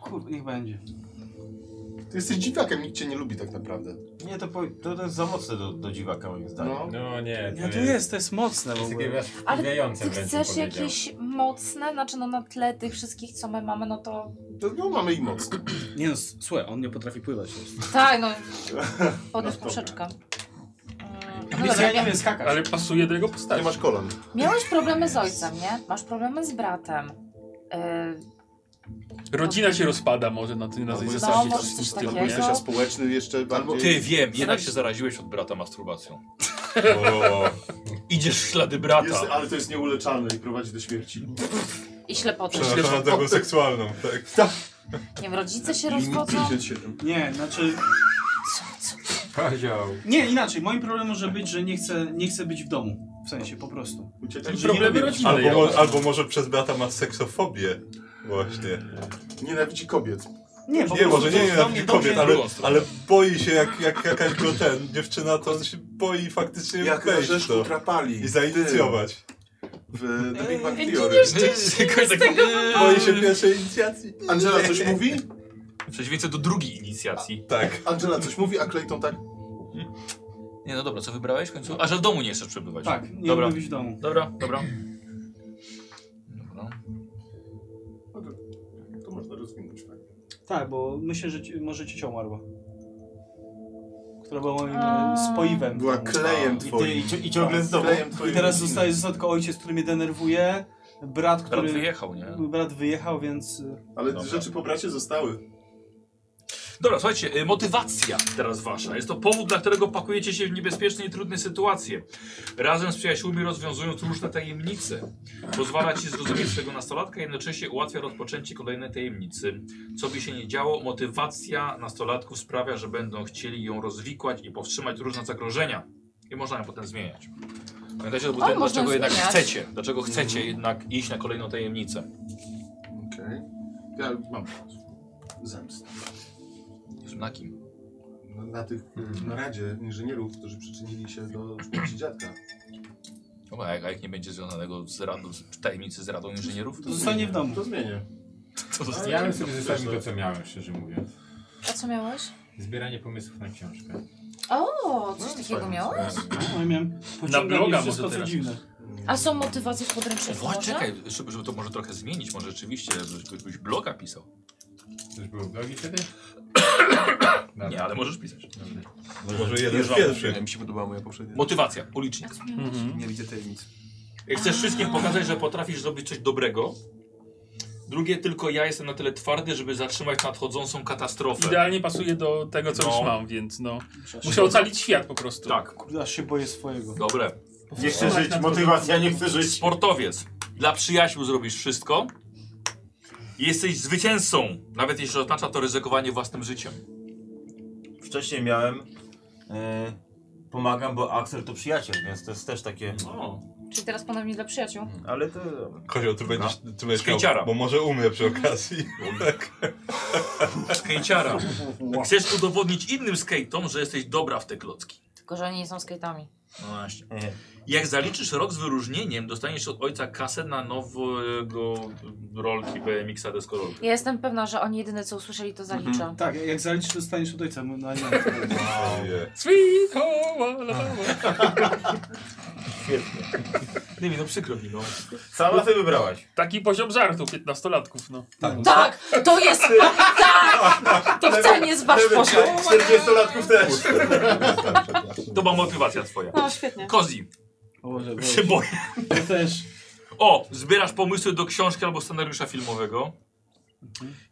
Kurde, niech będzie. Ty jesteś dziwakiem, nikt cię nie lubi tak naprawdę. Nie, to, po, to, to jest za mocne do, do dziwaka moim zdaniem. No. No nie, Nie, to jest, to jest mocne w ogóle. Ale ty chcesz jakieś mocne, znaczy no na tle tych wszystkich, co my mamy, no to To, no mamy i mocno. Nie no, s- słuchaj, on nie potrafi pływać. tak, no No podnieś dobra. puszeczkę. Mm, Ale dobra, ja nie wiem skakać. Ale pasuje do jego postaci. Nie masz kolan. Miałeś problemy z ojcem, nie? Masz problemy z bratem. Yy, Rodzina się rozpada może na tej, na tej No, zasadzie. może coś czy coś w tym, takiego. Albo jesteś Jego? aspołeczny jeszcze Albo bardziej. ty wiem, jednak się zaraziłeś od brata masturbacją. O, Idziesz w ślady Jest, brata. ale to jest nieuleczalne i prowadzi do śmierci. I ślepotę. Przepraszam na tego seksualną, tak. Nie wiem, rodzice się rozchodzą. Nie, znaczy... Kozioł. Nie, inaczej. Moim problemem może być, że nie chcę, nie chcę być w domu. W sensie, po prostu. Ucieczki. Że nie lubię- Albo, mo- albo może przez brata ma seksofobię. Właśnie. Nienawidzi kobiet. Nie, po Nie, prostu może to nie jest nie dla na mnie kobiet, dobrze- ale, ale boi się jak, jak jakaś go ten, dziewczyna, to on się boi faktycznie Jak na wejść w rzeszku to trapali. i zainicjować. W The Big Bang Eee, Theory. Boi się pierwszej inicjacji. Angela coś mówi? W przeciwieństwie do drugiej inicjacji. Tak. Angela coś mówi, a Clayton tak. Nie no dobra, co wybrałeś w końcu? A że w domu nie chcesz przebywać. Tak, nie dobra. lubię być w domu. Dobra, dobra. Dobra. No to, to można rozwinąć fajnie. Tak, bo myślę, że ci, może ciocia umarła. Która była moim A. e, spoiwem. Była w domu. klejem I, ty, twoim. Tak, i, cio- i ciągle z domu. Klejem twoim. I teraz zostaje, został tylko ojciec, który mnie denerwuje, brat, który... Brat wyjechał, nie? Brat wyjechał, więc... y, Ale rzeczy po bracie zostały. Dobra, słuchajcie, y, motywacja teraz wasza. Jest to powód, dla którego pakujecie się w niebezpieczne i trudne sytuacje. Razem z przyjaciółmi rozwiązując różne tajemnice. Pozwala ci zrozumieć swojego nastolatka i jednocześnie ułatwia rozpoczęcie kolejnej tajemnicy. Co by się nie działo, motywacja nastolatków sprawia, że będą chcieli ją rozwikłać i powstrzymać różne zagrożenia. I można ją potem zmieniać. Pamiętajcie, to był O, ten, można dlaczego jednak zmieniać. chcecie. Dlaczego chcecie jednak iść na kolejną tajemnicę. Okej. Ja mam zemstę. Na kim? Na- Na tych na radzie inżynierów, którzy przyczynili się do śmierci dziadka. Dobra, a jak, a jak nie będzie związanego z radą, z tajemnicy z radą inżynierów? To zostanie w domu. To zmienię. To zostanie. Ja bym sobie zostawił to, co miałem, szczerze mówiąc. A co miałeś? Zbieranie pomysłów na książkę. O, coś takiego miałeś? No, ja miałem bloga pociągnął mnie może wszystko, co teraz. dziwne. A są motywacje w podręczniku Właśnie, może? czekaj, żeby, żeby to może trochę zmienić, może rzeczywiście, żebyś bloga pisał. Coś było w blogi wtedy? Nie, ale możesz pisać. Może jeden z Jeżdżą. pierwszych. Mi się podobała moja poprzednia. Motywacja, ulicznik. Mhm. Nie widzę tajemnic. Jak Chcesz wszystkim pokazać, że potrafisz zrobić coś dobrego. Drugie, tylko ja jestem na tyle twardy, żeby zatrzymać nadchodzącą katastrofę. Idealnie pasuje do tego, co No. już mam, więc no. Muszę ocalić świat po prostu. Tak, Kurde, aż się boję swojego. dobre. Nie chcę żyć, motywacja, nie chcę żyć. Sportowiec. Dla przyjaciół zrobisz wszystko. Jesteś zwycięzcą, nawet jeśli oznacza to ryzykowanie własnym życiem. Wcześniej miałem... E, pomagam, bo Axel to przyjaciel, więc to jest też takie... Czyli teraz ponownie dla przyjaciół. Ale to... Kozioł, ty będziesz, ty będziesz Skejciara. miał, bo może umrę przy okazji. Tak. Skejciara. Chcesz udowodnić innym skejtom, że jesteś dobra w te klocki. Tylko, że oni nie są skate'ami. No właśnie. E, Jak zaliczysz rok z wyróżnieniem, dostaniesz od ojca kasę na nowego rolki BMX-a deskorolki. Ja jestem pewna, że oni jedyne co usłyszeli to zaliczą. Tak, jak zaliczysz, to staniesz od ojca. No, nie. Sweet home Alabama. Świetnie. Nie no przykro mi, no. Sama ty wybrałaś. Taki poziom żartów piętnastolatków, no. Tak! To jest! Tak! To wcale nie z wasz poszło. 40-latków też. To była motywacja twoja. No, świetnie. Kozi. Się boję. też. O, zbierasz pomysły do książki albo scenariusza filmowego.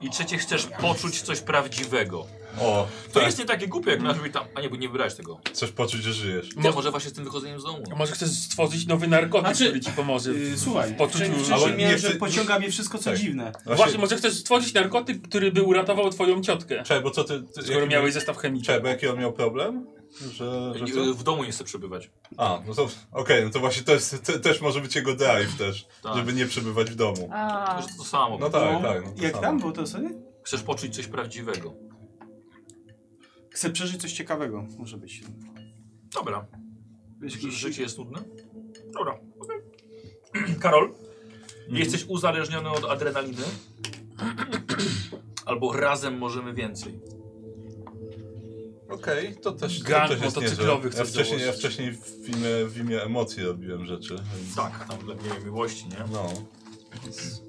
I trzecie, chcesz poczuć coś prawdziwego. O, to jest nie takie głupie, jak masz być tam. A nie, bo nie wybrałeś tego. Coś poczuć, że żyjesz. Mo- może właśnie z tym wychodzeniem z domu. A może chcesz stworzyć nowy narkotyk, który ci pomoże. w- e, Słuchaj, w poczuciu no, wcześniej miałem, że pociąga mnie wszystko, co dziwne. Tak, Właśnie, może chcesz stworzyć narkotyk, który by uratował twoją ciotkę. Czekaj, bo co ty... ty Skoro jaki- miałeś zestaw chemiczny. Czekaj, bo jaki on miał problem? Że, że Nie, co? W domu nie chce przebywać. A, no to okej, no to właśnie to jest, te, też może być jego drive też, Tak. żeby nie przebywać w domu. A. To, to samo. No tak, tak. No to Jak samo. tam było to sobie? Chcesz poczuć coś prawdziwego. Chcę przeżyć coś ciekawego, może być. Dobra. Wiesz, Że życie jest nudne? Dobra. Mhm. Karol, jesteś uzależniony od adrenaliny? Albo razem możemy więcej. Okej, to też, to Gang też jest motocyklowy niezłe. ja chcesz wcześniej, ja założyć. wcześniej w imię, w imię emocji robiłem rzeczy. Więc... Tak, tam dla mnie miłości, nie? No. Więc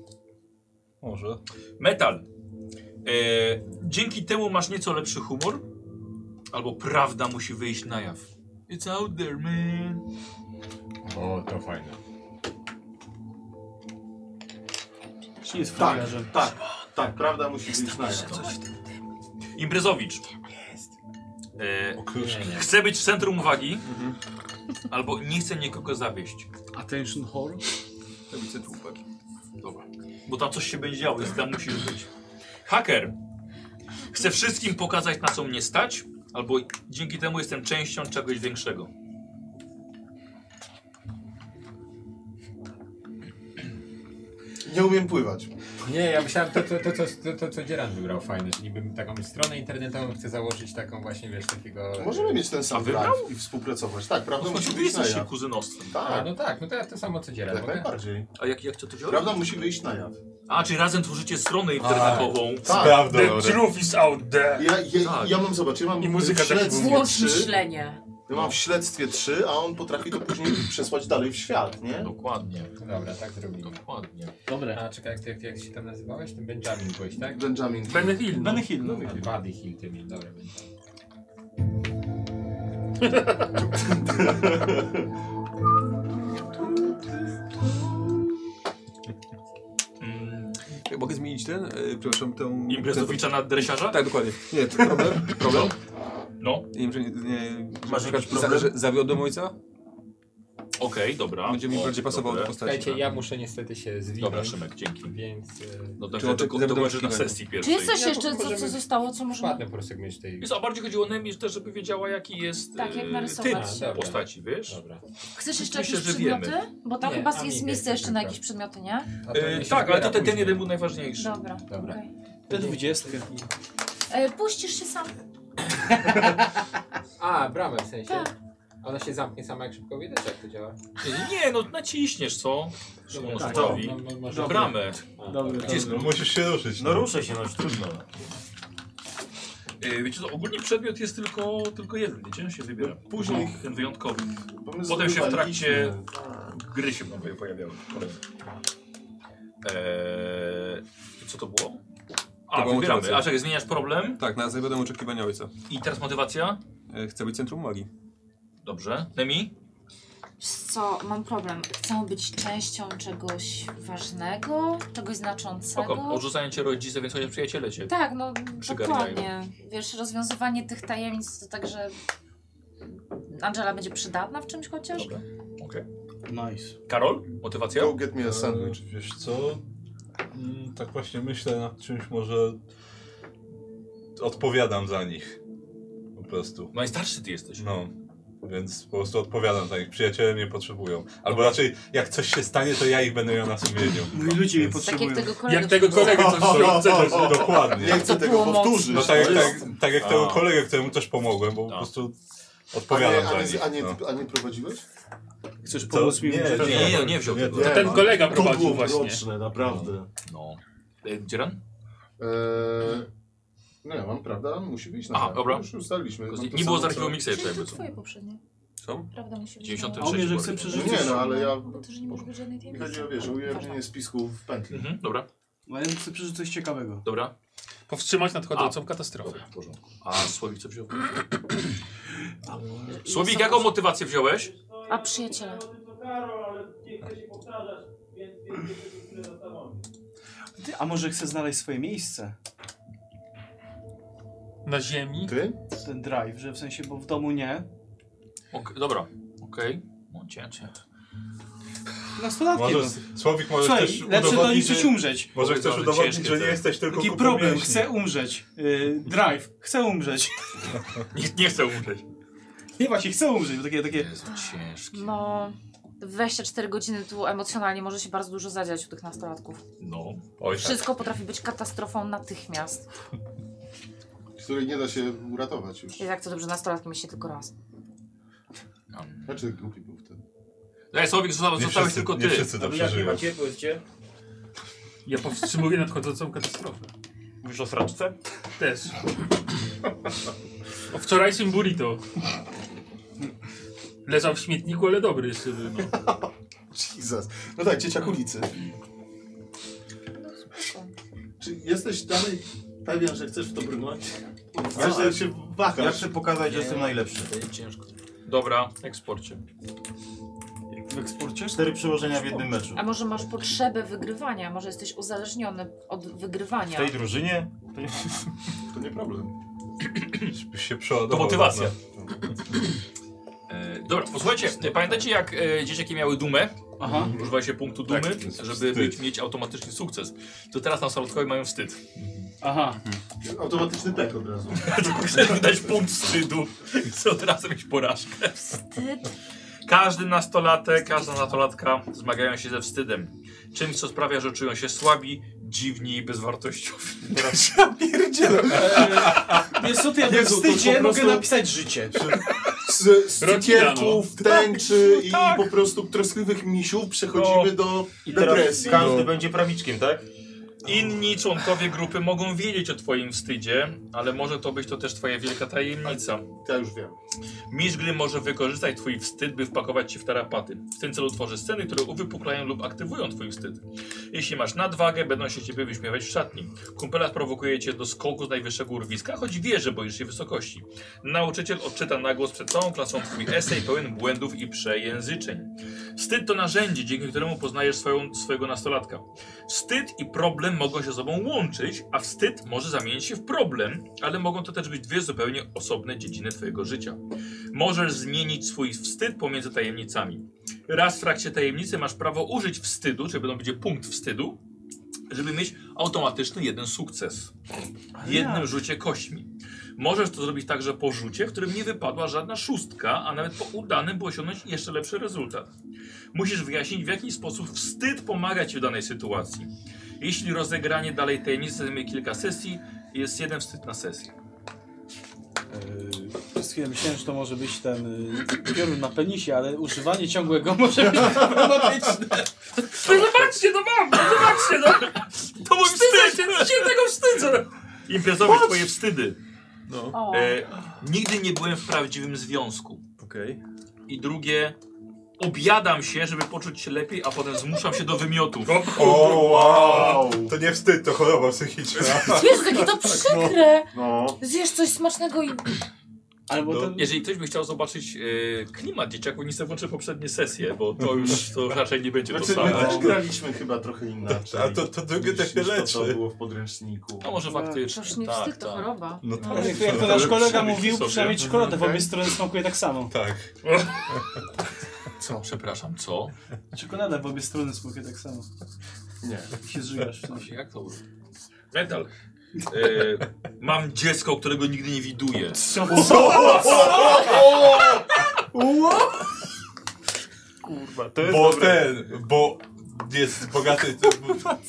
Może. Metal. E, dzięki temu masz nieco lepszy humor. Albo prawda musi wyjść na jaw. It's out there, man. O, to fajne. Nie jest tak, frajerze. tak, tak, prawda musi być na jaw. Imprezowicz. E, chce być w centrum uwagi. Mhm. Albo nie chce nikogo zawieść. Attention horror? Tablicy tłupek. Dobra. Bo tam coś się będzie działo, więc tam musisz być. Haker. Chcę wszystkim pokazać, na co mnie stać, albo dzięki temu jestem częścią czegoś większego. Nie umiem pływać. Nie, ja myślałem to, to, to, to, to, to co Dzieran wybrał fajne, czyli bym taką stronę internetową chcę założyć taką właśnie, wiesz, takiego... Możemy mieć ten sam wybrał? drive i współpracować. Tak, prawda No, musi wy wyjść na jesteście jaw. kuzynostwem. Tak. A, no tak, no to ja to samo co Dzieran. Jak najbardziej. A jak, jak to to działa? Prawda musi wyjść na jaw. A, czy razem tworzycie stronę internetową. tak. Prawda, The truth is out there. Ja, ja, ja mam, zobacz, ja mam I muzyka w też śledztwie Włóż 3, myślenie. ja mam w śledztwie 3, a on potrafi to później przesłać dalej w świat, nie? No. Dokładnie. Dobra, tak zrobimy. Dokładnie. Dobra. A czekaj, jak, ty- jak, jak się tam nazywałeś? Ten Benjamin byłeś, tak? Benjamin. Benny Hill. Benny Hill, no. Benny Hill. Buddy Hill, ty mi, dobra. Ja Mogę zmienić ten, e, przepraszam, tę... Imprezowicza ten- na dresiarza? Tak, dokładnie. Nie, to problem? Problem? No. Nie wiem, że nie... nie Masz że- jakiś za- problem? że Zawiodłem ojca? Okej, No. dobra. Będzie mi O, bardziej pasowało dobre. do postaci. tak. Słuchajcie, ja muszę niestety się zwinąć. Dobra, Szymek, dzięki. Więc... e, No tak, Czy to, oczek- to, zapytałeś będzie na Kiwego? sesji Czy pierwszej. jest coś Ja jeszcze, co, co możemy- zostało, co można... Ładny prosegment tej... Więc, a bardziej chodziło o Nemi, też, żeby wiedziała, jaki jest Tak, jak e, narysować. typ A, dobra. postaci, wiesz? Dobra. Chcesz jeszcze Myślę, jakieś że wiemy. przedmioty? Bo tam Nie, chyba a jest mniej miejsce więcej jeszcze na tak. jakieś przedmioty, nie? A to E, nie się tak, ale to zbiera ten, ten później. jeden był najważniejszy. Dobra, Dobra. okej. Te dwudziestkę. E, Puścisz się sam. A, bramę w sensie. Tak. Ona się zamknie sama jak szybko widać, jak to działa. Nie, no naciśniesz, co? tak, Szymonowi. no, no, no, Dobra. może- Bramę. Dobry, Gdzie jest No, musisz się ruszyć. No ruszę się, no już trudno. E, Wiecie, to ogólnie przedmiot jest tylko, tylko jeden, wiecie? On Się wybiera. Później ten wyjątkowy. Bo my Potem się w trakcie zdobywaliśmy. gry się nowe pojawiały. Eee, i co to było? A, To była wybieramy. motywacja. A czekaj, zmieniasz problem. Tak, na zawiodłem oczekiwania ojca. I teraz motywacja. E, Chcę być centrum magii. Dobrze. Nemi? Wiesz co, mam problem. Chcę być częścią czegoś ważnego, czegoś znaczącego. Spoko. Odrzucają cię rodzice, więc chociaż przyjaciele cię. Tak, no Przygarniają. dokładnie. Wiesz, rozwiązywanie tych tajemnic to tak, że Angela będzie przydatna w czymś chociaż? Dobra. Okej. Nice. Karol? Motywacja? Go get me a sandwich. E, Wiesz co? Mm, Tak właśnie myślę nad czymś, może odpowiadam za nich. Po prostu. Najstarszy ty jesteś. No. Więc po prostu odpowiadam za nich. Przyjaciele mnie potrzebują. Albo raczej, jak coś się stanie, to ja ich będę miał na sumieniu. Mój ludzie mnie Tak Tak jak potrzebują. tego kolegę. Jak tego kolegę coś Co świące. to jest? Dokładnie. Nie chcę To tego było mocne. powtórzyć. No tak jak, To jest- tak, tak jak tego kolegę, któremu też pomogłem, bo po prostu Odpowiadam a nie, a nie, za nich, a nie, no. a nie prowadziłeś? Chcesz Co? pomóc mi Nie, użyć? nie, nie, nie wziął tego. To ten kolega no. To prowadził było właśnie. mroczne, naprawdę. No. E, Dzieran? Eee, No ja mam, prawda? On musi być na Aha, tak. dobra. Już ustaliliśmy. Tylko Mam nie to było samo, z archiwum co- Mixtape, Przecież to jakby. twoje poprzednie. Co? Prawda musi być. 93 na- A on bierze, chce przeżyć Nie, no, ale ja- To, że nie może być żadnej tej Mi chodzi o wiesz, o ujawnienie spisku w pętli. Mhm, dobra. No ja chcę przeżyć coś ciekawego. Dobra. Powstrzymać nadchodzącą A. katastrofę. Dobra, w porządku. A Słowik co wziął? Słowik, jaką motywację wziąłeś? A przyjaciela. Ty, a może chcę znaleźć swoje miejsce? Na ziemi? Mhm. Ty? Ten drive, że w sensie, bo w domu nie. Ok, dobra, okej. Okay. Nastolatki. no. Możesz- Słowik, możesz Słuchaj, też lepsze to udowodnić, niż chcesz że- umrzeć. może chcesz Bardzo udowodnić, ciężkie że nie to jest. jesteś tylko Taki kupą problem, mięśni. chcę umrzeć. Yy, drive, chcę umrzeć. nie, nie chcę umrzeć. Nie właśnie, chcę umrzeć, bo takie... takie... ciężkie. No, 24 godziny tu emocjonalnie może się bardzo dużo zadziać u tych nastolatków. No. Oj, tak. Wszystko potrafi być katastrofą natychmiast. Której nie da się uratować już. I tak to dobrze, nastolatkiem jest się tylko raz. Znaczy głupi był wtedy. Ej, Słowik, zosta- zostałeś tylko ty. byłyście? Ja powstrzymuję nadchodzącą katastrofę. Mówisz o sraczce? Też. O wczorajszym burrito. Leżał w śmietniku, ale dobry jeszcze był. No. Jesus. No tak, dzieciak ulicy. Czy jesteś dalej pewien, że chcesz w to brnąć? Ale- Wiesz, że się wahasz. Ja chcę pokazać, że jestem najlepszy. Ciężko. Dobra, eksporcie. W eksporcie? Cztery przełożenia w jednym meczu. A może masz potrzebę wygrywania? Może jesteś uzależniony od W wygrywania? tej drużynie? To nie, to nie problem. Byś się przeładował. To motywacja. No. E, dobra, posłuchajcie, e, pamiętacie jak e, dzieciaki miały dumę? Aha. Używa się punktu dumy, żeby być, mieć automatyczny sukces. To teraz na Salutkowie mają wstyd. Aha. Automatyczny pek od razu. Dać punkt wstydu. Chcę od razu mieć porażkę. Każdy nastolatek, każda nastolatka zmagają się ze wstydem. Czymś, co sprawia, że czują się słabi, dziwni i bezwartościowi. Pierdzielę. Wiesz co, to ja Nie, we to- to wstydzie po prostu- mogę napisać życie. Z, z Rodzina, cukierków, tęczy i Tak. po prostu troskliwych misiów przechodzimy do I teraz depresji. no. każdy będzie prawiczkiem, tak? Inni członkowie grupy mogą wiedzieć o twoim wstydzie, ale może to być to też twoja wielka tajemnica. Ja już wiem. Mistrz gry może wykorzystać twój wstyd, by wpakować cię w tarapaty. W tym celu tworzy sceny, które uwypuklają lub aktywują twój wstyd. Jeśli masz nadwagę, będą się ciebie wyśmiewać w szatni. Kumpela sprowokuje cię do skoku z najwyższego urwiska, choć wie, że boisz się wysokości. Nauczyciel odczyta na głos przed całą klasą twój esej pełen błędów i przejęzyczeń. Wstyd to narzędzie, dzięki któremu poznajesz swoją, swojego nastolatka. Wstyd i problem mogą się ze sobą łączyć, a wstyd może zamienić się w problem, ale mogą to też być dwie zupełnie osobne dziedziny twojego życia. Możesz zmienić swój wstyd pomiędzy tajemnicami. Raz w trakcie tajemnicy masz prawo użyć wstydu, czy będą będzie punkt wstydu, żeby mieć automatyczny jeden sukces. W jednym rzucie kośćmi. Możesz to zrobić także po rzucie, w którym nie wypadła żadna szóstka, a nawet po udanym, by osiągnąć jeszcze lepszy rezultat. Musisz wyjaśnić, w jaki sposób wstyd pomaga ci w danej sytuacji. Jeśli rozegranie dalej tajemnicy zajmie kilka sesji, jest jeden wstyd na sesję. Yy, Przez chwilę myślałem, że to może być ten yy, piorun na penisie, ale używanie ciągłego może być problematyczne. Zobaczcie, to mam! Zobaczcie, no! To mój wstyd! Się, się tego wstydzę! Imprezowe twoje wstydy. O. E, nigdy nie byłem w prawdziwym związku. I drugie, objadam się, żeby poczuć się lepiej, a potem zmuszam się do wymiotów. O, wow. To nie wstyd, to choroba psychiczna. Jezu, jakie to przykre! No. Zjesz coś smacznego i... Albo no, Jeżeli ktoś by chciał zobaczyć e, klimat dzieciaków, nic włączy poprzednie sesje, bo to już to raczej nie będzie to Znaczy, my Tak. też samo. graliśmy chyba trochę inaczej. A to- to drugie niż- też się niż to, co leczy. było w podręczniku. No może faktycznie. tak. Przecież nie wstyd, to choroba. No Ale jak, jak to nasz kolega mówił, przynajmniej czekoladę w obie strony smakuje tak samo. Tak. Co? Przepraszam, co? Czekolada w obie strony smakuje tak samo. Nie. Się zżygasz w sensie. Jak to? Metal. E, mam dziecko, którego nigdy nie widuję. Co? Bo ten, bo jest bogaty,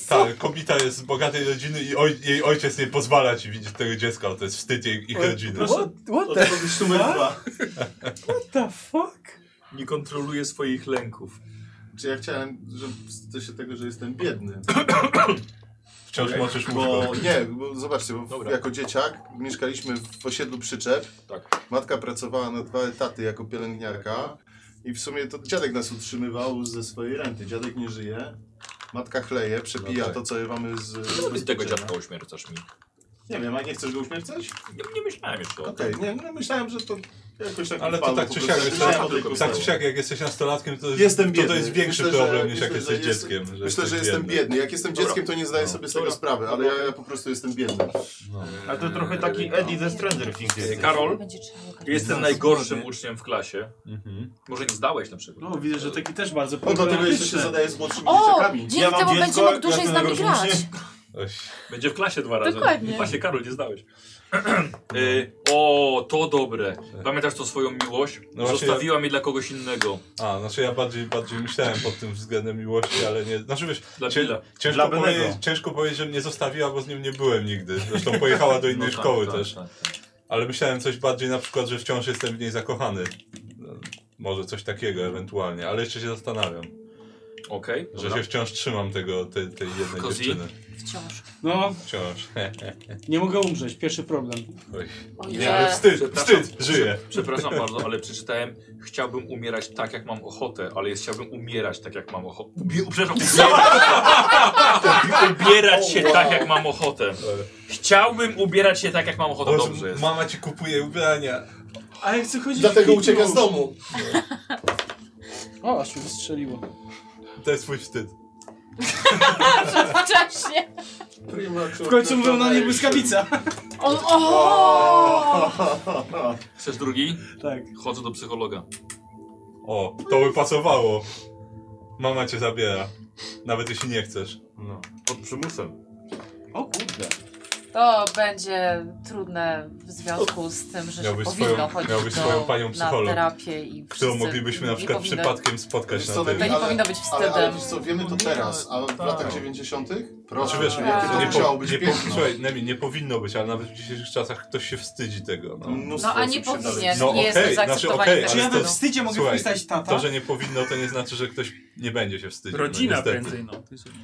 ta kobieta jest z bogatej rodziny i oj, jej ojciec nie pozwala ci widzieć tego dziecka, bo to jest wstyd jej, ich rodziny. what the Odpowiedź numer fuck? dwa. What the fuck? Nie kontroluje swoich lęków. Czy ja chciałem, że wstydzę się tego, że jestem biedny. Wciąż moczysz Bo łóżko. nie, bo zobaczcie, bo jako dzieciak mieszkaliśmy w osiedlu przyczep. Tak. Matka pracowała na dwa etaty jako pielęgniarka. I w sumie to dziadek nas utrzymywał ze swojej renty. Dziadek nie żyje. Matka chleje, No przepija tak. to, co mamy z. Z tego dziadka ośmiercasz mi. Nie wiem, a nie chcesz go uśmiercać? Nie, nie myślałem jeszcze o tym. Okej, nie, no myślałem, że to jakoś tak Ale to wypadło tak po czy prostu. siak, jest, Myślałem o tej tak czy postaci. siak, jak jesteś nastolatkiem, to, Jestem to, biedny. to jest większy Myślę, że- problem niż jak myślę, że jesteś No, jest- dzieckiem. Myślę, że jestem biedny. Jak jestem dzieckiem, to nie zdaję sobie z tego sprawy, ale ja, ja po prostu jestem biedny. Ale to trochę taki Eddie ze Stranger Things jest. Karol, jestem Jezus, najgorszym Boże. uczniem w klasie. Mhm. Może nie zdałeś na przykład. No widzę, że taki też bardzo No, dlatego problematyczny. jeszcze się zadaje z młodszymi O, dzieciakami. dzięki temu będzie mógł ja dłużej z jestem nami najgorszym uczniem. Będzie w klasie dwa razy. Dokładnie. Właśnie, Karol, nie zdałeś. Y, o, to dobre. Pamiętasz tą swoją miłość? No właśnie Zostawiła mnie dla kogoś innego. A, znaczy ja bardziej, bardziej myślałem pod tym względem miłości, ale nie. Znaczy wiesz, Dla cię, Billa. Dla ciężko, powiedzieć, Benego. ciężko powiedzieć, że mnie zostawiła, bo z nim nie byłem nigdy. Zresztą pojechała do innej No tak, szkoły tak, też. tak, Ale myślałem coś bardziej na przykład, że wciąż jestem w niej zakochany. No, Może coś takiego ewentualnie, ale jeszcze się zastanawiam. Okej. że dobra. się wciąż trzymam tego, tej, tej jednej Cozy? dziewczyny. Wciąż. No. Wciąż. Nie mogę umrzeć, pierwszy problem. Oj. Ojej. Nie, ale wstyd, przepraszam, wstyd, żyję. prze- Przepraszam bardzo, ale przeczytałem chciałbym umierać tak, jak mam ochotę, ale jest chciałbym umierać tak, jak mam ochotę. Ubie... Przepraszam, ubierać, ubierać się tak, jak mam ochotę. Chciałbym ubierać się tak, jak mam ochotę. Boże, Dobrze jest. Mama ci kupuje ubrania. A ja chcę chodzić Dlatego w kiju. ucieka z domu. O, aż mi wystrzeliło. To jest twój wstyd. Wcześnie. W końcu mówią na nie błyskawica. O, o! Chcesz drugi? Tak. Chodzę do psychologa. O, to by pasowało. Mama cię zabiera. Nawet jeśli nie chcesz. No, pod przymusem. O kurde. To będzie trudne w związku z tym, że Miałbyś się powinno swoją- chodzić miałbyś do, swoją panią psycholog, na terapię i którą wszyscy- moglibyśmy na nie przykład powinno- przypadkiem spotkać na To tym. nie ale- powinno być Ale, ale wstydem. wiesz co, wiemy to teraz, a w latach 90. Proszę, Znaczy, wiesz, jakie to nie, musiało po, być nie, po, piękne. słuchaj, Nemi, nie powinno być, ale nawet w dzisiejszych czasach ktoś się wstydzi tego. No, Mm. No, a nie osób się powinien, dalej- nie jest to zaakceptowanie okej, ale tego. Czy ja to- we wstydzie mogę słuchaj, wpisać tata? To, że nie powinno, to nie znaczy, że ktoś nie będzie się wstydził. Rodzina no, niestety. prędzej, no. To jest już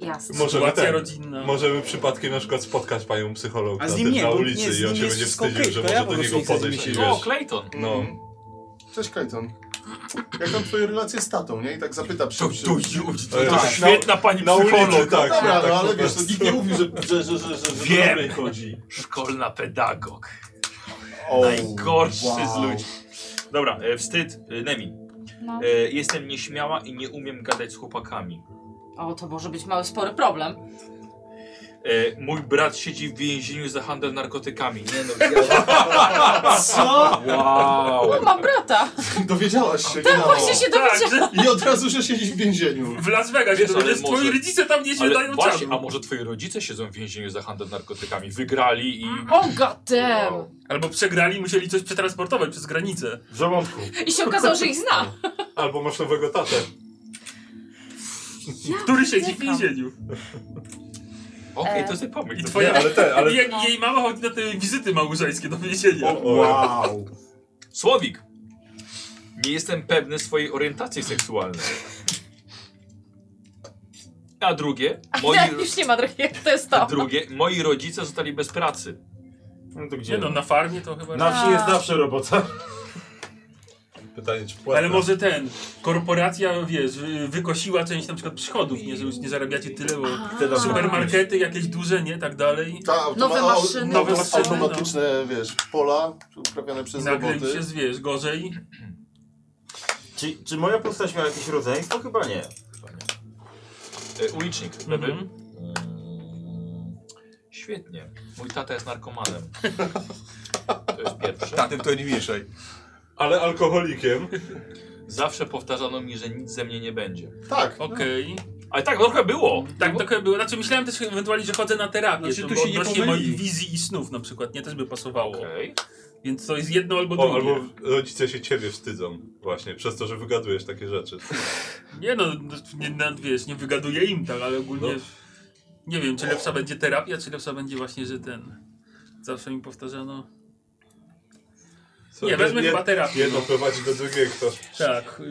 Jasne. Możemy, Sytuacja ten, rodzinna. możemy przypadkiem na przykład spotkać panią psycholog A na, z tym- nim nie, na bo ulicy nie, z i on nim się jest będzie wszystko wstydził, okej, że to może ja po do prostu niego nie chcę podejść i z wiesz. nim O, Clayton! No. Cześć Clayton. Jak tam twoje relacje z tatą, nie? I tak zapyta przy przy- to tak. świetna pani na ulicy, psycholog. Tak, Tak, dobra, tak, no, ale tak, wiesz, tak. to nikt nie mówi, że, że, że, że, że, że do Wiem. dobrej chodzi. Szkolna pedagog. O, Najgorszy wow. z ludzi. Dobra, e, wstyd, e, Nemi. No. E, jestem nieśmiała i nie umiem gadać z chłopakami. O, to może być mały, spory problem. E, mój brat siedzi w więzieniu za handel narkotykami. Nie no, Co? Wow. O, mam brata. Dowiedziałaś się. Tak, no. właśnie się dowiedziałam. I od razu, że siedzisz w więzieniu. W Las Vegas, Wiesz, to ale jest twoi może- rodzice tam nie ale dają właśnie, czadu. A może twoi rodzice siedzą w więzieniu za handel narkotykami? Wygrali i... O, godem. Albo przegrali, musieli coś przetransportować przez granicę. W żołądku. I się okazało, że ich zna. Albo masz nowego tatę. Który siedzi w więzieniu. Okej, to sobie pomyśl. I twoja, Ale te- ale- i jak- jej mama chodzi na te wizyty małżeńskie do więzienia. wow. Słowik. Nie jestem pewny swojej orientacji seksualnej. A drugie, moi, Nie, już nie ma drugiego, to jest to. drugie, moi rodzice zostali bez pracy. No to Nie no, na farmie to chyba... Na wsi jest zawsze robota. Pytanie, czy płatne. Ale może ten, korporacja, wiesz, wy- wykosiła część na przykład przychodów, nie, że już nie zarabiacie tyle, bo supermarkety jakieś duże, nie, tak dalej. Ta automa- Nowe au- maszyny. nowe Nowe maszyny, no. automatyczne, wiesz, pola uprawiane I przez nagle roboty. już jest, wiesz, gorzej. Czy, czy moja postać miała jakieś rodzeństwo? Chyba nie. E, ulicznik, lewy. Mhm. Mm, Świetnie. Mój tata jest narkomanem. To jest pierwsze. Tatem to nie mieszaj. Ale alkoholikiem. Zawsze powtarzano mi, że nic ze mnie nie będzie. Tak. Okej. Ale tak, trochę było. Tak, trochę było. Znaczy myślałem też ewentualnie, że chodzę na terapię. Znaczy, to tu się nie odnośnie moich pomyli. wizji i snów na przykład, nie? Też by pasowało. Więc to jest jedno albo O, drugie. albo rodzice się ciebie wstydzą właśnie, przez to, że wygadujesz takie rzeczy. Nie no, nie, no, wiesz, nie wygaduję im tak, ale ogólnie nie wiem, czy lepsza będzie terapia, czy lepsza będzie właśnie, że ten... Zawsze mi powtarzano... Co, nie, wezmę jed- chyba terapię. Jedno no. prowadzi do drugiego. Tak,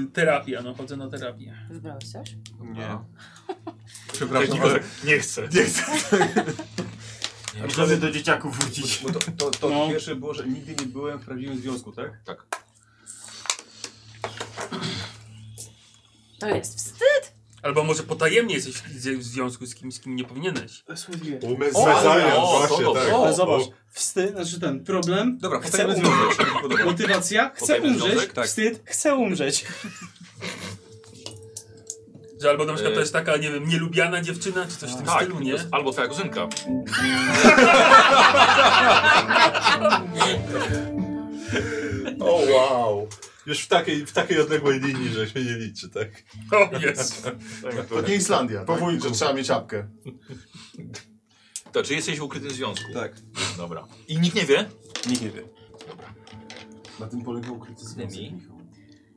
yy, terapia, no chodzę na terapię. Wybrałeś coś? Nie. Przepraszam, ale- nie chcę. Nie chcę. A co by do dzieciaków wrócić? Bo to to, to No. pierwsze było, że nigdy nie byłem w prawdziwym związku, tak? Tak. To jest wstyd! Albo może potajemnie jesteś w w związku z kimś, z kim nie powinieneś. O, ale- o, właśnie, to dobrze. tak. Ale O, zobacz, o. wstyd, znaczy ten problem. Dobra, chcę potajemny umrzeć. związek, mi się podoba. Motywacja, chcę Potajemny umrzeć, związek, tak. wstyd, chcę umrzeć. Że albo na przykład to jest taka, nie wiem, nielubiana dziewczyna, czy coś w tym Tak, stylu, nie? albo twoja kuzynka. O wow. Już w takiej, w takiej odległej linii, że się nie liczy, tak? O, jest. To nie Islandia, tak? Powójku. że trzeba mieć apkę. To czy jesteś w ukrytym związku? Tak. Dobra. I nikt nie wie? Nikt nie wie. Na tym polega ukryty związek, Michał.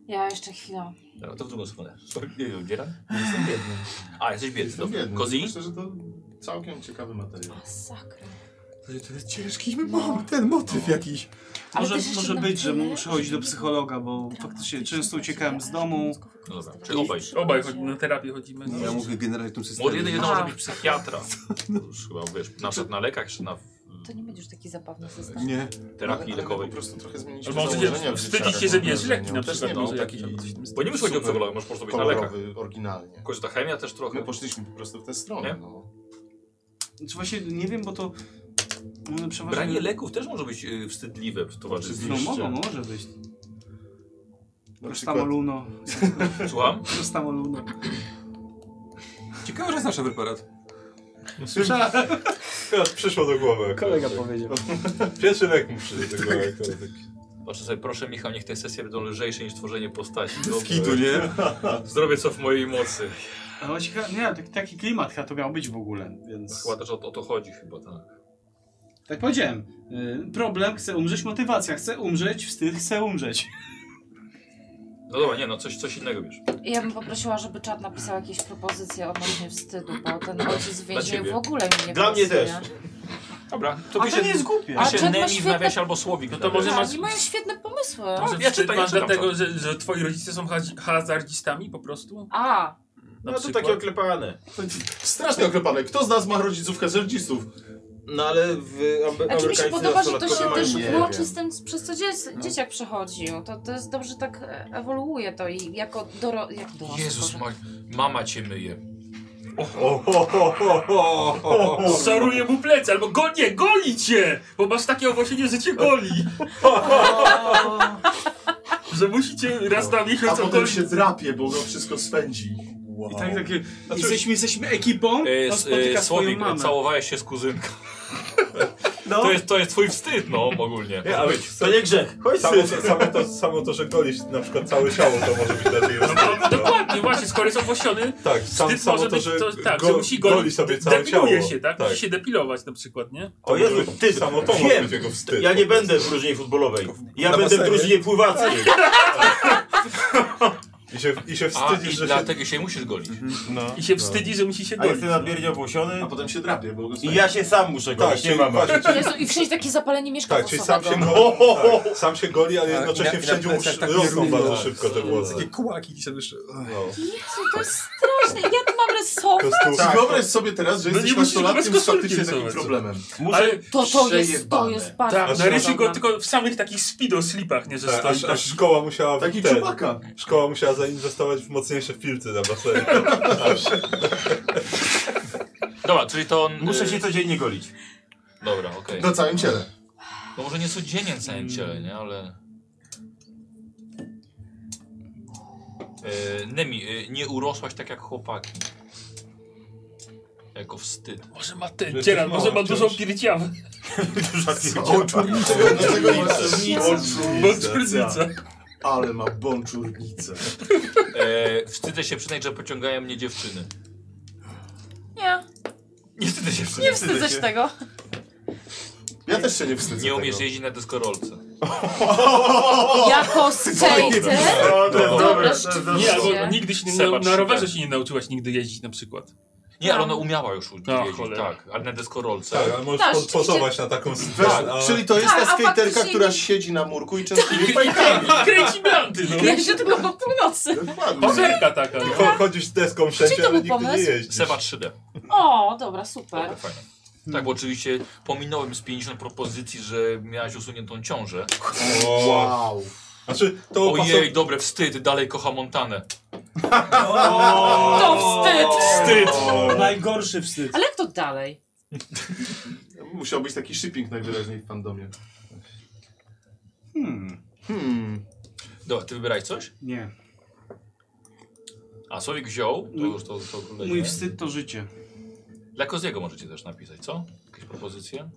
Ja jeszcze chwilę. Dobra, to w drugą stronę. Sorry, nie wiem, dzieran? Jestem biedny. A, jesteś biedny, Jestem dobra. biedny. Kozi? Myślę, że to całkiem ciekawy materiał. Sakra. To jest ciężki mam ten motyw jakiś. Ale Może, też jeszcze może na być, że tyle, muszę chodzić do psychologa, No, bo Tak, faktycznie często uciekałem z domu. No dobra, czyli obaj. Obaj chodzi, na terapię chodzimy. No, ja mówię generalnie w tym systemie. Może jeden, jeden może Aha. być psychiatra. To Już chyba, wiesz, na przykład na lekach, czy na To nie będziesz taki zabawny ze Nie. terapii Ale- ale lekowej. po prostu trochę zmieniliśmy Albo możecie założenia w wstydzić dzieciakach, się, że mam bierzesz wrażenie. leki na Przecież przykład, nie może ma jakiś- taki Bo nie musi chodzić o super psychologa, możesz po prostu być na lekach. kolorowy, oryginalnie. Kogoś to chemia też trochę. My poszliśmy po prostu w tę stronę. Nie? No. Czy właśnie nie wiem, bo to. One przeważnie. Branie leków też może być y, wstydliwe Znaczy, w towarzystwie. No mogą, może być. przykład- Prostamoluno. Słucham? Prostamoluno. Ciekawe, że znasz preparat. Słyszałem. Teraz przyszło do głowy. Kolega Tak. powiedział. Pierwszy lek mu przyszedł do głowy. akurat taki. Patrzę sobie, proszę Michał, niech te sesje będą lżejsze niż tworzenie postaci. Dobra. kitu, nie? Zrobię co w mojej mocy. Ale właśnie, chyba- nie, taki, taki klimat chyba to miał być w ogóle, więc... Chyba też o, o to chodzi chyba, tak. Tak powiedziałem. y, Problem, chcę umrzeć, motywacja, chcę umrzeć, wstyd, chcę umrzeć. No dobra, nie no, coś, coś innego wiesz. Ja bym poprosiła, żeby czat napisał jakieś propozycje odnośnie wstydu, bo ten ojciec w Dla więzieniu ciebie. w ogóle mi nie Dla mnie pasuje. Dobra, A to nie jest głupie. A Pisze czat ma Nemi świetne- w nawiasie albo Słowik. No to może Tak, masz... Oni mają świetne pomysły. Może ja ja czytam, ja czytam dlatego, że, że twoi rodzice są ha- hazardzistami po prostu? A, Na No to przykład? takie oklepane. Strasznie oklepane. Kto z nas ma rodziców hazardzistów? No ale w Amery- znaczy mi się amerykańscy podoba, że to się nastolatkowie też mają- łączy z tym, przez co dzie dzieciak przechodził. To, to jest dobrze tak e, ewoluuje to i jako doro... Jak dorosły, Jezus, Boże. ma... mama cię myje. Soruje mu plecy, albo go nie, goli cię! Bo masz takie owłosienie, że cię goli. że musicie raz na A miesiąc potem ogolić. się drapie, bo go wszystko swędzi. Wow. I tak takie, jesteśmy, jesteśmy ekipą, E, on s- spotyka e, swoją Słowik, mamę. całowałeś się z kuzynką. To, jest, to jest twój wstyd, no ogólnie. Nie, ale To nie grzech. Chodź samo, syn. samo, to, samo to, że golisz na przykład całe ciało, to może być dla ciebie wstyd. no. Dokładnie, właśnie, skoro jest owłosiony, Tak, sam, wstyd samo może to, być, że, to, tak, go- że musi golić. goli sobie całe ciało. Depiluje się, tak? Musi się depilować na przykład, nie? O Jezu, ty Samo to może wiem. być jego wstyd. Ja nie będę w drużynie futbolowej. Ja Na będę w basenie. drużynie pływackiej. I się, i się A, wstydzisz, i że się... dlatego się musisz golić. No. I się wstydzi, że musi się A golić. jestem nadmiernie obłosiony A potem się drapie, bo go i swędzi. ja się sam muszę kogoś, nie czyli mam Tak, właśnie- Jezu, i wszędzie takie zapalenie mieszka Tak, czyli sam się, włosowego. goli, tak, sam się goli, ale i jednocześnie na- i na wszędzie mu plecach tak rosną równo. bardzo szybko te Takie włosy. kłaki się wyszły. No. Jezu, to jest straszne. Ja tu mam rysować. Tak. Wyobraź sobie teraz, że No nie jesteś musisz nastolatkiem bez z faktycznie koszulki takim rysować. problemem. Ale To, to jest, to Przejebane. jest bardzo tak, na dobra. rysiu go tylko w samych takich speedo slipach, nie, że Tak, stoi aż, tak. aż szkoła musiała... Taki ten- czubaka. Szkoła musiała zainwestować w mocniejsze filtry na basenie. Dobra, czyli to... On, Muszę y, się codziennie golić. Dobra, okej. Na całym ciele. To może nie codziennie na całym ciele, nie? Ale... E, Nemi, e, nie urosłaś tak jak chłopaki. Jako wstyd. Może ma ten Jesteś dzieran, mała może ma wciąż. dużą pierdziawę. Duża pierdziewa. Oczurnicę. Oczurnicę. Bo czernica. Ale ma bączurnicę. E, wstydzę się przyznać, że pociągają mnie dziewczyny. Nie, Nie wstydzę się przyznać. nie wstydzę się tego. Ja też się nie wstydzę Nie umiesz jeździć na deskorolce. Jako skater? Dobra, Nie, rzeczywiście. albo nigdy się nie, Seba na, na rowerze Szyder. się nie nauczyłaś nigdy jeździć na przykład. Nie, ale ona umiała już No, jeździć, cholera. tak, ale na deskorolce. Tak, ale możesz Tak, po- pozować na taką Tak, sytuację. czyli to jest Tak, ta a skaterka, faktycznie- która siedzi na murku i częstuje Tak, fajkami. i kręci blanty, no. Ja się tylko po północy. Pazerka taka. No. Chodzisz deską Czyj wszędzie, to ale był nigdy nie pomysł? jeździsz. Seba 3D. O, dobra, super. Fajnie. Tak, bo oczywiście pominąłem z 50 propozycji, że miałaś usuniętą ciążę. Wow. Znaczy, to Ojej, dobre, wstyd, dalej kocha Montanę. To wstyd! Wstyd! Najgorszy wstyd. Ale jak to dalej? Musiał być taki shipping najwyraźniej w fandomie. Hmm. Hmm. Dobra, ty wybieraj coś? Nie. A Słowik wziął, to Mój- już to, to kolejne. Mój wstyd to życie. Dla Koziego możecie też napisać, co? Jakieś propozycje?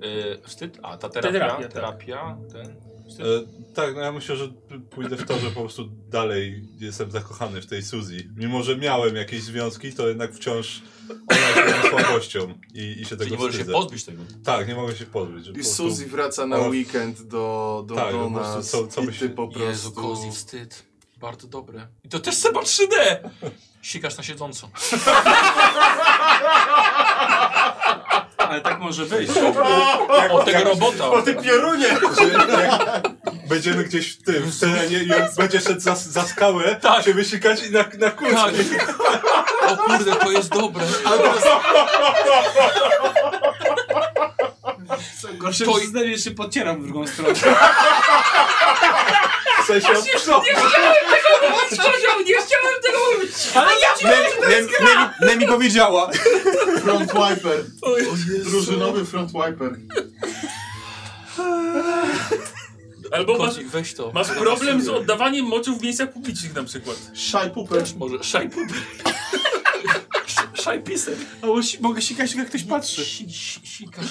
Yy, wstyd? A, ta terapia, Terapia, terapia, tak. ten... Wstyd? E, tak, no ja myślę, że p- pójdę w to, że po prostu dalej jestem zakochany w tej Suzy. Mimo, że miałem jakieś związki, to jednak wciąż ona jest moją słabością i, i się tego nie możesz się wstydzę. pozbyć tego. Tak, nie mogę się pozbyć. że po I prostu- Suzy wraca na Ona- weekend do, do, Tak, do po prostu nas co- co i byś- ty po Jezu, prostu... Kozi, wstyd. Bardzo dobre. I to też Seba 3D! Sikasz na siedząco. Ale tak może być. Jak- O, tego jak- robota! O ty pierunie! że jak Będziemy gdzieś w tym, w terenie i on będzie szedł za, za skałę, tak. się wysikać i na, na Tak. kurczki. O kurde, to jest dobre. Ale teraz... Gorsze To- to... przyznanie, się podcieram w drugą stronę. W sensie od przodu. Kozioł, nie chciałem tego mówić! Ale ja Nemi powiedziała. Front wiper. Drużynowy front wiper. Albo masz, Kozi, weź to. masz problem z oddawaniem moczu w miejscach publicznych na przykład. Szaj pupę. Może szajpy. Szajpisy. O, si- mogę sikać, jak ktoś patrzy. Sikasz.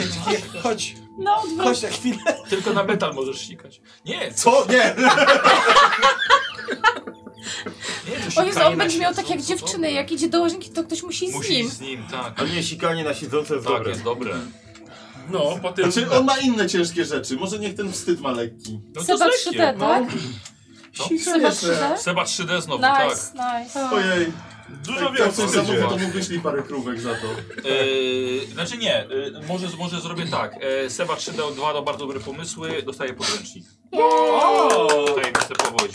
Chodź, No, chodź na chwilę. Tylko na metal możesz sikać. Nie, co? Co? Nie! Nie, to O Jezu, sikanie on na będzie miał tak siedząco, jak co? dziewczyny, jak idzie do łazienki, to ktoś musi z Musi nim. z nim, tak. A nie, sikanie na siedzące jest Tak, dobre. jest dobre. No, potem... Znaczy on ma inne ciężkie rzeczy, może niech ten wstyd ma lekki. No No, to Seba z lekkiem. 3D, tak? Seba Jeszcze. 3D? Seba 3D znowu, Nice, tak. nice. Ojej. Tak, Dużo Jak ktoś więcej. zamówił, to mu wyślij parę krówek za to. Yy, znaczy nie, yy, może, może zrobię tak. Yy, Seba 3D2 to bardzo dobre pomysły, dostaje podręcznik. Tajemnice powodzi.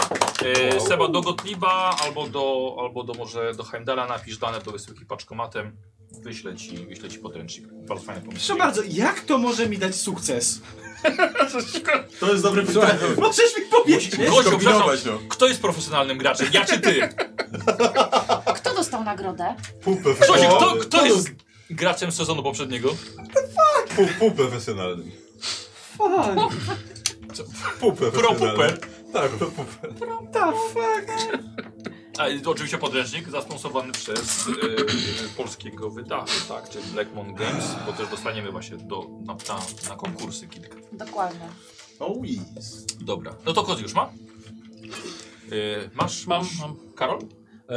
Yy, Seba do Gottlieba albo do, albo do może do Heimdala napisz dane do wysyłki paczkomatem. Wyślę ci, wyślę ci podręcznik. Bardzo fajny pomysł. Proszę bardzo, jak to może mi dać sukces? To jest dobre pytanie. Możesz mi powiedzieć? Gościu, Tak, kombinować, no. przepraszam, kto jest profesjonalnym graczem? Ja czy ty? Kto dostał nagrodę? Pupę Grzesiu, kto, profesjonalnym. kto jest graczem sezonu poprzedniego? Pu, pup profesjonalnym. Fuck, Pup profesjonalnym. pupę. Tak, pro pupę. the fuck? A, i oczywiście podręcznik zasponsowany przez e, polskiego wydawcę, tak, czyli Blackmon Games, bo też dostaniemy właśnie do, na, na, na konkursy kilka. Dokładnie. Oh yes. Dobra, no to Koz już ma? E, masz, Mam, masz? mam. Karol?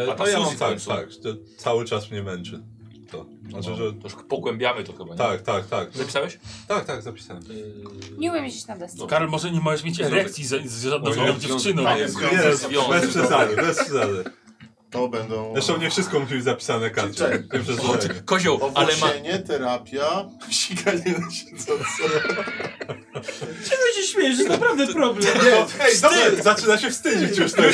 E, A ta to ja Suzy w mam tak, końcu. tak. że Cały czas mnie męczy. To. Znaczy, że... To już pogłębiamy to chyba, nie? Tak, tak, tak. Zapisałeś? Tak, tak, zapisałem. Nie umiem jeździć na No. desce. Karol, może nie możesz mieć erekcji z, z żadną Oj, moją no, dziewczyną. no, Jest, Związek, jest, związek. bez przesady, bez przesady. To będą... Zresztą nie wszystko musi być zapisane kartą. Czekaj. Tym przesadzeniem. Kozioł, No ale ma... Owłosienie, terapia, sikanie na siedzące. Czego się śmiejesz? To jest naprawdę problem. Ej, dobra, zaczyna się wstydzić już tego.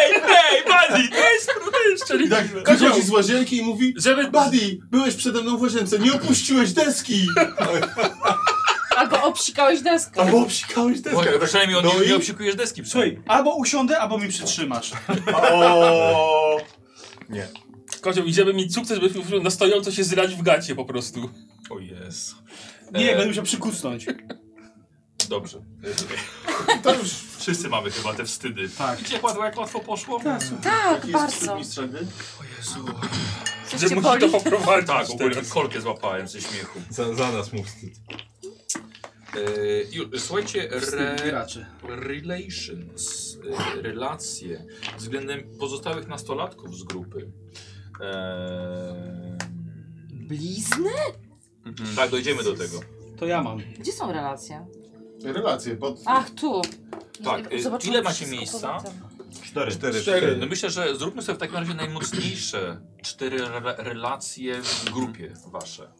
Ej, ej, buddy! Ej, skrót, ej, I szczerze. tak wychodzi z łazienki i mówi Żeby... Buddy, byłeś przede mną w łazience, nie opuściłeś deski! Albo obsikałeś deską. Albo obsikałeś deskę. Oj, Przynajmniej on No nie, i- nie obsikujesz deski. Słuchaj, albo usiądę, albo mi przytrzymasz. O, Kozioł, i żeby mieć sukces, byś musiał na stojąco się zrać w gacie po prostu. O jest. Nie, E. będę musiał przykucnąć. Dobrze. To już wszyscy mamy chyba te wstydy. Tak. Widzicie, jak łatwo- jak łatwo poszło? Tak, Jaki jest bardzo. wstyd mistrza gry? O Jezu. Coś Że cię musi to boli? poprowadzić Tak, ogólnie teraz. kolkę złapałem ze śmiechu. Za, za nas mu wstyd. Yy, ju- słuchajcie, re, Wstyd graczy. relations, yy, relacje względem pozostałych nastolatków z grupy. Blizny? Mhm. Yy, tak, dojdziemy do tego. To ja mam. Gdzie są relacje? Relacje, pod... Ach, tu. No, Tak, yy, Zobaczymy ile macie wszystko miejsca? potem. Cztery. Cztery. No myślę, że zróbmy sobie w takim razie najmocniejsze cztery re relacje w grupie wasze.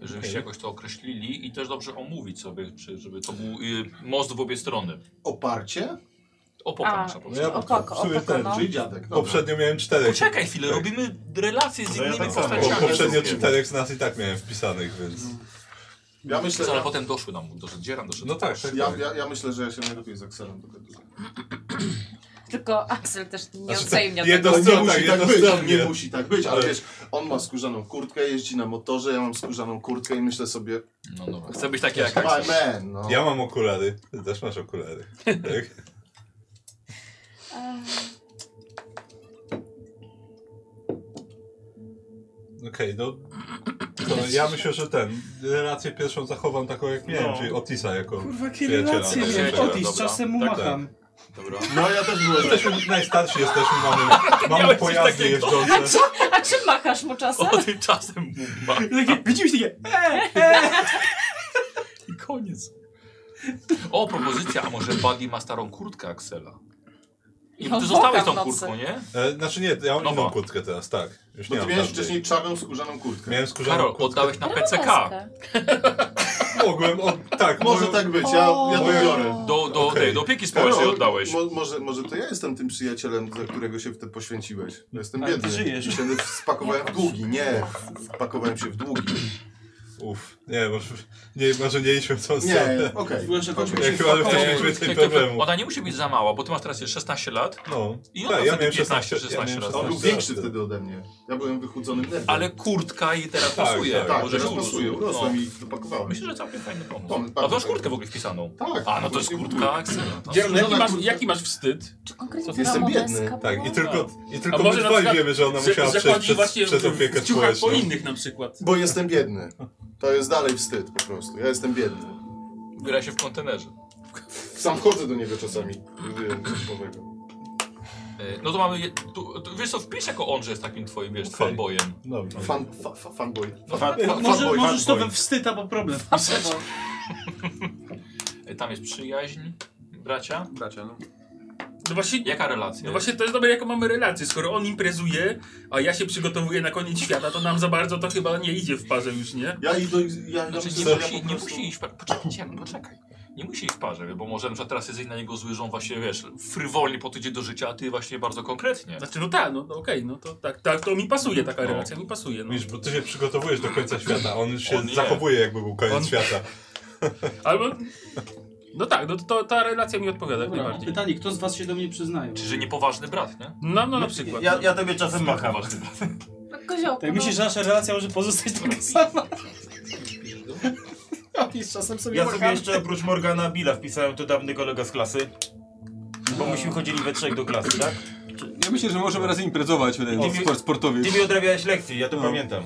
Żebyście Okej. jakoś to określili i też dobrze omówić sobie, czy, żeby to był y, most w obie strony. Oparcie? Opoka A, nasza no ja poprzednia. opoko, W sumie opoko, ten, no. czyli dziadek, dobra. Poprzednio miałem czterech. Poczekaj chwilę, robimy relacje z Tak. No ja innymi tak samo. postaciami. Poprzednio czterech z nas i tak miałem wpisanych, więc... Ja myślę, Ale że... potem doszły nam, doszedł dzieram, doszedł No tak, Doszedł. Ja, ja, ja myślę, że ja się najlepiej z Axelem dogaduję. Tylko Axel też nie Znaczy, odsejmia jedno tego. nie musi tak być, jednostronnie. nie musi tak być, ale, Ale- wiesz, on ma skórzaną kurtkę, jeździ na motorze, ja mam skórzaną kurtkę i myślę sobie... No dobra, chcę być taki jak My Axel. man, no. Ja mam okulary, ty też masz okulary. Tak? Ehm, Okej, no... To ja myślę, że ten, relację pierwszą zachowam taką jak miałem, No. czyli Otisa jako Kurwa, jakie przyjaciela. relacje Tak, miałeś? przyjaciela, Otis, dobra. czasem mu tak. macham. Dobra. No ja też byłem. Jesteśmy najstarsi, jesteśmy, mamy, mamy pojazdy a, czy, jeżdżące. a czy machasz mu czasem? O tym czasem mu macham. Takie, widzisz takie, e, I koniec. O, propozycja, a może Buddy ma starą kurtkę Axela? I on ty zostałeś tą płakał No, w nocy. kurtką, nie? E, znaczy nie, ja mam inną kurtkę teraz, tak. Już Bo nie ty mam miałeś tamtej. wcześniej czarną skórzaną kurtkę. Miałem skórzaną Karol, kurtkę. oddałeś na PCK. Relacje. Mogłem, o, tak. Może mogłem- tak być, ja, ja to Moja- biorę. Do, do, Okej. tej, do opieki społecznej Karol, oddałeś. Mo, może, może to ja jestem tym przyjacielem, za którego się wtedy poświęciłeś. Ja jestem Ale ty biedny. żyjesz. I się spakowałem w długi, nie. Spakowałem się w długi. Uff, nie, może nie, może nie idźmy w tą Nie, stronę. okej. Byłeś jakąś Okej. Ja chyba, że też nie mieliśmy tej Czekaj, to- problemu. Ona nie musi być za mała, bo ty masz teraz jeszcze 16 lat. No. I Tak, ona ja ja miałem 15, 16, 16, ja miałem lat. On był 16. większy wtedy ode mnie. Ja byłem wychudzonym nerwem. Ale kurtka jej teraz Tak, pasuje. tak, tak, Może teraz się pasuje. urósł. Urosłem No. i dopakowałem. Myślę, że całkiem fajny pomysł. Pomysł, A to masz bardzo kurtkę w ogóle wpisaną. Tak. A, no to jest kurtka Axela. No, No, Dzieram, no, Jaki masz, jaki masz wstyd? Konkretnie Jestem ta biedny. modeska Tak, i była? tylko, i tylko No. A my może na dwaj przykład wiemy, że ona że- musiała że przejść chodzi przez, właśnie przez w- opiekę no. w ciuchach po społeczną. innych na przykład. Bo jestem biedny. To jest dalej wstyd po prostu. Ja jestem biedny. Gra się w kontenerze. Sam chodzę do niego czasami. Nie wiem, coś nowego. E, No to mamy. je- Tu, tu, wiesz co, wpisz jako on, że jest takim twoim, wiesz, fanboyem. Dobra. Fan, fa, fa, fanboy. No, Fa- fa- fa- może- fanboy. możesz e, to we wstyd, bo problem wpisać. E, Tam jest przyjaźń, bracia. Bracia, no. No właśnie, Jaka relacja? no właśnie to jest dobre, jaką mamy relację. Skoro on imprezuje, a ja się przygotowuję na koniec świata, to nam za bardzo to chyba nie idzie w parze już, nie? Ja idę, ja, ja Znaczy, myślę, nie, że ja musi, po nie prostu- musi iść w parze. Poczekajcie, no poczekaj. Nie musi iść w parze, bo może na przykład teraz jesteś na niego zły, że on właśnie, wiesz, frywolnie podejdzie do życia, a ty właśnie bardzo konkretnie. Znaczy, no tak, no, no okej, no to tak, tak, to mi pasuje taka relacja, mi pasuje. No. Widzisz, bo ty się przygotowujesz do końca świata, on się On nie. zachowuje jakby był koniec On- świata. Albo, no tak, no to, to ta relacja mi odpowiada jak Dobra, najbardziej. pytanie, kto z was się do mnie przyznaje? Czy Znaczy, że niepoważny brat, nie? No, no na przykład. Ja, ja tobie czasem macham. Niepoważny brat. Koziołku, Tak myślisz, że nasza relacja może pozostać taka sama? Oni z czasem sobie Ja sobie machamy. jeszcze oprócz Morgana Billa wpisałem to dawny kolega z klasy. Bo myśmy chodzili we trzech do klasy, tak? Ja myślę, że możemy razem imprezować tutaj, Ty o, mi- sport, sportowiec. Ty mi odrabiałeś lekcje, ja to No. pamiętam.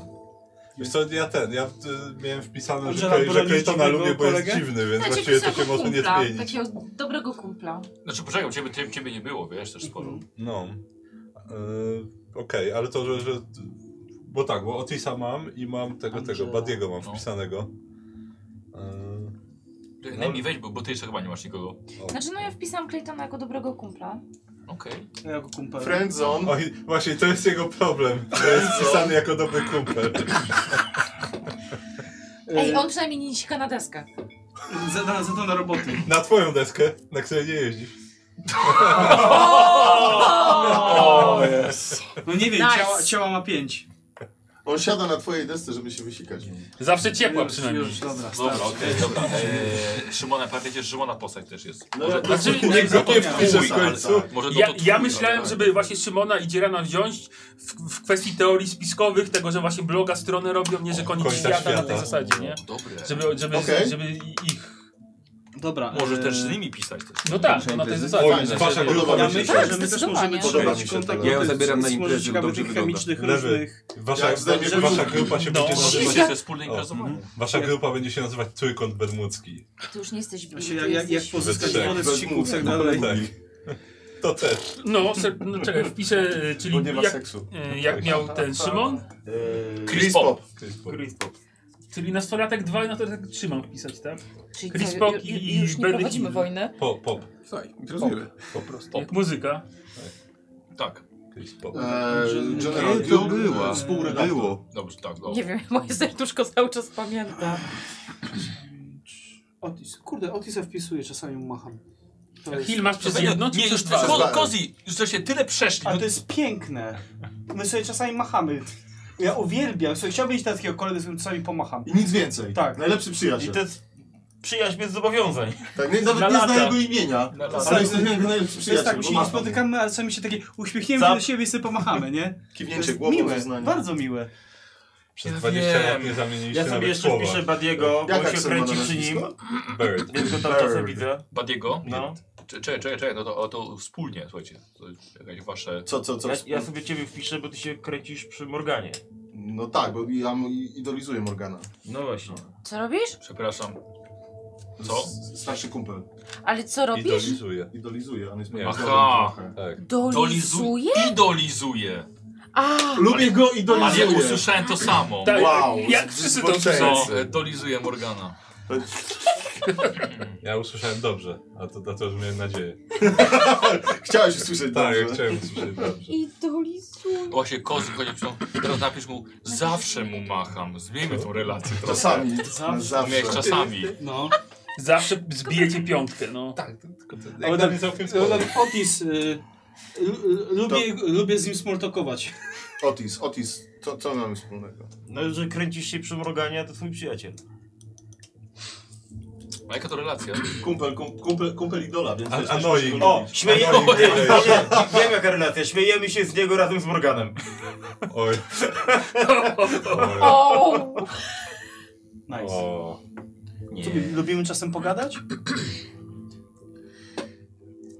Wiesz co, ja ten, ja y, miałem wpisane, że, Angela Clay- że broni Claytona dziwnego lubię, bo jest kolegę? dziwny, więc Macie właściwie to się wysoko może nie kumpla, zmienić. Takiego dobrego kumpla. Znaczy, poczekaj, ciebie, ciebie, ciebie nie było, wiesz, też sporo. No. Yy, Okej, ale to, że, że. Bo tak, bo Otisa mam i mam tego, tego, Badiego mam wpisanego. Yy, Ty, Najmniej weź, bo, bo ty jeszcze chyba nie masz nikogo. Znaczy, no ja wpisałam Claytona jako dobrego kumpla. Okej. Jako kumpel. Friendzone. Oj, właśnie, to jest jego problem. To jest wpisany jako dobry kumpel. Ej, on przynajmniej nie sika na deskę. E, Za, na- za to na roboty. Na twoją deskę, na której nie jeździsz. O, yes. No nie wiem, Nice. ciała, ciała ma pięć. On siada na twojej desce, żeby się wysikać. Zawsze ciepła Już, przynajmniej. już, dobra, Dobra, starczy. okej, dobra. Eee, Szymona, pamiętajcie, że Szymona postać też jest. No, Może- to- Znaczy, Nie, jakby- go nie wpiszę w końcu. Ale- ale- Może do Ja, do ja No twój, tak. myślałem, ale- żeby właśnie Szymona i Dzierana wziąć w, w kwestii teorii spiskowych, tego, że właśnie bloga strony robią, nie, że koniec końca świata, na świata. tej zasadzie, nie? Dobre. Żeby, żeby, Okej. żeby ich... Dobra. Może e, też z nimi pisać też. No tak, no na tej zasadzie. Fajne, Wasza fajne. grupa Ja myślę, myślę, że my też zdecydowanie. możemy Podoba mi szukać się to. kontaktów. Ja ją zabieram na z imprezę, może ciekawych dobrze tych wygląda. chemicznych Lewy. różnych... Wasza, Jak zdejmie wasza, wasza klucz. grupa się No. będzie nazywać... Się ze wspólnej O, imprezowanie. mhm. Wasza Jak- grupa będzie się nazywać Trójkąt Bermudzki. Ty już nie jesteś bili, Właśnie ty Znaczy, jak- jak- jesteś... Znaczy, jak pozyskać We trzech. wodę z sików, tak No, dalej. tak. To też. No, se, no czekaj, wpiszę, e, Bo czyli nie ma Tak, jak, seksu. e, jak miał ten Szymon? Chris Pop. Chris Pop. Czyli nastolatek 2 i nastolatek 3 mam wpisać, tak? Czyli Chris co, Pop ju- ju- i już nie Benny prowadzimy Hill. wojny? Pop, pop. Słuchaj, rozumiem. Po prostu. Jak muzyka. Tak. Chris Pop. Eee, General Kiedy to Duke, była? współredaktor. Było. Dobrze, tak, Nie wiem, moje serduszko cały czas pamięta. Otis. Kurde, Otisa wpisuję, czasami mu macham. To jest- Hill masz przez jedno, czy No Nie, przez już dwa? ko Kozi, już żeście tyle przeszli. Ale to jest piękne. My sobie czasami machamy. Ja uwielbiam. Słuchaj, chciałbym iść na takiego kolegę, z którym czasami pomacham. I nic więcej. Tak. Najlepszy przyjaciel. I to jest przyjaźń bez zobowiązań. Tak, nie, nawet Na nie zna lata. jego imienia, No, Na lata. ale jest to jego najlepszy To jest tak, przyjaciel. my bo się ma- nie spotykamy, ale sami się takie uśmiechniemy Za- do siebie i sobie pomachamy, nie? Kiwnięcie To jest głową miłe, uznania. bardzo miłe. Przez 20 lat nie zamieniliście Ja sobie nawet jeszcze słowa. wpiszę Badiego, bo Jaka się ksywka kręci na przy nim. nazwisko? Bird. Więc go tam czasem widzę. Badiego? No. Czekaj, czekaj, czekaj, no to, o, to wspólnie, słuchajcie. To jest jakieś wasze... Ja, ja sobie ciebie wpiszę, bo ty się kręcisz przy Morganie. No tak, bo ja mu idolizuję Morgana. No właśnie. Co robisz? Przepraszam. Co? Starszy kumpel. Ale co robisz? Idolizuje. Idolizuje, on jest moim Aha. idolem trochę. Tak. Dolizuje? Idolizuje. A, Lubię go Ale ja idolizuję. usłyszałem to samo. Tak, Wow, jak wszyscy to Co? zboczeńcy. Idolizuje Morgana. Ja usłyszałem dobrze, a to dlatego, że miałem nadzieję. Chciałeś usłyszeć Tak, ja dobrze. chciałem usłyszeć dobrze. idolizuje. Właśnie kozy chodzi przy... Teraz napisz mu, zawsze mu macham. Zmieńmy tą relację trochę. Czasami, Zawsze. zawsze. Miałeś czasami. No. Zawsze zbijecie piątkę, no. Tak, to tylko to. Ale dla mnie tak, całkiem ale spoko. tak, Otis, y, lu- lubię, lubię z nim smoltokować. Otis, Otis, co, co mamy wspólnego? No, że kręcisz się przy Morganie, a to twój przyjaciel. A jaka to relacja? Kumpel, kum, kumpel, kumpel idola, więc... A- też- też Anoim. go lubisz. O, śmiejemy Anonim, się. to Nie, jest. nie, wiem jaka relacja. Śmiejemy się z niego razem z Morganem. Oj. O! Nice. O. Co, lu- lubimy czasem pogadać?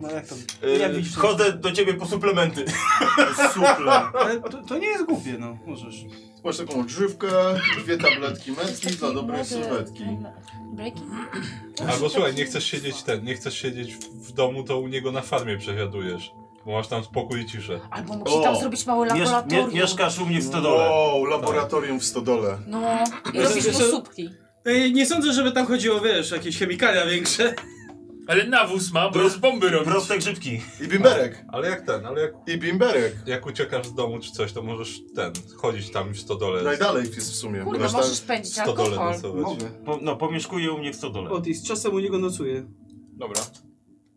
No jak to? Yy, Y, Jak widzisz, Chodzę do ciebie po suplementy. Suple. Ale To, to nie jest głupie, no. Możesz. Masz taką odżywkę, dwie tabletki metki dla dobrej sylwetki. Breaking? Albo słuchaj, nie chcesz siedzieć ten, nie chcesz siedzieć w- w domu, to u niego na farmie przewiadujesz. Bo masz tam spokój i ciszę. Albo musi tam zrobić małe laboratorium. mieszkasz u mnie w stodole. Wow, laboratorium w stodole. No, i robisz mu supki. Ej, nie sądzę, żeby tam chodziło, wiesz, jakieś chemikalia większe. Ale nawóz ma, bo z bomby robi. Proste grzybki. I bimberek. Ale jak ten, ale jak, I bimberek. jak uciekasz z domu czy coś, to możesz ten, chodzić tam w stodole. Najdalej jest w sumie. Kurde, Masz możesz tam pędzić stodole alkohol. nocować. Po, no, pomieszkuje u mnie w stodole. Otis, czasem u niego nocuje. Dobra.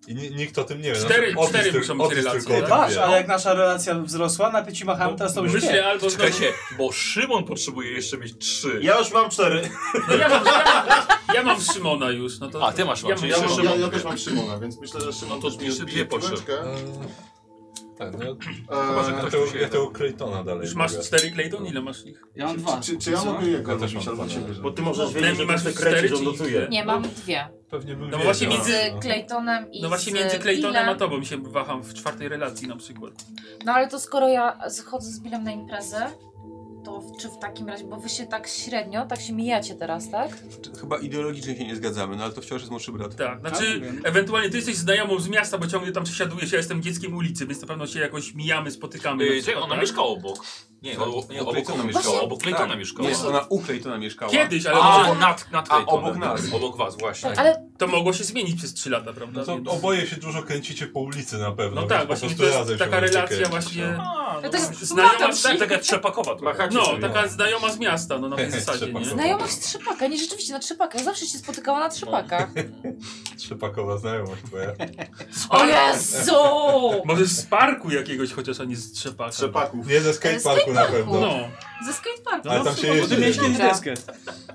I ni- nikt o tym nie wie. Cztery- Otis cztery tyl- muszą być Otis relacje, tylko o tak? tym Patrz, wie. ale jak nasza relacja wzrosła, na pięci machamy, teraz to już Myślę, wie. albo znowu... Czekajcie, bo Szymon potrzebuje jeszcze mieć trzy. Ja już mam cztery. No ja mam, ja mam, ja mam Szymona już, no to... A, ty masz, ja czyli mam, Ja, mam, ja, Szymon. ja też mam Szymona, więc myślę, że Szymon No to też mi jeszcze odbije dwie potrzeby. piłeczkę. E, Tak, no, Chyba, że ja ktoś tego- musi ja tego Claytona dalej Już masz lubię. cztery Clayton? Ile masz ich? Ja mam dwa. Czy, czy ja Co? mogę jego Ja też robić mam albo dwa, ciebie? Bo ty możesz Ty wiedzieć, że masz masz te cztery, kręcisz, czy on nocuje. Nie, mam dwie. Pewnie bym No wiedział. właśnie między- Z Claytonem i No właśnie z między Claytonem a Billem. tobą się waham w czwartej relacji na przykład. No ale to skoro ja schodzę z Billem na imprezę, to w- czy w takim razie, bo wy się tak średnio, tak się mijacie teraz, tak? Chyba ideologicznie się nie zgadzamy, no ale to wciąż jest młodszy brat. Tak, znaczy wiem. ewentualnie ty jesteś znajomą z miasta, bo ciągle tam przesiadujesz, ja jestem dzieckiem ulicy, więc na pewno się jakoś mijamy, spotykamy. na Ej, przykład, czekaj, y, Yy, ona tak? mieszka obok. Nie, obok, nie, U obok Claytona ona mieszkała, mieszkała. obok Claytona Tak. mieszkała. Nie, ona u Claytona mieszkała. Kiedyś, ale A, może- nad, nad a, Claytonem. obok nas. Obok was, właśnie. Tak. Ale To mogło się zmienić przez 3 lata, prawda? No to Więc- oboje się dużo kręcicie po ulicy na pewno. no więc tak, po właśnie prostu to razem jest się taka będziecie relacja kręcić, właśnie... no. A, to jest Znajoma, znajoma, tak, się. taka trzepakowa trochę. Machacie No, sobie. taka znajoma z miasta, no na tej zasadzie, nie? Trzepakowa. Znajoma z trzypaka, nie rzeczywiście na trzypakach, zawsze się spotykała na trzypakach. No. Trzepakowa znajomość twoja. O Jezu! Może z parku jakiegoś chociaż, a nie z trzepaka. Trzepaków. Nie ze skateparku na pewno. No, Ze skateparku. Ale tam się No, Bo ty miałeś jeździ. kiedyś Dobra. deskę.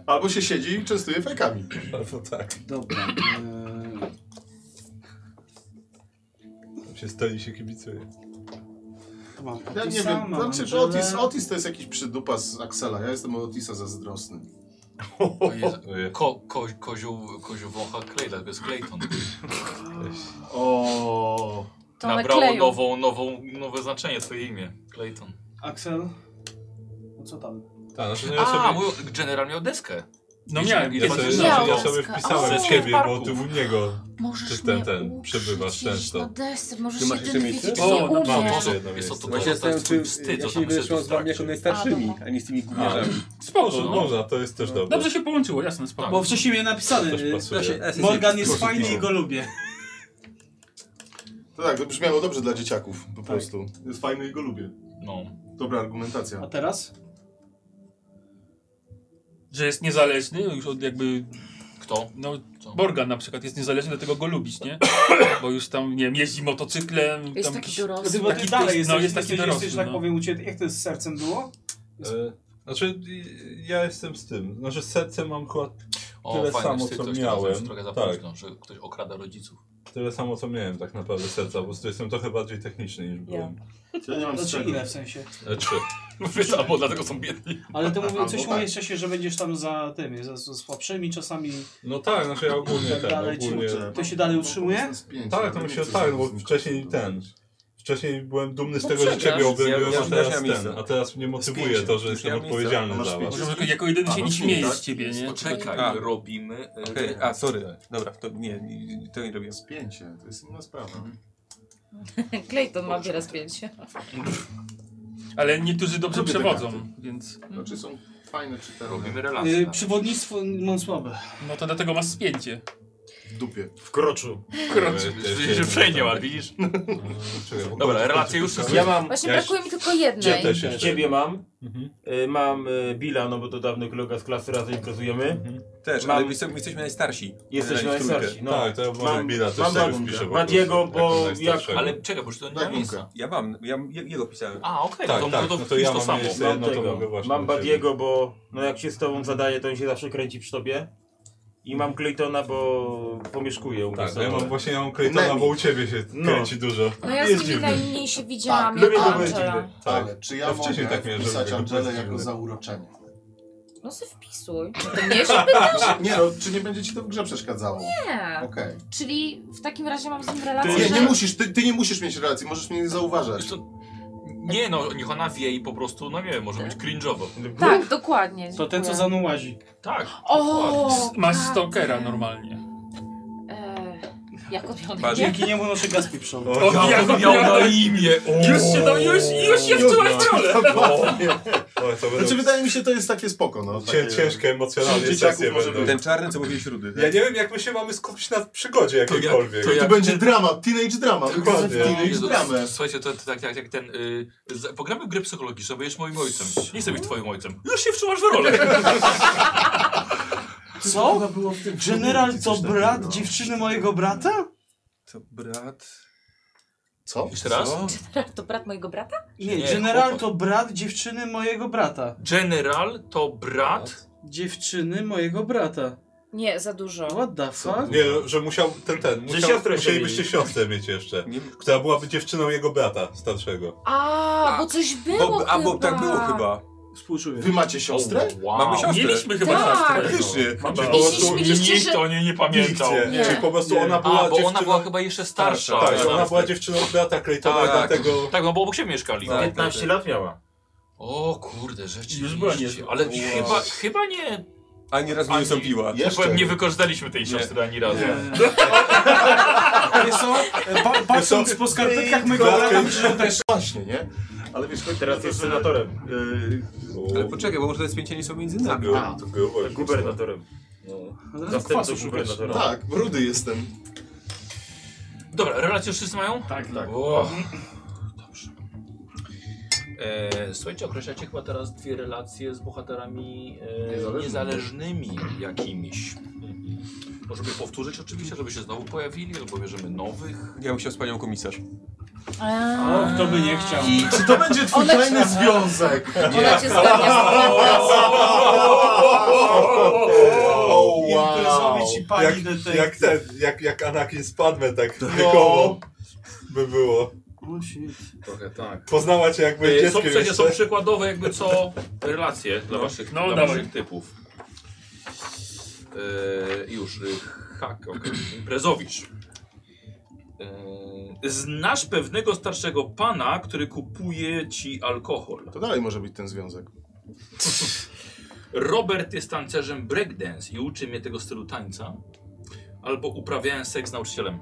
Albo się siedzi i częstuje fejkami. Albo tak. Dobra. e, Tam się stoi i się kibicuje. to mam Ja nie Otisa, wiem, mam znaczy, że Angelę. Otis, Otis to jest jakiś przydupa z Axela, ja jestem od Otisa zazdrosny. Y, Ko, ko, koziu, koziu wącha Clayla, to jest Clayton. O. To Nabrało nakleją. nową, nową, nowe znaczenie twoje imię. Clayton. Axel? No co tam? Tak, znaczy, no A, ja sobie- mój general miał deskę. No Wiesz, miałem jak Ja sobie, patrzysz ja na sobie- ja to? sobie wpisałem O, ciebie, w bo parku. ty u niego Możesz ty ten, mnie ten przebywasz często. Na desce, możesz Ty się masz jeszcze miejsce? identyfikować. O, Nie no, mam umiem. jeszcze jedno miejsce. Bo się zastanawiam, czy ja się nie będę szło z tak. wami jako najstarszymi, a nie z tymi gówniarzami. Spoko, no. można, to jest też dobre. Dobrze się połączyło, jasne, spoko. Bo wcześniej miałem napisane. To też y, pasuje. proszę, Ja się Morgan zje- jest proszę, fajny proszę. i go lubię. To tak, to brzmiało dobrze dla dzieciaków, po prostu. Tak. Jest fajny i go lubię. No. Dobra argumentacja. A teraz? Że jest niezależny już od jakby... Kto? No, Borgan na przykład jest niezależny, dlatego go lubić, nie? Bo już tam, nie wiem, jeździ motocyklem. Jest tam taki jakiś- dorosły. Ty, bo ty dalej jesteś, no, jest taki jesteś, dorosły, jesteś tak no. powiem u ciebie, jak to z sercem było? E, Znaczy, i- ja jestem z tym. Znaczy, z sercem mam chyba O, tyle fajne, samo, wstyd, co to już teraz miałem. już trochę za Tak, późno, że ktoś okrada rodziców. tyle samo, co miałem tak naprawdę serca, bo to jestem trochę bardziej techniczny niż byłem. Ja nie mam Znaczy strzegu. ile w sensie? E, Trzy. Wiesz, albo dlatego są biedni. Ale to mówię, Albo coś tak. mówisz wcześniej, że będziesz tam za tymi, za, za słabszymi czasami. No tak, znaczy ja ogólnie Tak ten, dalej ci- ogólnie... To się No, dalej utrzymuje? Tak, to mi się tak, bo wcześniej ten. Wcześniej byłem dumny z No tego, że przegrasz. ciebie obejmują, Ja- a ja teraz miałem ten, miejsce. a teraz mnie motywuje pięciu. to, że Już jestem miałem miejsce. odpowiedzialny Masz za was. pięć. Może tylko jako jedyny A, się no nie śmieję śmieje tak? z ciebie, nie? Poczekaj, robimy, e, okej, teraz. A, sorry, dobra, to nie, nie- to nie robię. Spięcie, to jest inna sprawa. Mhm. Clayton ma wiele zdjęć. Ale niektórzy dobrze Lubię te przewodzą, karty. więc... Znaczy są fajne czytelne. Robimy Y, przewodnictwo mam słabe. No to dlatego masz spięcie. W dupie. W kroczu. W kroczu. Ja jeszcze Że jedno przejmie, tam. ale widzisz? Czekaj, bo Dobra, kończę, relacje już kończę. są. Ja mam... Właśnie ja brakuje mi tylko jednej. Ciebie, też jeszcze ciebie jedno. mam. Y, Mam y, Billa, no bo to dawny kolega z klasy, razem imprezujemy. Też, mam... ale my jesteśmy- my jesteśmy najstarsi. Jesteśmy Generalnie w trójkę. najstarsi, no. Tak, to ja może Mam- Billa też mam sobie Bad- wpiszę. Badiego, bo jak- Ale czekaj, bo już to Tak. nie ma miejsca. Ja mam, ja ja- jego pisałem. A, okej, Tak, to, tak, to, no to to, ja to mam samo. miejsce. Mam No to tego. mogę właśnie mam do ciebie. Badiego, bo no jak się z tobą zadaje, to on się zawsze kręci przy tobie. I mam Claytona, bo pomieszkuje u mnie Tak, w domu. ja mam właśnie ja mam Claytona, bo u ciebie się No. kręci dużo. No ja z Jest nimi dziwny. najmniej się widziałam, lubię jako to być Angela. dziwny. Tak, Tak. czy ja, Ja wcześniej mogę tak miałem, że wpisać lubię Angelę kogoś jako dziwnego. zauroczenie? No se wpisuj. To mnie się pytasz? Nie, no, czy nie będzie ci to w grze przeszkadzało? Nie. Okej. Czyli w takim razie mam z nim relację, Nie, że... nie musisz, ty, ty nie musisz mieć relacji, możesz mnie nie zauważać. Nie no, niech ona wie i po prostu, no nie wiem, może być cringe'owo. Tak, dokładnie. To ten, co dziękuję. za mną łazi. Tak. O, S- Masz tak. stalkera normalnie. Eee, jak odmiany. Dzięki niemu noszę gaski przodu. O, ja ja bym go miał na miałem. imię. O. Już się do, już, już się wczułeś w rolę. No. O, to Znaczy będą wydaje mi się to jest takie spoko, no. cię, Takie... ciężkie emocjonalnie Dzieciaków sesje może będą. Ten czarny, co tak? mówił śrudy. Ja nie wiem, jak my się mamy skupić na przygodzie jakiejkolwiek. To, to będzie drama, teenage drama. Dokładnie. Teenage Jezu, dramę. Słuchajcie, to, to tak jak jak ten. Y, z, pogramy w gry psychologiczne, bo jesteś moim ojcem. Nie chcę być twoim ojcem. Już się wczuwasz w rolę. Co? General to brat dziewczyny mojego brata? To brat... Co? Jeszcze raz? Co? To brat mojego brata? Nie, Nie, general chłopak. to brat dziewczyny mojego brata. General to brat. Dziewczyny mojego brata. Nie, za dużo. What the fuck? Nie, no, że musiał ten, ten, musiał, siostrę się musielibyście mieli. siostrę mieć jeszcze, która byłaby dziewczyną jego brata starszego. A, bo coś było Bo, chyba. a bo tak było chyba. Współczuję. Wy macie siostrę? Wow. Mamy siostrę. Mieliśmy chyba Tak. siostrę. Faktycznie. Mamy- No. Czy I po prostu mieliście, Nikt że- o niej nie pamiętał. nie. Nie. Czy po prostu Nie. ona była A, bo dziewczyną... ona była chyba jeszcze starsza. Tak, Tak, ona była dziewczyną brata Claytona, Tak. dlatego... tak, no bo obok siebie mieszkali. Tak. 15 lat miała. O kurde, rzeczywiście. Już była niezła. Ale Wow. chyba, chyba nie. Ani razu nie Ani- ustąpiła. Jeszcze. Chyba nie wykorzystaliśmy tej siostry ani razu. Wiesz co? Pa, patrząc po skarpetkach mojego Klatkę brata, i- myślę, że Właśnie, nie? Ale wiesz, chodzi o Teraz to, jest że- senatorem. Ale poczekaj, bo może te spięcia nie są między nami. Było- to było już Gubernatorem. też... Zastępcą Kwasu szukać. gubernatora. Tak, brudy jestem. Dobra, relacje już wszyscy mają? Tak, tak. Dobrze. E, słuchajcie, określacie chyba teraz dwie relacje z bohaterami e, Niezależnymi. niezależnymi jakimiś. Możemy powtórzyć oczywiście, żeby się znowu pojawili, albo bierzemy nowych. Ja bym chciał z panią komisarz. A, O, kto by nie chciał. Czy to będzie twój Ona cię- tajny związek? Ona cię zgadnia tak. O, wow. Imprezowi ci pani Jak, detektyw. jak ten, jak, jak Anakin Spadme tak wiekowo by było. O, shit. Trochę tak. Poznała cię jakby E, dzieckiem są, w sensie, jeszcze. są przykładowe jakby co relacje dla waszych, No, dla dawaj. waszych typów. E, już, e, hak, okay. imprezowicz. E, znasz pewnego starszego pana, który kupuje ci alkohol. To dalej może być ten związek. Robert jest tancerzem breakdance i uczy mnie tego stylu tańca. Albo uprawiałem seks z nauczycielem.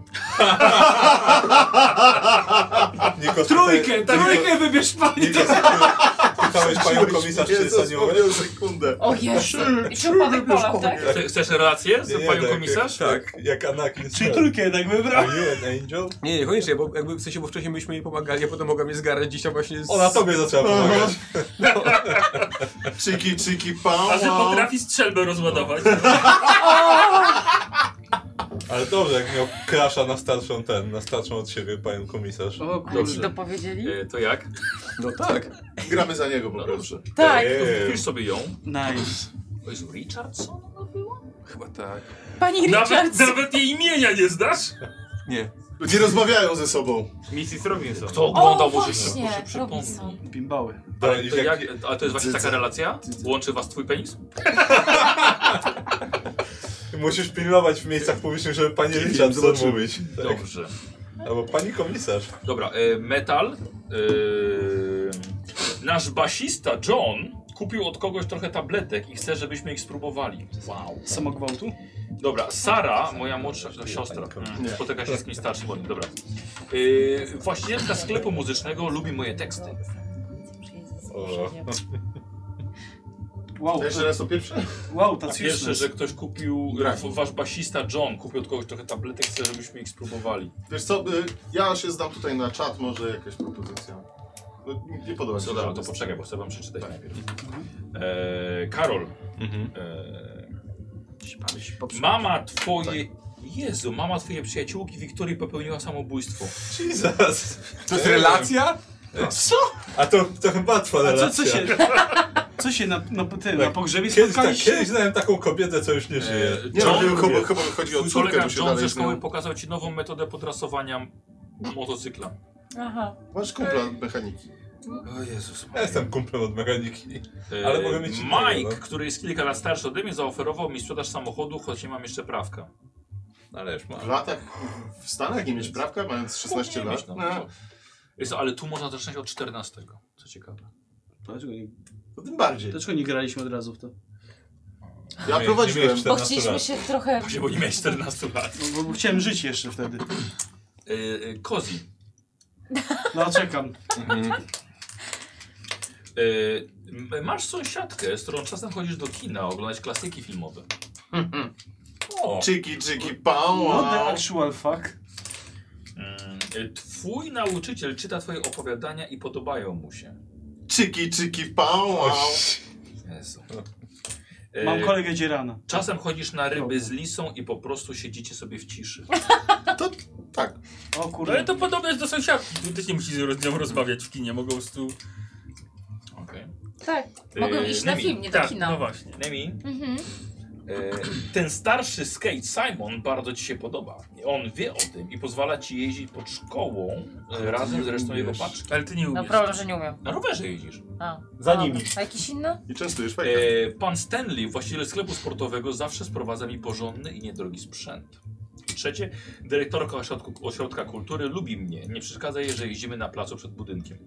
Nikos, Trójkę, trójkę wybierz pani. Pytałeś panią komisarz, czy jest aniołem? sekundę. O Jezu. I czy upadek Polak, tak? Chce- Chcesz relację Nie, z nie, panią tak, komisarz? Tak, jak Anakin. Czyli trójkę jednak wybrał. Are you an angel? Nie, nie, koniecznie, bo jakby w sensie, bo wcześniej myśmy jej pomagali, a potem mogła mnie zgarać gdzieś tam właśnie z... Ona tobie zaczęła pomagać. Czyki, czyki, pał. Każdy No. potrafi strzelbę rozładować. Ale dobrze, jak miał krasza na starszą ten, na starszą od siebie panią komisarz. O, Ale ci dopowiedzieli? E, to jak? No tak. Gramy za niego po prostu. Tak. e. To Wpisz sobie ją. Nice. To jest Richardson? Chyba tak. Pani Nawet, Richards. nawet jej imienia nie znasz? Nie. Nie rozmawiają ze sobą. Mrs. Robinson. Kto oglądał O, może właśnie, proszę przypomnij. Robinson. Bimbały. Ale to, jak- jak, a to jest właśnie taka Dzydza. relacja? Łączy was twój penis? Musisz pilnować w miejscach publicznych, żeby pani Richardson mówić. Tak. Dobrze. Albo pani komisarz. Dobra, e, metal. E, nasz basista John kupił od kogoś trochę tabletek i chce, żebyśmy ich spróbowali. Wow. Samogwałtu? Dobra, Sara, moja młodsza no, siostra, Nie. spotyka się z kimś starszym od nich, dobra. Yy, właścicielka sklepu muzycznego lubi moje teksty. Wow. Jeszcze raz to pierwsze? Wow, A ta pierwsze, że ktoś kupił, w- wasz basista John kupił od kogoś trochę tabletek, chce, żebyśmy ich spróbowali. Wiesz co, y, ja się zdam tutaj na czat, może jakaś propozycja. No, Nie podoba mi się. Dobra, Tak. to poczekaj, bo chcę wam przeczytać najpierw. Eee, Karol. Mhm. Eee, mama twoje... Tak. Jezu, mama twojej przyjaciółki Wiktorii popełniła samobójstwo. Jesus. No. To jest relacja? Co? A to, to chyba trwa A relacja. co, co się... Co się na, na, ty, na pogrzebie Kiedyś, tak, spotkaliście? kiedyś znałem taką kobietę, co już nie żyje. Nie, no, John, chyba, chyba, chyba chodzi o Twój córkę, kolega bo się John dalej ze szkoły szkoły... pokazał ci nową metodę podrasowania motocykla. Aha. Masz kumpla od mechaniki. O Jezus. Ja jestem kumplem od mechaniki. Eee, Ale mogę mieć innego, Mike, no. który jest kilka lat starszy ode mnie, zaoferował mi sprzedaż samochodu, choć nie mam jeszcze prawka. No Ale już mam. W latach, w Stanach nie mieć prawka, mając Mógł 16 nie lat. mieć, no. No, Jest, ale tu można zacząć od 14. Co ciekawe. Dlaczego nie, to tym bardziej. dlaczego nie graliśmy od razu w to? Ja nie prowadziłem. miałeś Bo 14 chcieliśmy lat. się trochę... Właśnie, bo nie miałeś 14 lat. No, bo- bo chciałem żyć jeszcze wtedy. Yy, Kozi. No czekam. Yy, m- masz sąsiadkę, z którą czasem chodzisz do kina oglądać klasyki filmowe. O. Czyki, czyki, No pał. What the tak. actual fuck? Yy, Twój nauczyciel czyta twoje opowiadania i podobają mu się. Czyki, czyki, pał. Jezu. Mam Yy, kolegę dzierana. Czasem chodzisz na ryby z lisą i po prostu siedzicie sobie w ciszy. To tak. O No, ale kurde. to podobne jest do sąsiadki. Tu też nie musisz z nią rozmawiać w kinie, mogą po prostu... Okej. Tak, mogłem Yy, iść na Nemi. film, nie do Tak, kina. no właśnie. Nemi, Mhm. e, ten starszy skate Simon bardzo ci się podoba. On wie o tym i pozwala ci jeździć pod szkołą e, razem z resztą jego paczki. Ale ty nie No umiesz. problem, że nie umiem. Na rowerze jeździsz. A, Za dobra. nimi. A jakiś inny? I częstujesz fajnie. E, pan Stanley, właściciel sklepu sportowego, zawsze sprowadza mi porządny i niedrogi sprzęt. I trzecie, dyrektorka ośrodku, ośrodka kultury lubi mnie. Nie przeszkadza jej, że jeździmy na placu przed budynkiem.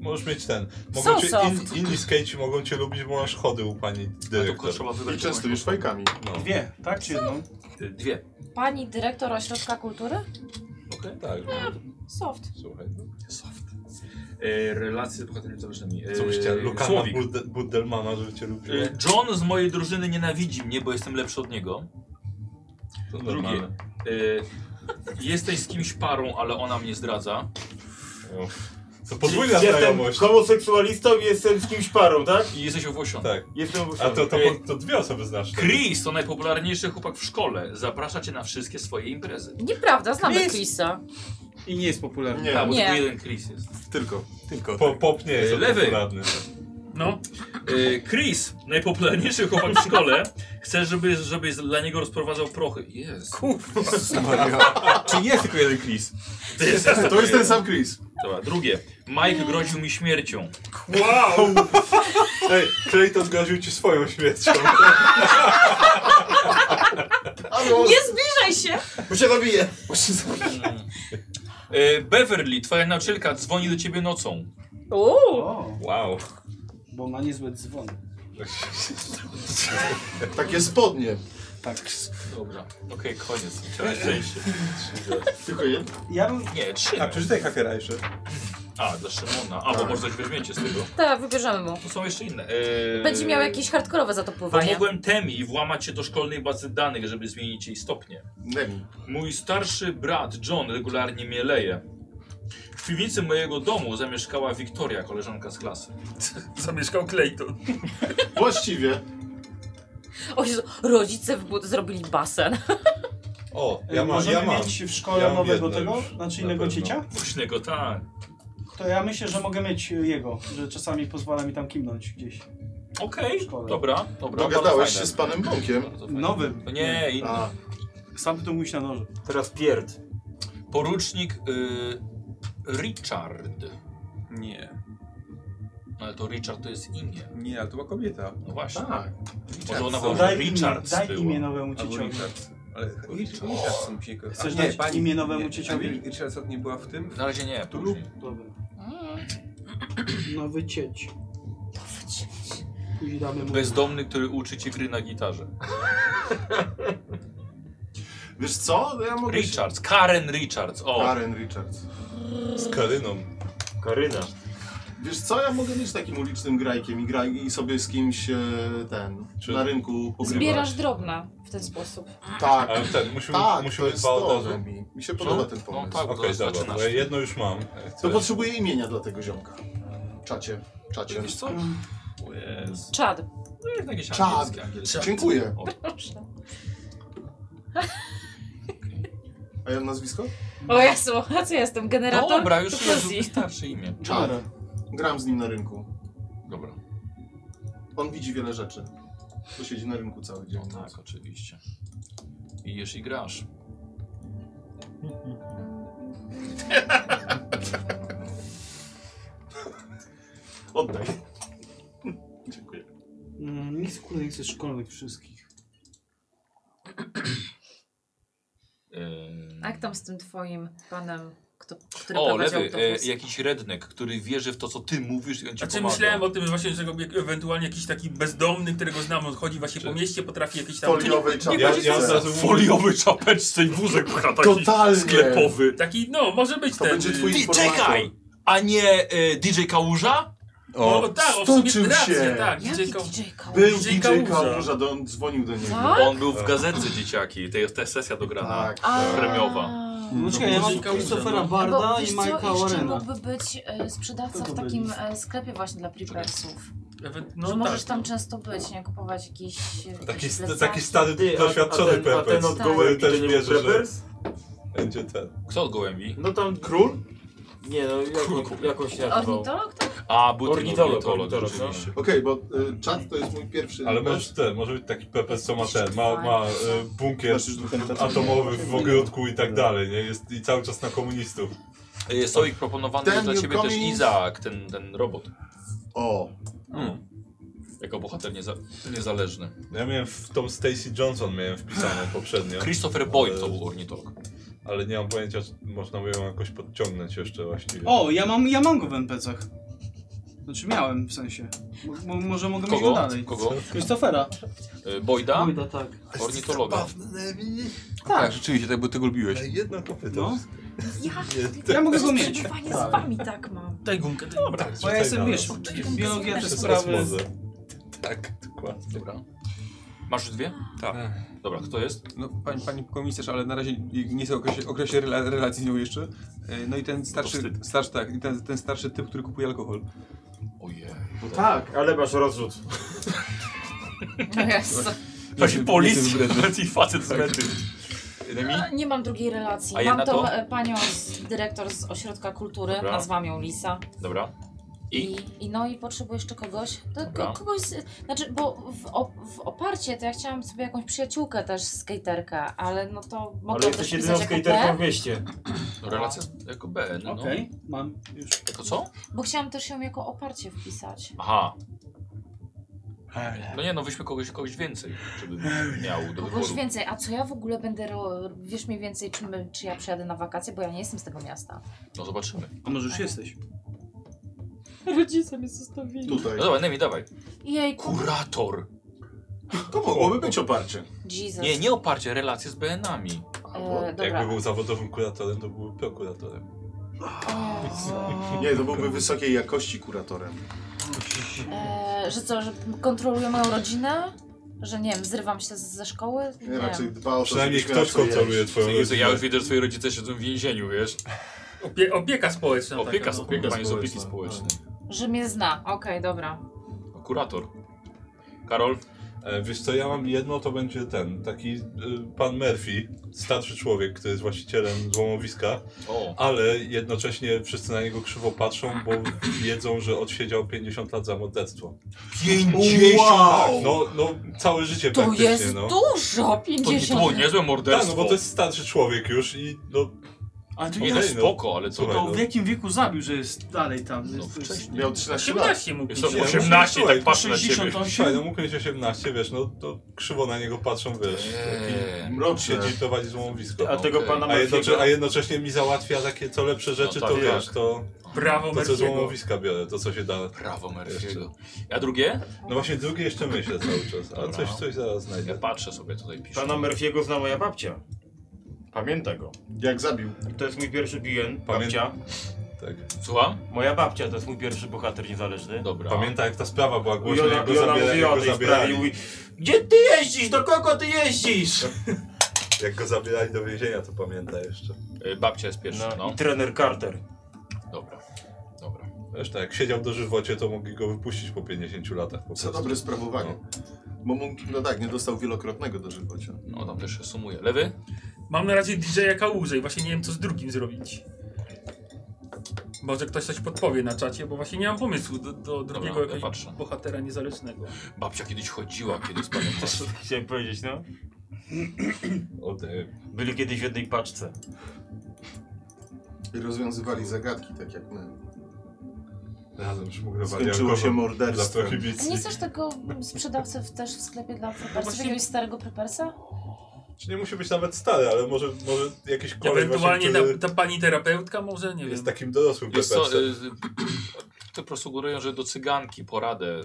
Możesz mieć ten. Są Mogą cię, soft. in, inni skejci mogą cię lubić, bo masz chody u pani A tylko dyrektor. trzeba I wybrać częstujesz fajkami. No. Dwie, tak czy jedną? jakąś- e, dwie. Pani dyrektor ośrodka kultury? Okej. Tak, no. Soft. słuchaj. Soft. E, relacje z bohaterami towarzyszami. E, Co byś chciał? Lukana Słowik. Budde- Buddelmana, żeby cię lubił. E, John z mojej drużyny nienawidzi mnie, bo jestem lepszy od niego. To Drugie. normalne. Y, jesteś z kimś parą, ale ona mnie zdradza. No. To podwójna Jestem znajomość. homoseksualistą i jestem z kimś parą, tak? I jesteś owłosiony. Tak. Jestem A to, to, Ej. to dwie osoby znasz. tak? Chris to najpopularniejszy chłopak w szkole. Zaprasza cię na wszystkie swoje imprezy. Nieprawda, znamy Jest. Chrisa. I nie jest popularny. Tak, Nie, bo Nie. tylko jeden Chris jest. tak. tylko. Tylko. Po, pop nie jest Lewy. popularny. No, E, Chris, najpopularniejszy chłopak w szkole, chce, żeby, żebyś dla niego rozprowadzał prochy. Jest. Kurwa. Czy jest tylko jeden Chris? To jest, To jest ten sam Chris. Dobra, drugie. Mike groził mi śmiercią. Wow! Ej, Clayton zgroził ci swoją śmiercią. Nie zbliżaj się! Bo się zabije. E, Beverly, twoja nauczycielka dzwoni do ciebie nocą. Uuu. Wow. Bo ma niezłe dzwony. Takie spodnie. Tak. Dobra, okej, koniec. Chciałem szczęście. Tylko jedno? Ja bym... Nie, trzy. A przeczytaj hafiera jeszcze. A, dla Szymona. A, bo może coś weźmiecie z tego. Tak, wybierzemy mu. To są jeszcze inne. E, Będzie miał jakieś hardkorowe zatopływanie. Pomogłem Temi włamać się do szkolnej bazy danych, żeby zmienić jej stopnie. Mój starszy brat John regularnie mieleje. W piwnicy mojego domu zamieszkała Wiktoria, koleżanka z klasy. Zamieszkał Clayton. Właściwie. O Jezu, rodzice w but zrobili basen. O, ja mam- Yy, Możemy ja mam. mieć w szkole Ja mam nowego jedno tego? już, Znaczy na innego pewno. ciecia? Woźnego, tak. To ja myślę, że mogę mieć jego, że czasami pozwala mi tam kimnąć gdzieś. Okej, dobra, dobra. bardzo Dogadałeś fajne. się z panem Bąkiem? Nowym. No nie, inny. A, Sam to mówisz na nożu. Teraz pierd. Porucznik y, Richard. Nie. Ale to Richard to jest imię. Nie, ale to była kobieta. No właśnie. Tak. Może ona Richardson. była Richards była. no. Albo Richards. Ale Richardson musi jako... Chcesz A nie, dać imię nowemu nie, cieciowi? Emily Richardson nie była w tym? Na razie nie, W Tulu? Dobra. Nowy cieć. Nowy cieć. Później damy mu... Bezdomny, który uczy cię gry na gitarze. Wiesz co? No ja mogę się- Richards, Karen Richards. O. Karen Richards. Z Karyną. Karyna. Wiesz co, ja mogę być takim ulicznym grajkiem i, graj, i sobie z kimś e, ten, na rynku pogrywać. Zbierasz drobna w ten sposób. Tak. Ale ten, musimy, Tak, musimy to jest dwa to, od razu. to mi- mi się podoba ten pomysł. No, tak, Okej, to dobra, zaczynasz. bo ja jedno już mam. To potrzebuję imienia dla tego ziomka. Czacie. Czacie. Wiesz co? O Jezu. Czad. No, jakieś Czad. angielskie, angielskie. Dziękuję. O. Proszę. A ja mam nazwisko? O Jezu, a co ja jestem? Generator? Dobra, już To Jezu, fuzji. wystarczy imię. Czar. Gram z nim na rynku. Dobra. On widzi wiele rzeczy. Bo siedzi na rynku cały dzień. No tak, oczywiście. I jesz i grasz. Oddaj. Dziękuję. Mm, Nic kurde nie chce szkolnych wszystkich. Ym... A jak tam z tym twoim panem, kto, który O, prowadził lewy, e, autobus? jakiś redneck, który wierzy w to, co ty mówisz i on ci A Znaczy, pomaga. myślałem o tym właśnie, że go- ewentualnie jakiś taki bezdomny, którego znam, on chodzi właśnie po mieście, potrafi jakiś tam... Foliowej nie- nie czapeczce. będzie Ja- ja co- od razu mówię. Foliowy czapeczce i wózek pcha taki Totalnie. sklepowy. Taki, no, może być To ten... będzie twój y, Ty, czekaj! A nie y, DJ Kałuża? O, no, tak, o, w stoczył sumie rację, się. tak. Jaki Kał- DJ Kał? Był DJ DJ Kałuża. Kałuża, do- on dzwonił do niego. Tak? On był w gazetce dzieciaki, to jest ta sesja dograna, Tak, A. premiowa. No czekaj, ja mam Christophera Bo Barda wiesz i co, Mike'a jeszcze Warrena. mógłby być e, sprzedawca Kto to w takim e, sklepie właśnie dla prepersów. Ewent- że No możesz tak. tam często być, nie? Kupować e, jakieś... Taki, jakieś st- plecaki. taki stary, Ty, a- a doświadczony ten- a ten Peppers. od który gołębi to też nie był wierzy, że Peppers? będzie ten. Kto od gołębi? No tam... Król? Nie no, jak, jakoś się nazywał. Ornitolog to? A, był Ornitolog, ornitolog, ornitolog, no. rzeczywiście. Okej, bo y, czat to jest mój pierwszy... Ale masz ten, może być taki Peppers, co ma ten, ma, ma e, bunkier Masz już dokumentację. atomowy w ogródku i tak dalej, nie? Jest, I cały czas na komunistów. Y, Soik proponowany jest dla Daniel ciebie też Cummings. Izaak, ten, ten robot. O. Mm. Jako bohater nieza niezależny. Ja miałem w tą Stacy Johnson miałem wpisaną Tak. poprzednio. Christopher Boyd to był ornitolog. Ale nie mam pojęcia, czy można by ją jakoś podciągnąć jeszcze właściwie. O, ja mam, ja mam go w NPC-ach. Znaczy miałem w sensie. Mo- mo- może mogę mieć Kogo? go dalej. Kogo? Christophera. Y, Boyda? Boyda, tak. Ornitologa. Tak, rzeczywiście, tak, bo ty go lubiłeś. Jedno kopyto. No. Ja, Ja mogę go mieć. Panie z wami tak mam. Daj gumkę, daj Dobra, Bo ja jestem, wiesz, biologia te sprawy... Tak, dokładnie. Dobra. Masz już dwie? Tak. Dobra, kto jest? No, pani, pani komisarz, ale na razie nie jest o okresie, okresie rela, relacji z nią jeszcze. E, No i ten starszy, starszy tak, i ten, ten starszy typ, który kupuje alkohol. Ojej. No tak, ale masz rozrzut. No tak. Jezu. Właśnie jestem policja, wybredny. i facet z mety. Remi? A, No, Nie mam drugiej relacji. A mam jedna tą to? e, panią z dyrektor z ośrodka kultury, Dobra. nazwam ją Lisa. Dobra. I? I no i potrzebuję jeszcze kogoś. To ko- kogoś, z, znaczy, bo w, op- w oparcie to ja chciałam sobie jakąś przyjaciółkę też skaterka, ale no to mogę Ale jesteś jedyną skaterką w mieście. No, relacja jako B, no. Okej, mam już. Jako co? Bo chciałam też ją jako oparcie wpisać. Aha. No nie, no weźmy kogoś, kogoś więcej, żeby miał do Kogoś wyboru. więcej, a co ja w ogóle będę, ro- wiesz mniej więcej, czy, my, czy ja przyjadę na wakacje, bo ja nie jestem z tego miasta. No zobaczymy. A może już jesteś? Rodzice mnie zostawili. No dobra, Nemi, dawaj. Jej, Kurator. To mogłoby być oparcie. Jesus. Nie, nie oparcie, relacje z BN-ami. E, dobra. Jakby był zawodowym kuratorem, to byłby prokuratorem. Nie, to byłby wysokiej jakości kuratorem. E, że co, że kontroluję moją rodzinę? Że nie wiem, zrywam się z, ze szkoły? Nie, Nie, raczej wiem. dba o to, Przynajmniej żebyś miała ktoś co jeść. kontroluje twoją Jezu, ja już rodzinę. widzę, że twoi rodzice siedzą w więzieniu, wiesz? Opie, opieka społeczna. Opieka, taka, no. No tak, opieka pani z społeczna, opieki społecznej. Że mnie zna, okej, dobra. Kurator. Karol? E, Wiesz co, ja mam jedno, to będzie ten, taki y, pan Murphy, starszy człowiek, który jest właścicielem złomowiska, O. ale jednocześnie wszyscy na niego krzywo patrzą, bo wiedzą, że odsiedział 50 lat za morderstwo. 50! Tak, no, no całe życie Tak To praktycznie, jest no. dużo, 50 To było niezłe Tak, morderstwo. no bo to jest starszy człowiek już i no... Ale to nie Okej, jest spoko, ale co Słuchaj, To w jakim wieku zabił, że jest dalej tam? Jest, to jest... Miał 13 lat. 18 mógł No Jest być. to Nie, 18, słuchaj, tak patrzę na ciebie. 68? Słuchaj, no mógł mieć 18, wiesz, no to krzywo na niego patrzą, wiesz. Eee, Mroczne. Siedzi i prowadzi złomowisko. A tego Okej. pana A, jednocze, Murphy'ego- a jednocześnie mi załatwia takie co lepsze rzeczy, No to tak. wiesz, to, Brawo to co z Murphy'ego. łomowiska biorę, to co się da. Prawo Murphy'ego. A drugie? No właśnie drugie jeszcze myślę cały czas, a Dobra. coś, coś zaraz Ja znajdę. patrzę sobie tutaj, piszę. Pana Murphy'ego zna moja babcia. Pamięta go. Jak zabił. To jest mój pierwszy BN, Pamię- babcia. Tak. Słucham? Moja babcia to jest mój pierwszy bohater niezależny. Dobra. Pamięta jak ta sprawa była I głośna, ona, jak i go ona zabierali, mówi o jak go tej sprawie i zabierali, mówi Gdzie ty jeździsz? Do kogo ty jeździsz? jak go zabierali do więzienia, to pamięta jeszcze. Y, Babcia jest pierwsza, No, no. I trener Carter. Dobra. Dobra. Zresztą tak, jak siedział do żywocie, to mogli go wypuścić po 50 latach po Za prostu. dobre sprawowanie. Bo mu, no tak, nie dostał wielokrotnego dożywocia. No tam też się sumuje. Lewy? Mam na razie DJ-a Kałużę i właśnie nie wiem co z drugim zrobić. Może ktoś coś podpowie na czacie, bo właśnie nie mam pomysłu do, do drugiego ja jakiegoś patrzę. bohatera niezależnego. Babcia kiedyś chodziła, kiedy z panem Też chciałem powiedzieć, no. Od, e, Byli kiedyś w jednej paczce. I rozwiązywali zagadki, tak jak my. razem szmugrowali Skończyło alkohol się morderstwem. Dla A nie prohibicji. chcesz tego sprzedawcy w, też w sklepie dla No prepersów, właśnie- jakiegoś starego prepersa? Czy nie musi być nawet stary, ale może, może jakiś koleś Ewentualnie właśnie, który ta, ta pani terapeutka może, nie jest wiem. takim dorosłym Wiesz co, pepepsem. y, to po prostu górują, że do cyganki poradę.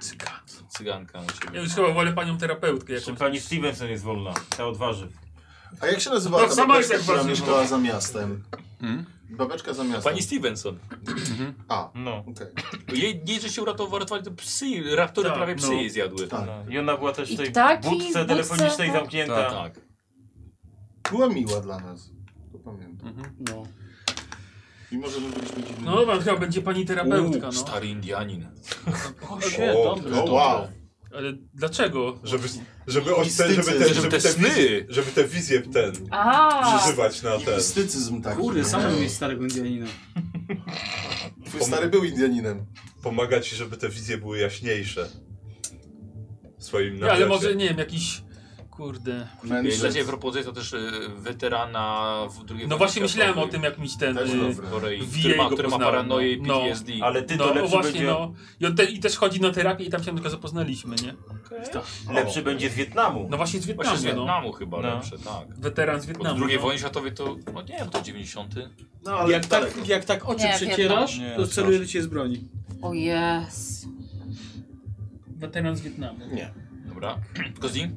Cygan. Cyganka musi Ja być. już chyba wolę panią terapeutkę Jeszcze jakąś. pani Stevenson jest wolna, ta odważy. A jak się nazywała No, ta sama babeczka, jest która jak Hmm? mieszkała za miastem? Mm. Babeczka za miastem. Pani Stevenson. A, No. okej. Jej, jej że się uratowali te psy, raptory Tak, prawie psy no. jej zjadły. Tak. no. I ona była też I w tej ptaki, budce budce, telefonicznej no. zamknięta. tak. Była miła dla nas. To pamiętam. Mhm. No. Mimo, że my byliśmy dziwni. No dobra, chyba będzie pani terapeutka, U, no. Stary Indianin. O, się, O, dobrze. O, wow. Ale dlaczego? Żeby, żeby, on, ten, żeby, te, Mistycy, żeby żeby, te te sny. wizje, żeby te wizje ten A, przeżywać na ten. Mistycyzm taki. Kurde, no. sam mieć starego Indianina. Twój stary był Indianinem. Pomaga ci, żeby te wizje były jaśniejsze. W swoim Nie, ale namiocie. może, nie wiem, jakiś... Kurde. Jeśli Mędrzec. dla ciebie propozycja to też y, weterana w drugiej No wojnie właśnie myślałem o światowej tym jakimś ten... Też y, dobre. w Korei, Wie który ma, go który ma poznałem, paranoję i no. PTSD. Ale ty to No lepszy właśnie, będzie, no. I, on te, I też chodzi na terapię i tam się tylko zapoznaliśmy, nie? lepszy będzie z Wietnamu. No właśnie z Wietnamu, Właśnie z Wietnamu chyba No. lepsze, tak. no. Weteran z Bo z Wietnamu. drugiej no. wojny światowej to, no nie wiem, to 90. No, ale Jak daleko. tak, jak tak oczy Nie, przecierasz, Wietnam. to Nie, celuje do ciebie z broni. o jest. Weteran z Wietnamu. Nie. Dobra. Kozi?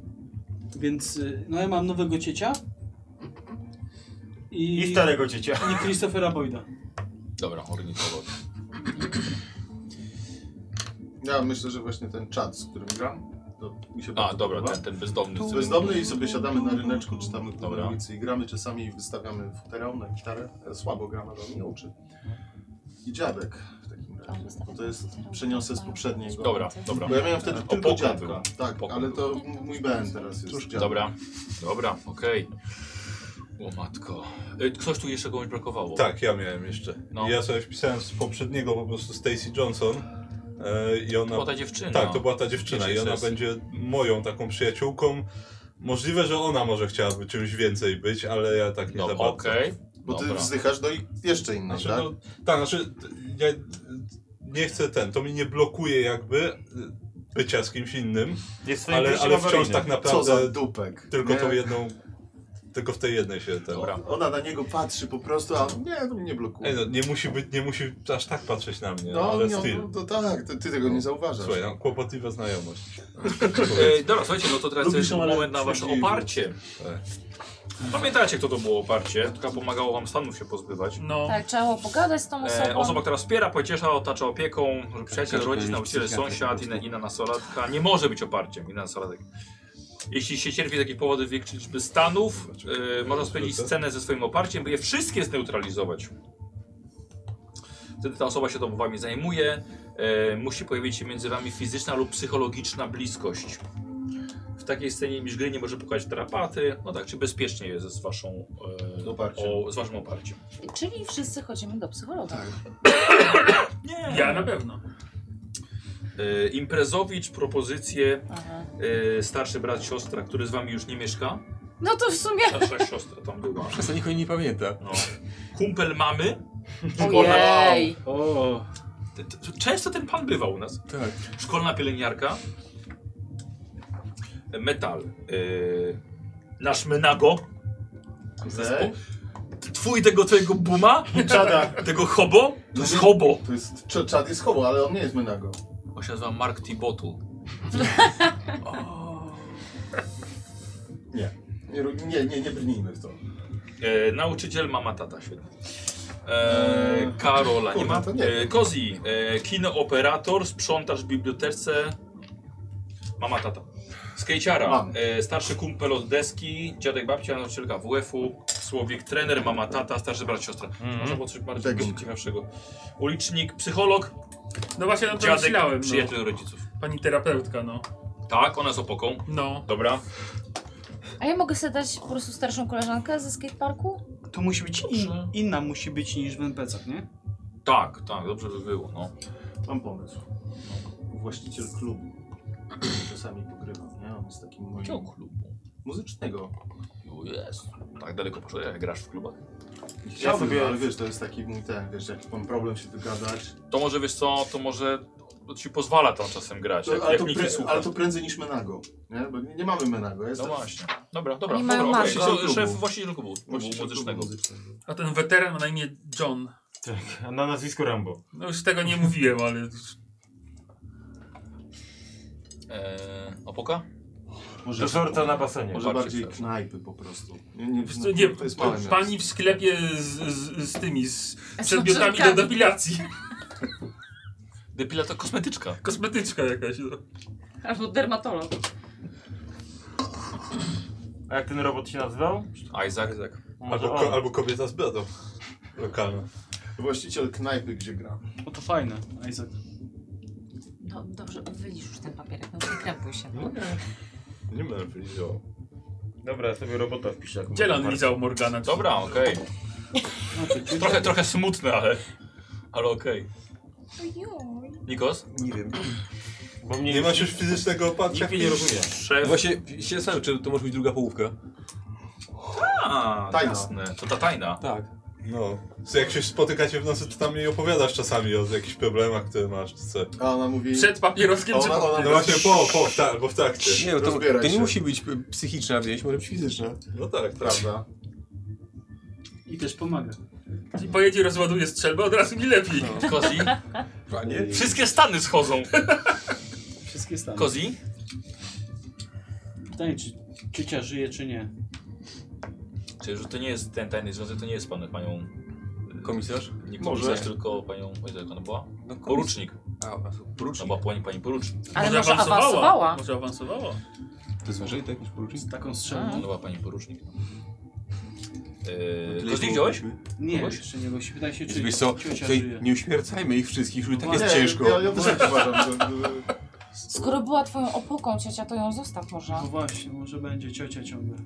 Więc, y, no ja mam nowego ciecia. I, I starego ciecia. I Christophera Boyda. Dobra, ornitolog. Ja myślę, że właśnie ten czat, z którym gram, to mi się A, bardzo dobra, podoba. ten, ten bezdomny. Tu z- bezdomny i sobie siadamy na ryneczku, czytamy po Dobra. ulicy i gramy czasami wystawiamy futerał na gitarę. Ja Słabo gram, ale on nie uczy. I dziadek w takim razie. Bo to jest przeniosę z poprzedniego. Dobra, dobra. Bo ja miałem wtedy tylko pokój dziadka. był. Tak, Pokój ale był. to m- mój BN teraz jest. dziadek. Dobra, dobra, okej. O matko. Y, Ktoś tu jeszcze komuś brakowało. Tak, ja miałem jeszcze. No. Ja sobie wpisałem z poprzedniego po prostu Stacy Johnson. e, I ona, była ta no. dziewczyna. Tak, to była ta dziewczyna i Pierwszej ona sesji. będzie moją taką przyjaciółką. Możliwe, że ona może chciałaby czymś więcej być, ale ja tak nie no, za bardzo. okej. Bo ty wzdychasz do i- jeszcze innej, Znaczy, tak? no, tak, znaczy t- ja y, nie chcę ten, to mi nie blokuje jakby y, bycia z kimś innym, Jest swoim ale, gościem ale wciąż awaryjnym. tak naprawdę Co za dupek, tylko nie? tą jedną, tylko w tej jednej się ten... Ona na niego patrzy po prostu, a nie, to mnie blokuje. Ej, no, nie musi być, nie musi aż tak patrzeć na mnie, No, ale no, styl. no, to tak, to ty tego nie zauważasz. Słuchaj, no, kłopotliwa znajomość. E, dobra, słuchajcie, no to teraz Lubisz jest ją, ale moment na wasze przeciwnie. oparcie. Tak. Pamiętacie, kto to było oparcie, która pomagała wam stanów się pozbywać. No. Tak, trzeba było pogadać z tą osobą. E, osoba, która wspiera, pociesza, otacza opieką, że przyjaciel, Tak, Każdy rodzic, jest nauczyciel, psychiatrem sąsiad, inna, inna nastolatka, nie może być oparciem, inna nastolatek. Jeśli się cierpi z jakichś powodów większej liczby stanów, e, można spędzić scenę ze swoim oparciem, by je wszystkie zneutralizować. Wtedy ta osoba się tą wami zajmuje, e, musi pojawić się między wami fizyczna lub psychologiczna bliskość. W takiej scenie misz gry nie może pokazać tarapaty, no tak, czy bezpiecznie jest z waszą, e, o, z waszym oparciem. Czyli wszyscy chodzimy do psychologa. Nie. Ja na pewno. E, imprezowicz, propozycje, Aha. e, starszy brat, siostra, który z wami już nie mieszka. No to w sumie... Starsza siostra tam była. Przestań, nikt o niej nie pamięta. No. Kumpel mamy. Ojej. O. T- t- Często ten pan bywał u nas. Tak. Szkolna pielęgniarka. E, Metal. E, nasz Menago. Zespół. Twój tego twojego buma? Czada. Tego hobo? Tak. To jest hobo. To jest, Cz- czad jest hobo, ale on nie jest menago. On się nazywa Mark Tibotu. Nie. Nie, rób- nie, nie, nie brnijmy w to. E, nauczyciel, mama, tata, świetnie. E, Karola nie ma. Kurde, to nie. E, Kozi, e, kinooperator, sprzątacz w bibliotece. Mama, tata. Skejciara, e, starszy kumpel od deski, dziadek, babcia, nauczycielka WF-u, słowik, trener, mama, tata, starszy brat, siostra. Mhm. Może było coś bardziej ciekawszego. Ulicznik, psycholog. No właśnie, no to Dziadek, myślałem, no. przyjaciel rodziców. Pani terapeutka, no. Tak, ona z opoką. No. Dobra. A ja mogę sobie dać po prostu starszą koleżankę ze skateparku? To musi być in, inna musi być niż w NPC-ach, nie? Tak, tak, dobrze by było, no. Mam pomysł. Właściciel klubu. Czasami pogrywa, nie? On jest takim moim... Jakiego klubu? Muzycznego. Jest. Tak daleko poszło, jak grasz w klubach. Ja sobie, ale wiesz, to jest taki mój ten, wiesz, jak mam problem się dogadać. To może wiesz co, to może ci pozwala tam czasem grać, No, To, jak, ale, jak to nikt nie pre, słucha. ale to prędzej niż menago, nie? Bo nie, nie mamy menago. Jest No właśnie. Dobra, dobra, Oni dobra, mają okej. maskę. So, szef właściciel klubu, klubu Właściciel klubu muzycznego. A ten weteran ma na imię John. Tak, a na nazwisko Rambo. No już tego nie mówiłem, ale... Eee, opoka? Do żorta na basenie. Może Bardziej bardziej wtedy. knajpy po prostu. Nie, no, Wiesz co, nie, to jest małe miasto. pani w sklepie z, z, z tymi, z Z Znaczy, przedmiotami do nożyczkami. depilacji. Depila to kosmetyczka. Kosmetyczka jakaś. No. Albo dermatolog. A jak ten robot się nazywał? Isaac. Albo, ko, albo kobieta z brodą. Lokalna. Właściciel knajpy, gdzie gra. No to fajne, Isaac. No dobrze, wylisz już ten papierek, no nie krępuj się. No. Nie będę powiedział. Dobra, ja sobie robota wpiszę. Dzielan widział Morgana. Dobra, okej. Trochę, trochę smutne, ale, ale okej. Nikos? Nie wiem. Bo Nie, masz już fizycznego oparcia? Nikt mnie nie rozumie. Szef. No Właśnie się zastanawiam, czy to może być druga połówka. A, Tajna. jasne. To ta tajna. Tak. No. Co, jak się spotykacie w nocy, to tam jej opowiadasz czasami o jakichś problemach, które masz, czy co. A ona mówi... Przed papieroskiem ona, ona, No właśnie po, po, w ta, albo w trakcie. Nie, no to, Rozbieraj to nie się. musi być p- psychiczna więź, może być fizyczna. No tak, prawda. I też pomaga. I pojedzie, rozładuje strzelbę, od razu mi lepiej. Kozi? Panie? Wszystkie stany schodzą. Wszystkie stany. Kozi? Pytanie, czy ciocia żyje, czy nie? Czyli, że to nie jest ten tajny związek, to nie jest pan, panią... y, Komisarz? Nie Może. komisarz, tylko panią... Ojej, jak ona była? No, komis- porucznik. A, porucznik. To była pani, pani porucznik. Ale może awansowała. Może awansowała. To jest wyżej tak niż porucznik? Taką No strzelbą. była pani porucznik. tyle Eee, było Kozi wziąłeś? Nie, Kogoś? jeszcze nie, bo się pytałem się, czy Wiesz co, ciocia tutaj żyje. nie uśmiercajmy ich wszystkich, już i No tak właśnie. jest Nie, ciężko. ja- ja też tak uważam, Skoro była twoją opoką ciocia, to ją zostaw może. No właśnie, może będzie ciocia ciągle.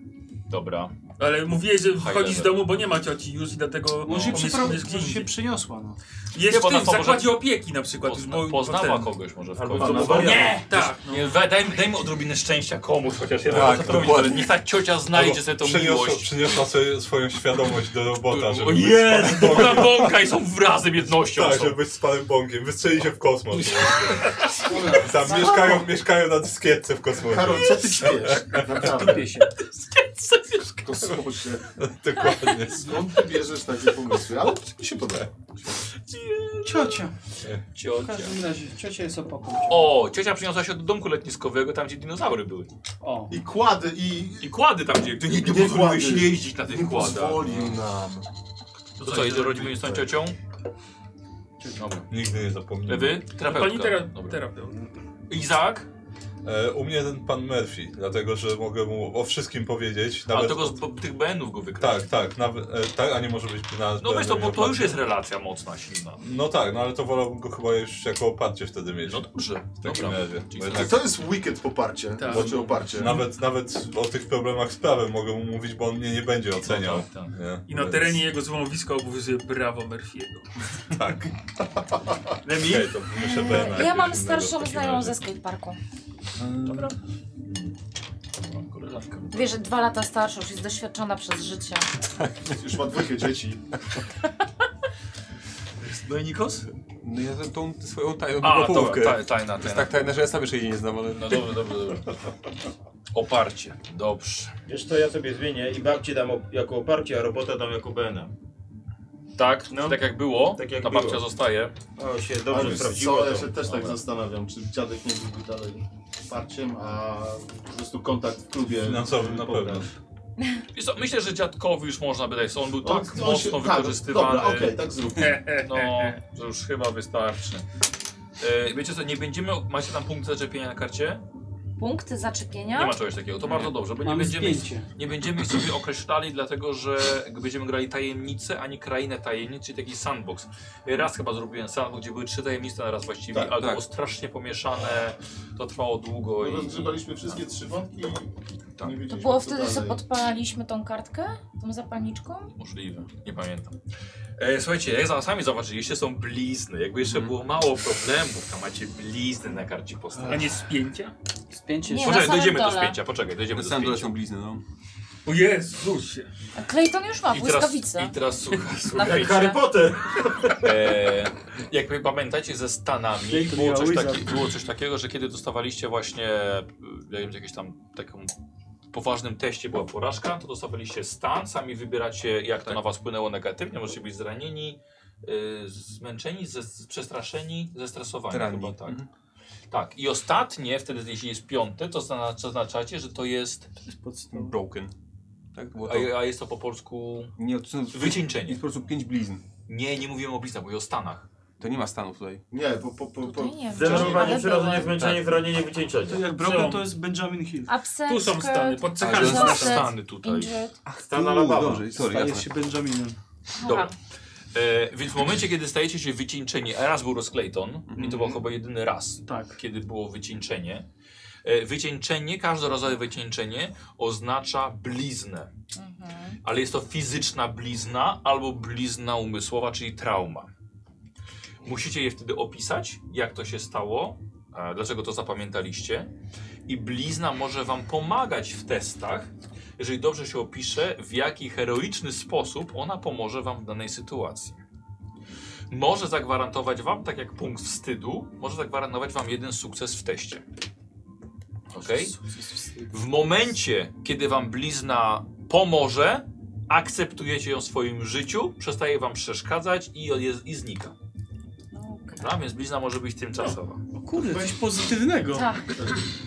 Dobra. Ale mówiłeś, że wychodzisz z level. domu, bo nie ma cioci już i dlatego... Może się, pomysł przypro... jest gdzie może się indziej. przyniosła, no. Jest bo w na tym, w to może- zakładzie opieki na przykład. już, no, bo, poznała ten- kogoś może w Albo końcu. w domu Albo- wariatów. Nie, tak. Nie, we- daj, daj mu odrobinę szczęścia komuś, chociaż jeden Tak, tak, robi, dokładnie. niech ta ciocia znajdzie sobie tą przyniosła, miłość. Przyniosła sobie swoją świadomość do robota, żeby O być Jezu, z panem Bogna Bongiem. Bąka i są razem jednością. Tak, są. żeby być z panem Bongiem. Wystrzeli się w kosmos. Tam mieszkają, mieszkają na dyskietce w kosmosie. Karol, co ty śpiesz? Naprawdę. się. Kosmosie. Dokładnie. Skąd ty bierzesz takie pomysły? Ale mi się podoba. Ciocia. W Ciocia. każdym razie, ciocia jest opokój. O, ciocia przyniosła się do domku letniskowego, tam gdzie dinozaury były. O. I kłady, i... I kłady tam gdzie, ty nie, nie, Nie pozwoliłeś kłady. jeździć na Nie tych kładach. pozwolił nam. To co, jedzie rodzimy z tą ciocią? Dobra. Nigdy nie zapomnę. Lewy? Terapeutka. Pani tera- Dobra. terapeuta. Izaak? E, u mnie ten pan Murphy, dlatego że mogę mu o wszystkim powiedzieć. A tego z bo- tych BN-ów go wykradł. Tak, tak, nawet, e, tak, a nie może być na. No weź to, bo to już jest oparcie. relacja mocna, silna. No tak, no ale to wolałbym go chyba już jako oparcie wtedy mieć. No dobrze. W takim Dobra. No razie. Czyli bo Tak. To jest wicked poparcie. Tak. Znaczy oparcie. Nawet, nawet o tych problemach z prawem mogę mu mówić, bo on mnie nie będzie No oceniał. tak, tak. Nie? I na Więc- terenie jego złomowiska obowiązuje prawo Murphy'ego. Tak. Lemi? Okej, to muszę Ja BNF mam jakiegoś innego w starszą takim znajomą razie. ze skateparku. Dobra. Wiesz, że dwa lata starsza, już jest doświadczona przez życie. Już ma dwójkę dzieci. No i Nikos? No ja tą, tą swoją tajną A, A, połówkę. dobra, ta- tajna, To jest tajna. tak tajna, że ja sam jeszcze jej nie znam, ale... No dobrze, dobrze, dobrze. Oparcie. Dobrze. Wiesz co, ja sobie zmienię i babci dam op- jako oparcie, a robota dam jako BNA. Tak, tak jak było, Tak jak ta było. babcia zostaje. O, się dobrze Ale sprawdziło Co, ja to. się też tak Dobra. zastanawiam, czy dziadek nie byłby dalej parciem, a po prostu kontakt w klubie. Finansowym na pewno. Wiesz co, myślę, że dziadkowi już można by dać, on był On- tak on się- mocno tak, wykorzystywany. dobra, okej, tak zróbmy. No, że już chyba wystarczy. E, wiecie co, nie będziemy. Macie tam punkt zaczepienia na karcie? Punkty zaczepienia? Nie ma czegoś takiego, No to bardzo dobrze, bo nie Mamy będziemy, zdjęcie. nie będziemy ich sobie określali, dlatego że będziemy grali tajemnice, ani krainę tajemnic, czyli taki sandbox. Raz chyba zrobiłem sandbox, gdzie były trzy tajemnice na raz właściwie, Tak, ale to tak. było strasznie pomieszane, to trwało długo i... Rozgrzebaliśmy No wszystkie trzy wątki Tak. i nie To wiedzieliśmy, było co wtedy, dalej. co podpalaliśmy tą kartkę? Tą zapalniczką? Możliwe, nie pamiętam. E, słuchajcie, jak za- sami zobaczyliście, są blizny. Jakby jeszcze było mało problemów, to macie blizny na karcie postaci. A nie spięcia? Spięcie Nie, na Poczekaj, samym dojdziemy do dole. spięcia, poczekaj, dojdziemy do spięcia. blizny, no. O Jezusie. A Clayton już ma I teraz, błyskawice. I teraz słuchaj, Na słuchaj. Jak Harry Potter! E, jak wy pamiętacie ze Stanami, Clayton było miał coś, Wizard. taki, było coś takiego, że kiedy dostawaliście właśnie y, ja wiem, jakieś tam taką poważnym teście była porażka, to dostawaliście stan, sami wybieracie jak Tak. to na was wpłynęło negatywnie, możecie być zranieni, y, zmęczeni, ze, z- przestraszeni, zestresowani Ranni. chyba tak. Tak, i ostatnie, wtedy jeśli jest piąte, to zna- zaznaczacie, że to jest, Broken. Tak, było to. a, a jest to po polsku Nie, to są... Wycieńczenie. Jest po prostu pięć blizn. Nie, nie mówimy o bliznach, mówię o stanach. To nie ma stanów tutaj. Nie, bo po, po, po... No nie wiem. Zdenerwowanie, Ale przerażenie, byłem. zmęczenie, wyranienie, wycieńczenie. To jak Broken to jest Benjamin Hill. Absent, Tu są stany, pod cechami Ale są offset, stany tutaj. injured. Stan Alabama. dobrze, sorry, Stajesz jasne. się Benjaminem. Dobra. E, więc w momencie, kiedy stajecie się wycieńczeni, a raz był rozklejton i to był chyba jedyny raz, kiedy było wycieńczenie. E, wycieńczenie, każdorazowe wycieńczenie oznacza bliznę, ale jest to fizyczna blizna albo blizna umysłowa, czyli trauma. Musicie je wtedy opisać, jak to się stało, e, dlaczego to zapamiętaliście i blizna może wam pomagać w testach, jeżeli dobrze się opisze, w jaki heroiczny sposób ona pomoże wam w danej sytuacji. Może zagwarantować wam, tak jak punkt wstydu, może zagwarantować wam jeden sukces w teście. Ok? W momencie, kiedy wam blizna pomoże, akceptujecie ją w swoim życiu, przestaje wam przeszkadzać i, jest, i znika. No, Dobra, więc blizna może być tymczasowa. No. Kurde, coś pozytywnego. Tak.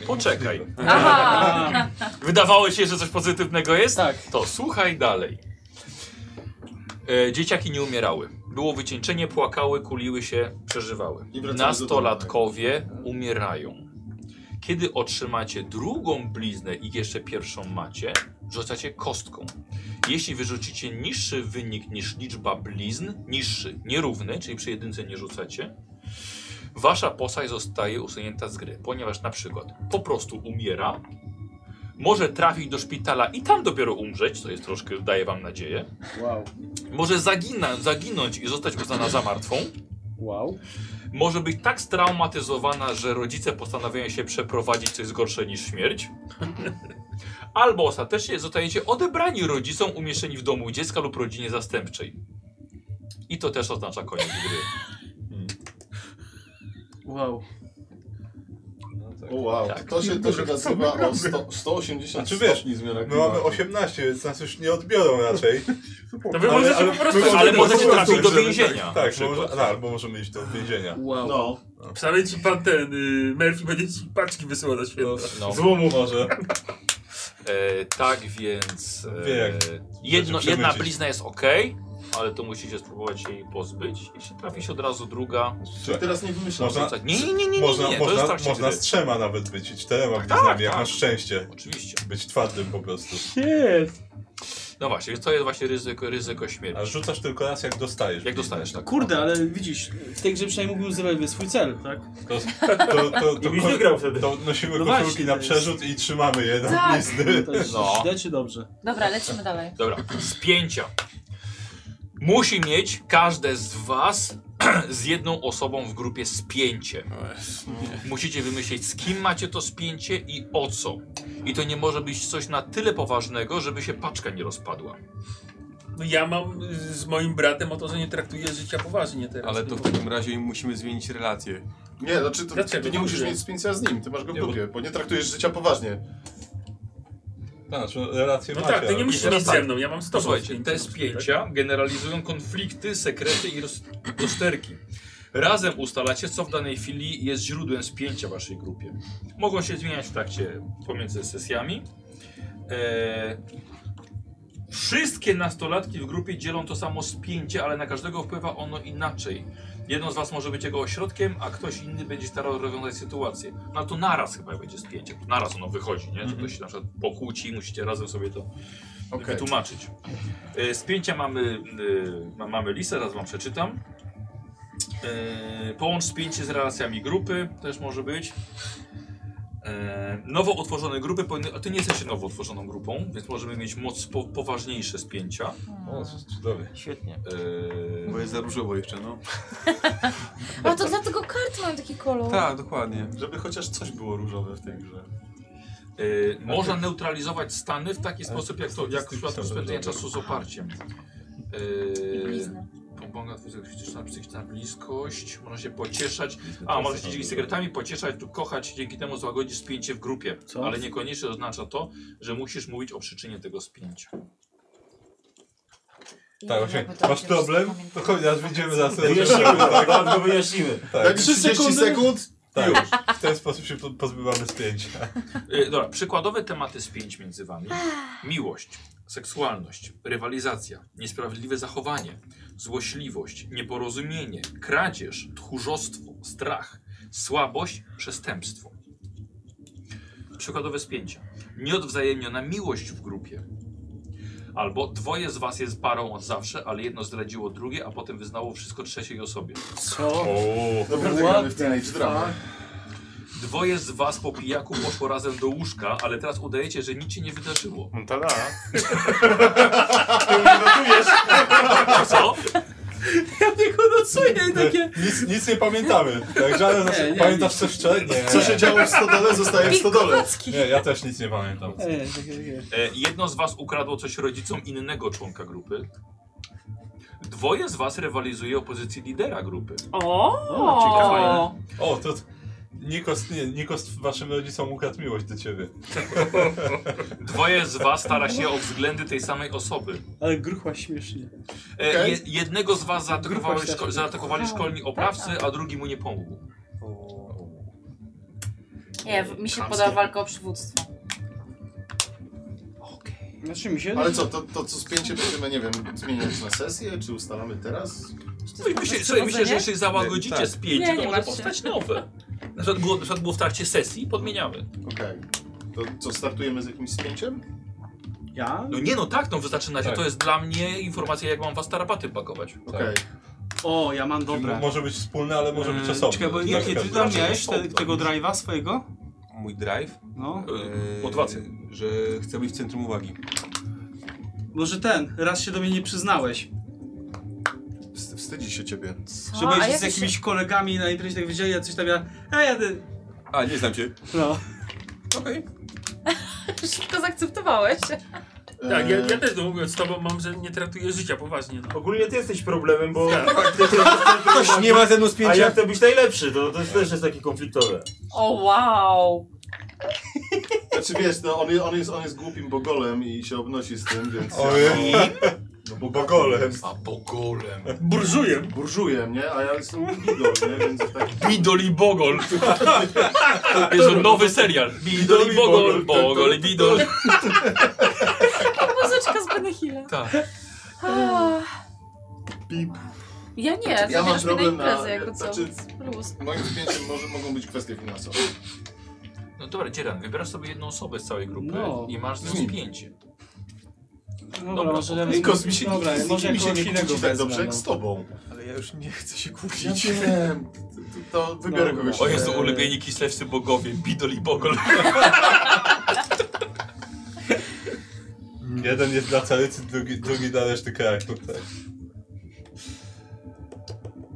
Poczekaj. Aha! Wydawało się, że coś pozytywnego jest? Tak. To słuchaj dalej. E, dzieciaki nie umierały. Było wycieńczenie, płakały, kuliły się, przeżywały. I wracały do tak? domu. Nastolatkowie umierają. Kiedy otrzymacie drugą bliznę i jeszcze pierwszą macie, rzucacie kostką. Jeśli wyrzucicie niższy wynik niż liczba blizn, niższy, nierówny, czyli przy jedynce nie rzucacie, wasza postać zostaje usunięta z gry, ponieważ na przykład po prostu umiera, Może trafić do szpitala i tam dopiero umrzeć, co jest troszkę, daje wam nadzieję. Wow. Może zagina, zaginąć i zostać uznana za martwą. Wow. Może być tak straumatyzowana, że rodzice postanawiają się przeprowadzić, co jest gorsze niż śmierć. Albo ostatecznie zostaniecie odebrani rodzicom umieszczeni w domu dziecka lub rodzinie zastępczej. I to też oznacza koniec gry. Wow. O wow, Tak. to się, to się nazywa o 100, 180 Znaczy wiesz, stopni zmiana my mamy klimatu. 18, więc nas już nie odbiorą raczej. To wy możecie po prostu- my możemy ale po możecie prostu trafić do umrzeć. więzienia, na Tak, tak przykład. może, a, albo możemy iść do więzienia. Wow. No. Wcale ci pan ten y, Murphy będzie ci paczki wysyłał na święta. No. Złomu. Może. E, tak więc. Wie E, jak jedno, przemycić. jedna blizna jest ok, ale to musicie spróbować się jej pozbyć. Jeśli trafi się od razu druga. Czyli teraz nie wymyślam. Można, Nie, nie, nie, nie, nie, można, nie, to jest tak można, trakcie można gry. z trzema nawet być i czterema bliznami, jak tak. masz szczęście. Oczywiście. Być twardym po prostu. Jest. No właśnie, więc to jest właśnie ryzyko, ryzyko śmierci. A rzucasz tylko raz jak dostajesz. Jak dostajesz, tak. Kurde, ale widzisz, w tej grze przynajmniej mógłbym zrealizować swój cel, tak? To, to, to, to, I byś wygrał wtedy. to nosimy No koszulki właśnie, na to jest- przerzut i trzymamy je na Tak. blizny. To jest No. źle czy dobrze? Dobra, lecimy dalej. Dobra, spięcia. Musi mieć każde z was z jedną osobą w grupie spięcie. Musicie wymyślić, z kim macie to spięcie i o co. I to nie może być coś na tyle poważnego, żeby się paczka nie rozpadła. No ja mam y, z moim bratem o to, że nie traktuję życia poważnie teraz. Ale to w takim razie musimy zmienić relacje. Nie, znaczy to, Dlaczego? ty nie musisz Dobrze. mieć spięcia z nim, ty masz go w Nie, bo- dupie, bo nie traktujesz życia poważnie. Tak, znaczy relacje No macie. tak, ty nie ale- musisz I teraz mieć tak. ze mną, ja mam z tobą Słuchajcie, spięcie te na przykład. spięcia generalizują konflikty, sekrety i roz- rozterki. Razem ustalacie, co w danej chwili jest źródłem spięcia w waszej grupie. Mogą się zmieniać w trakcie pomiędzy sesjami. Eee, wszystkie nastolatki w grupie dzielą to samo spięcie, ale na każdego wpływa ono inaczej. Jedno z was może być jego ośrodkiem, a ktoś inny będzie starał rozwiązać sytuację. No to naraz chyba będzie spięcie. Naraz ono wychodzi, nie? Że ktoś się na przykład pokłóci, musicie razem sobie to Okej. wytłumaczyć. E, Z pięcia mamy, y, ma- mamy listę, raz wam przeczytam. E, Połącz spięcie z relacjami grupy, też może być. E, Nowo utworzone grupy powinny, a ty nie jesteś nowo utworzoną grupą, więc możemy mieć moc po, poważniejsze spięcia. O, to jest cudownie. Yy, Świetnie. E, Bo jest za różowo jeszcze, no. A to dlatego karty mają taki kolor. Tak, dokładnie. Żeby chociaż coś było różowe w tej grze. E, można neutralizować stany w taki sposób, jak, to, jak w przypadku spędzenia czasu z oparciem. blizny. E, Pomogę fizyczna, psychiczna bliskość. Można się pocieszać. A, możecie się dzięki sekretami pocieszać lub kochać. Dzięki temu złagodzisz spięcie w grupie. Co? Ale niekoniecznie oznacza to, że musisz mówić o przyczynie tego spięcia. Tak, właśnie. Masz problem? To chodź, teraz wyjdziemy za sobie. Wyjaśnimy, tak, zaraz go wyjaśnimy. Tak, Trzy 30 sekund? tak. Już. W ten sposób się po- pozbywamy spięcia. E, dobra, przykładowe tematy spięć między wami. Miłość, seksualność, rywalizacja, niesprawiedliwe zachowanie, złośliwość, nieporozumienie, kradzież, tchórzostwo, strach, słabość, przestępstwo. Przykładowe spięcia. Nieodwzajemniona miłość w grupie. Albo dwoje z was jest parą od zawsze, ale jedno zdradziło drugie, a potem wyznało wszystko trzeciej osobie. Co? Naprawdę What gramy w Teenage the Drama. Dwoje z was po pijaku poszło razem do łóżka, ale teraz udajecie, że nic się nie wydarzyło. Tada. Co? Ja tylko nocuję i takie... Nic, nic nie pamiętamy. Tak, żaden z nas... Nie, nie, Pamiętasz coś wczoraj? Nie. Co się działo w stodole, zostaje w stodole. Nie, ja też nic nie pamiętam. Ej, takie, takie. E, jedno z was ukradło coś rodzicom innego członka grupy. Dwoje z was rywalizuje o pozycję lidera grupy. O, ciekawe. O, to... Nikos, nie, Nikos waszym rodzicom ukradł miłość do ciebie. Dwoje z was stara się o względy tej samej osoby. Ale gruchła śmiesznie. E, Okej. je, jednego z was zaatakowali, Grupa szko się- zaatakowali szkolni oprawcy, a drugi mu nie pomógł. Nie, w- mi się poda walka o przywództwo. Znaczy mi się... Ale co, to, to co spięcie będziemy, nie wiem, zmieniać na sesję, czy ustalamy teraz? Słuchaj, No myślę, słuchaj, myślę że jeśli załagodzicie Nie, tak. spięcie, Nie, to nie może martw się. powstać nowe. Na przykład, było, na przykład było w trakcie sesji, podmieniamy. Okej. To co, startujemy z jakimś Tak. spięciem? Ja? No nie no tak, Tak. no wy zaczynacie. Tak. To jest dla mnie informacja, jak mam was tarapaty pakować. Okej. O, ja mam dobre. Może być wspólny, ale może być Eee, osobny. Czekaj, bo Tak, jakie ty tak. tam miałeś te, osobne. tego drive'a swojego? mój drive. No. e, Motywację. Że chcę być w centrum uwagi. Może ten, raz się do mnie nie przyznałeś. Wstydzi się ciebie. Że A byłeś jak z się- jakimiś kolegami na imprezie tak wiedzieli, a coś tam ja. Ej, ja ty. A, nie znam cię. No. Okej. Szybko zaakceptowałeś. Tak, ja, Eee, ja też to mówię z tobą mam, że nie traktuję życia poważnie. No. Ogólnie ty jesteś problemem, bo... Ktoś nie ma ze mną spięcia? A ja chcę być najlepszy, to, to też jest takie konfliktowe. O wow. Znaczy wiesz, no, on, je- on, jest, on jest głupim bogolem i się obnosi z tym, więc... Ojej. No bo bogolem. A bogolem. Burżujem. Burżujem, nie? A ja jestem bidol, nie? Więc jest tak... Bidol i Bogol. To jest nowy serial. Bidol i Bogol, Bogol i Bidol. Muzyczka z Benny Hilla. Tak. Ah. Ja nie, Znaczy, Ja zabierasz mam mnie problem na na- imprezę jako co. znaczy- Plus. Moim zdjęciem może, mogą być kwestie finansowe. No dobra, Dzieran, wybierasz sobie jedną osobę z całej grupy No. i masz z Z nią nim. spięcie. Dobra, Dobra, może to- ja Nikos, wezmę- mi się- Dobra, z nikim może mi się jakąś nie innego kłóci tak wezmę, dobrze jak no. z tobą. Ale ja już nie chcę się Ja kłócić. wiem, to, to wybiorę Dobra. kogoś. No, O Jezu, ulubieni kislewscy bogowie, Bidol i Bogol. Jeden jest dla carycy, drugi, drugi dla reszty kraju. Tak.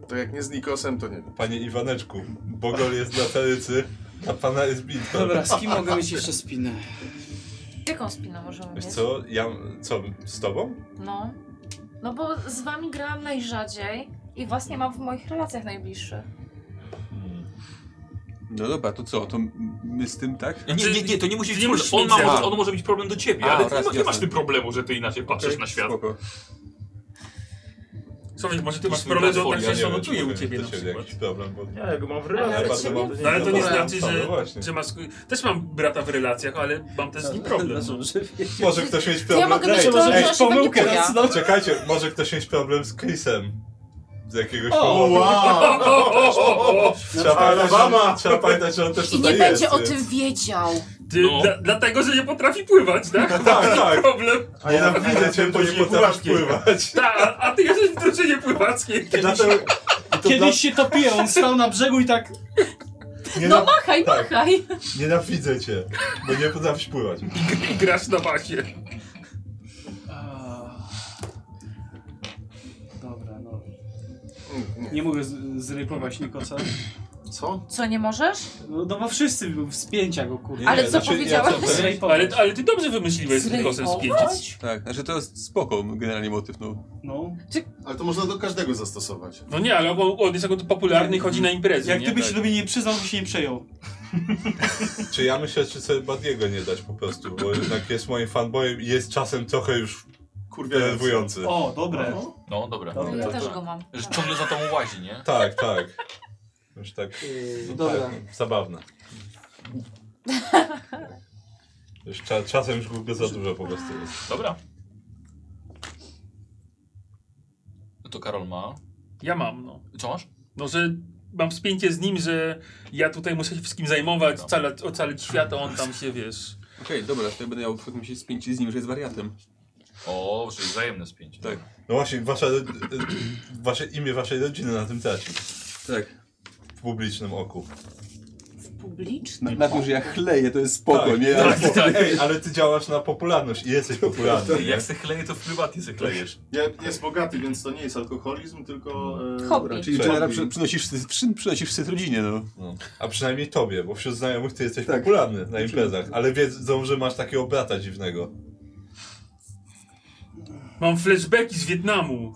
To jak nie z Nikosem, to nie wiem. Panie Iwaneczku, Bogol jest dla carycy, a pana jest bitwa. Dobra, z kim mogę mieć jeszcze spinę? Jaką spinę możemy Wiesz mieć? co, ja, co, z tobą? No. No bo z wami grałam najrzadziej i was nie mam w moich relacjach najbliższych. No dobra, to co? To m- my z tym, tak? Nie, Znaczy, nie, nie, to nie musi Ty być problem. nie musisz On, ma, nic może, robić. on może mieć problem do ciebie, A, ale ty raz, nie, nie masz jasne. tym problemu, że ty inaczej patrzysz Okej, na świat. Spoko. Słuchaj, może ty masz Swój problem, że on platformie, tak się nie wiem, sanotuje u powiem, ciebie to na się przykład. jakiś problem, bo- Ja go mam w relacji. Ja Ale bardzo to mam- się No ale to nie Dobra, znaczy, no że, właśnie. że masz... Też mam brata w relacjach, ale mam też z nim problem. No. Może ktoś mieć Ja problem... mogę mieć Ej, to, że się pomyłkę Czekajcie, może ktoś mieć problem z Chrisem. Z jakiegoś O, powodu. wow. Trzeba, pamiętać, że on, Alabama. trzeba pamiętać, że on też I tutaj nie jest. będzie o więc- tym wiedział. Ty, No. dla, dlatego, że nie potrafi pływać, tak? tak, tak. Problem. A ja widzę cię, bo nie potrafisz pływać. Ta, a- a ty jesteś w drużynie pływackiej. Dlatego- Kiedyś się topiłem, on stał na brzegu i tak. Nie No na- machaj, tak. machaj. Nienawidzę cię, bo nie potrafisz pływać. I grasz na basie. Dobra, no. Nie, Nie mogę z- zrypować Nikosa. Co? Co, nie możesz? No, no bo wszyscy w spięcia go kurde. Ale co Znaczy, ja powiedziałeś? co, Zrejpować. Ale, ale ty dobrze wymyśliłeś z Nikosem spięcić. Tak, znaczy to jest spoko generalnie motyw, no. No. Ale to można do każdego zastosować. No nie, ale on, on jest jako popularny i chodzi Mm. na imprezy, Jak nie? ty byś Tak. do mnie nie przyznał, to się nie przejął. Czy ja myślę, czy sobie Badiego nie dać po prostu, bo jednak jest moim fanboyem i jest czasem trochę już denerwujący. O, dobre. No dobra. Dobra. Ja to też tak. go mam. Że ciągle za tą łazi, nie? Tak, tak. Już tak. no dobra. Tak, zabawne. Już cza, czasem już Google za dużo po prostu jest. Dobra. No to Karol ma. Ja mam, no. Co masz? No, że mam spięcie z nim, że ja tutaj muszę się wszystkim zajmować, ocalać, ocalić świat, a on tam się, wiesz... Okej, dobra, to ja będę miał potem się spięć z nim, że jest wariatem. O, czyli wzajemne spięcie. Tak, No właśnie, wasza, ro- wasze imię waszej rodziny na tym traci. tak. W publicznym oku. Publiczny. Na, na tym, że ja chleję, to jest spoko, tak, nie? Tak, Ale- Tak, tak. Ej, ale ty działasz na popularność i jesteś popularny. Ty, nie? jak se chleje, to w prywatnie se chlejesz. Ja, jest bogaty, więc to nie jest alkoholizm, tylko... E, Hobby. Czyli Cześć. czy przy, przynosisz, sy- przy, przynosisz syt rodzinie, no. No. A przynajmniej tobie, bo wśród znajomych ty jesteś Tak. popularny Znaczy- na imprezach, ale wiedzą, że masz takiego brata dziwnego. Mam flashbacki z Wietnamu.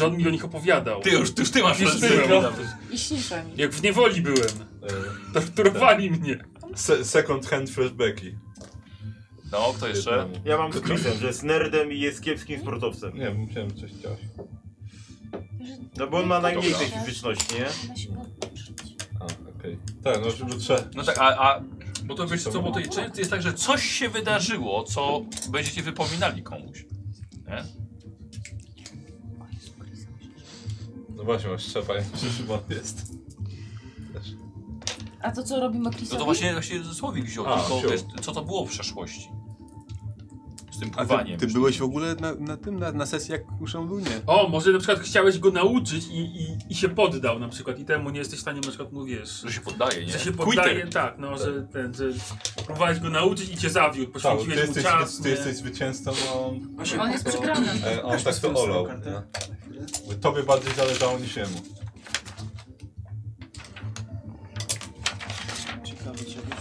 John mi o nich opowiadał. Ty już, ty, już ty masz Już lepszy ty, problem. no. I śnisza mi. Jak w niewoli byłem. Torturowali mnie. E, Se second hand flashbacki. No, kto jeszcze? Ja mam z Chrisem, że jest nerdem i jest kiepskim sportowcem. Nie wiem, musiałem coś chciać. No bo on ma najmniej tej Dobra. fizyczności, nie? Ona się go uczyć. A, okej. Tak, no żeby trzeba. No tak, a, a bo to wiecie co, bo to często jest tak, że coś się wydarzyło, co będziecie wypominali komuś. Nie? No właśnie, masz trzeba pamiętać, że Szymon jest. Też. A to co robimy No to Chrisowi? właśnie, właśnie Słowik wziął, A, tylko wziął. wiesz, co to było w przeszłości. z tym A pływaniem. ty, ty byłeś w ogóle na, na tym, na, na sesji, jak uszą był? Nie. O, może na przykład chciałeś go nauczyć i, i, i się poddał na przykład i temu nie jesteś w stanie na przykład, no wiesz... Że się poddaje, nie? Że się Quitter. poddaje, tak, no, że ten, że próbowałeś go nauczyć i cię zawiódł, Tak, ty poświęciłeś mu jesteś, czas, ty nie? jesteś zwycięzcą, a on... Właśnie, On jest to- przegrany. e, On Pokaż tak mi to swoją olał. kartę. nie? Tobie bardziej zależało niż jemu.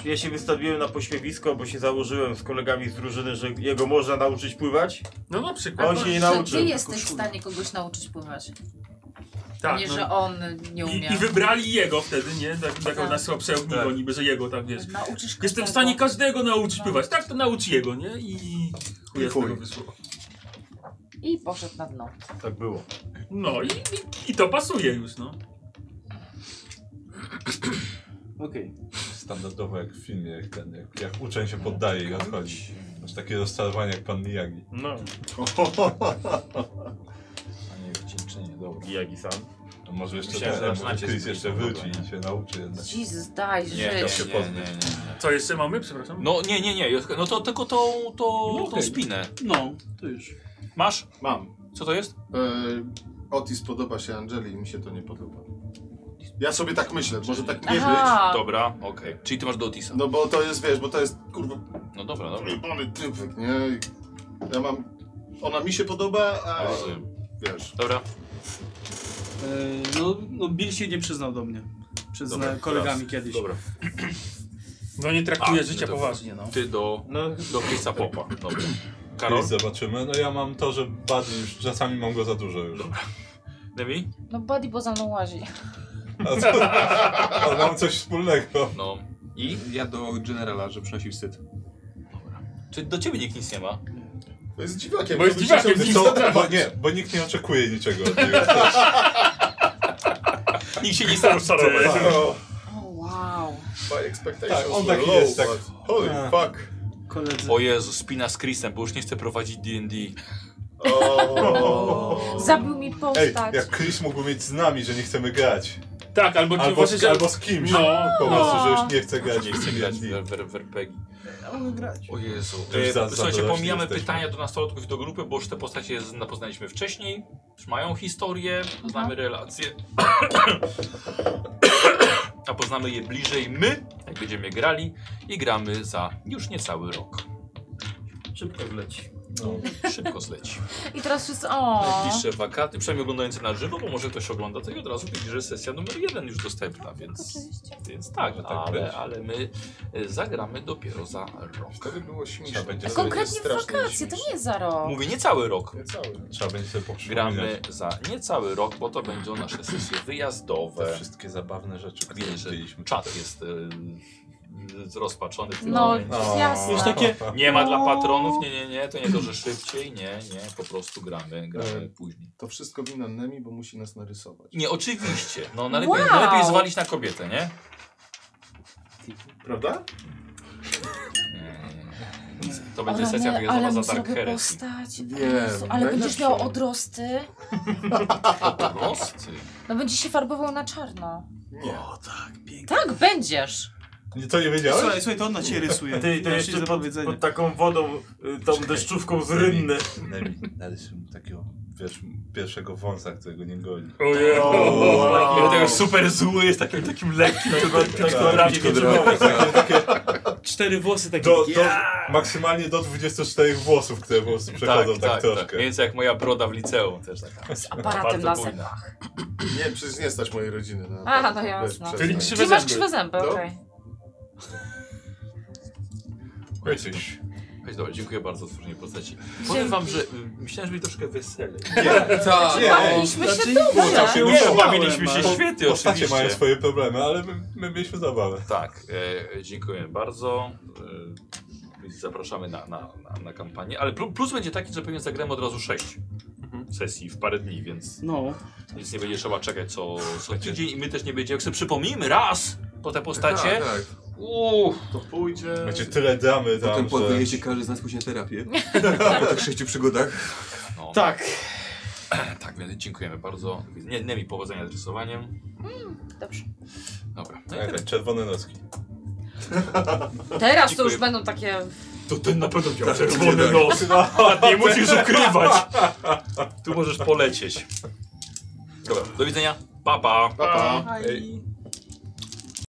Ja się wystawiłem na pośmiewisko, bo się założyłem z kolegami z drużyny, że jego można nauczyć pływać. No na A on się nie nauczył. Że ty jesteś w stanie kogoś nauczyć pływać. Tak, nie, no. że on nie I, umie. I wybrali jego wtedy, nie? Tak, taką Tak. na słabsze ogniwo, niby, że jego tam, wiesz. Jestem każdego. w stanie każdego nauczyć pływać, tak to naucz jego, nie? I chuja z tego wysłucha. I poszedł na dno. Tak było. No i, i, i to pasuje już, no. Okej. Standardowo jak w filmie, jak, ten, jak, jak uczeń się poddaje i odchodzi. Masz takie rozczarowanie jak pan Miyagi. No. A nie wdzięczenie, dobra. Miyagi-san. A może jeszcze Myślałem, że ten, zaczynacie może Chris z jeszcze Chrisem, wróci i się nauczy jednak. Jesus, daj Nie, nie, żyć. nie, nie, nie, nie. Co jeszcze mamy, przepraszam? No nie, nie, nie, no to tylko tą, tą, tą okej. spinę. No, to już. Masz? Mam. E, Co to jest? Otis podoba się Angeli i mi się to nie podoba. Ja sobie tak myślę, może tak nie Aha. być. Dobra, okej. Czyli ty masz do Otisa. No bo to jest, wiesz, bo to jest kurwa No dobra, dobra. Jebany typek, nie? Ja mam... Ona mi się podoba, a... Wiesz. Dobra. E, no, no Bill się nie przyznał do mnie. Przed Dobra, zna- kolegami teraz. kiedyś. Dobra. No nie traktuje A, życia to- poważnie, no. Ty do, do Chrisa Popa. Dobra. Karol? Karol? Zobaczymy. No ja mam to, że bardziej już czasami mam go za dużo już. Dobra. Demi? No body bo za mną łazi. A co? Ale mam coś wspólnego. No. I? Ja do generala, że przynosił syt. Czy do ciebie nikt nic nie ma? To jest dziwakiem. Bo jest dziwakiem, Wiesz nic co? nie trafi. bo, nie, bo nikt nie oczekuje niczego od niego. Nikt się nie sam szarować. O, wow. My expectations Tak, on were taki low, jest, tak. but Holy Tak. fuck. Koledzy. O Jezu, spina z Chrisem, bo już nie chce prowadzić D&D. Zabił mi Ej, postać. jak Chris mógłby mieć z nami, że nie chcemy grać. Tak, albo, albo, właśnie, z, że- albo z kimś. No. po prostu, że już nie chce chcę grać. Nie chce grać w, w, w RPG. O Jezu. To już E, za- za Słuchajcie, dorośli pomijamy jesteśmy. pytania do nastolatków i do grupy, bo już te postacie zna- poznaliśmy wcześniej. Już mają historię, znamy relacje. A poznamy je bliżej my, jak będziemy grali i gramy za już niecały rok. Szybko wleci. No, szybko zleci. I teraz wszyscy. O. Najbliższe wakaty, przynajmniej oglądający na żywo, bo może ktoś ogląda to i od razu widzi, że sesja numer jeden już dostępna, więc, więc tak, Może tak ale, być. ale my e, zagramy dopiero za rok. To by było śmieszne. będzie sobie- Konkretnie w wakacje, to nie jest za rok. Mówię nie cały rok. Trzeba będzie sobie poprzypominać. Gramy za niecały rok, bo to będą nasze sesje wyjazdowe. Te wszystkie zabawne rzeczy, które Wiesz, że widzieliśmy. czat jest e, zrozpaczony w tym No, momencie. jasne. Już takie- Nie ma dla O. patronów, nie, nie, nie, to nie to, że szybciej, nie, nie, po prostu gramy, gramy E, No. później. To wszystko wina Nemi, bo musi nas narysować. Nie, oczywiście, no najlepiej, Wow. najlepiej zwalić na kobietę, nie? Prawda? To będzie sesja rany, ale wyjazdowa mu za Dark zrobię Heresy. postać. Wiem, Jezu, ale będziesz najlepszy. miał odrosty. Prosty. No będziesz się farbował na czarno. Nie. Tak będziesz. Nie, to nie wiedziałeś? Słuchaj, słuchaj, to ona cię rysuje. Ty, to Masz jeszcze jej pod, zapowiedzenie. pod taką wodą, y, tą deszczówką z rynny. Nemi, narysuj mu takiego wiesz, pierwszego wąsa, którego nie goli. Ojej. O, Wow. Tego super zły jest takim, takim lekkim, Tak, Tak, tylko bramki Cztery włosy takie. Do, do, maksymalnie do 24 włosów, które po prostu przechodzą tak, troszkę. Mniej więcej jak moja broda w liceum też taka. Z aparatem na zębach. Nie, przecież nie stać mojej rodziny. Na Aha, to no jasne. bez Czyli przestań. krzywe Ty masz zęby. krzywe zęby, No. okej. Jesteś. Weź dobra, dziękuję bardzo za stworzenie postaci. Powiem wam, że y, myślałem, że będzie troszkę weselej. Tak, nie, Bawiliśmy się dobrze. Nie, bawiliśmy się Po- świetnie, Postacie oczywiście. mają swoje problemy, ale my, my mieliśmy zabawę. Tak, e, dziękuję bardzo. E, zapraszamy na, na, na, na kampanię. Ale plu- plus będzie taki, że pewnie zagramy od razu 6 Mhm. sesji w parę dni, więc No. Więc nie będzie trzeba czekać co, co tydzień i my też nie będziemy. Jak sobie przypomnijmy raz po te postacie. Tak, tak. Uff, To pójdzie... Macie tyle damy tam, Potem po że... wyjeździe każdy z nas później na terapię. Po tych sześciu przygodach. no. Tak. Tak, więc dziękujemy bardzo. Nie, nie mi powodzenia z rysowaniem. Dobrze. Dobra. No i Tak, tyle. tak, czerwone noski. Teraz to Dziękuję. już będą takie to ten na pewno miał czerwony nos. Nie musisz ukrywać. Tu możesz polecieć. Dobra, do widzenia. Pa, pa. Pa, pa. Ej,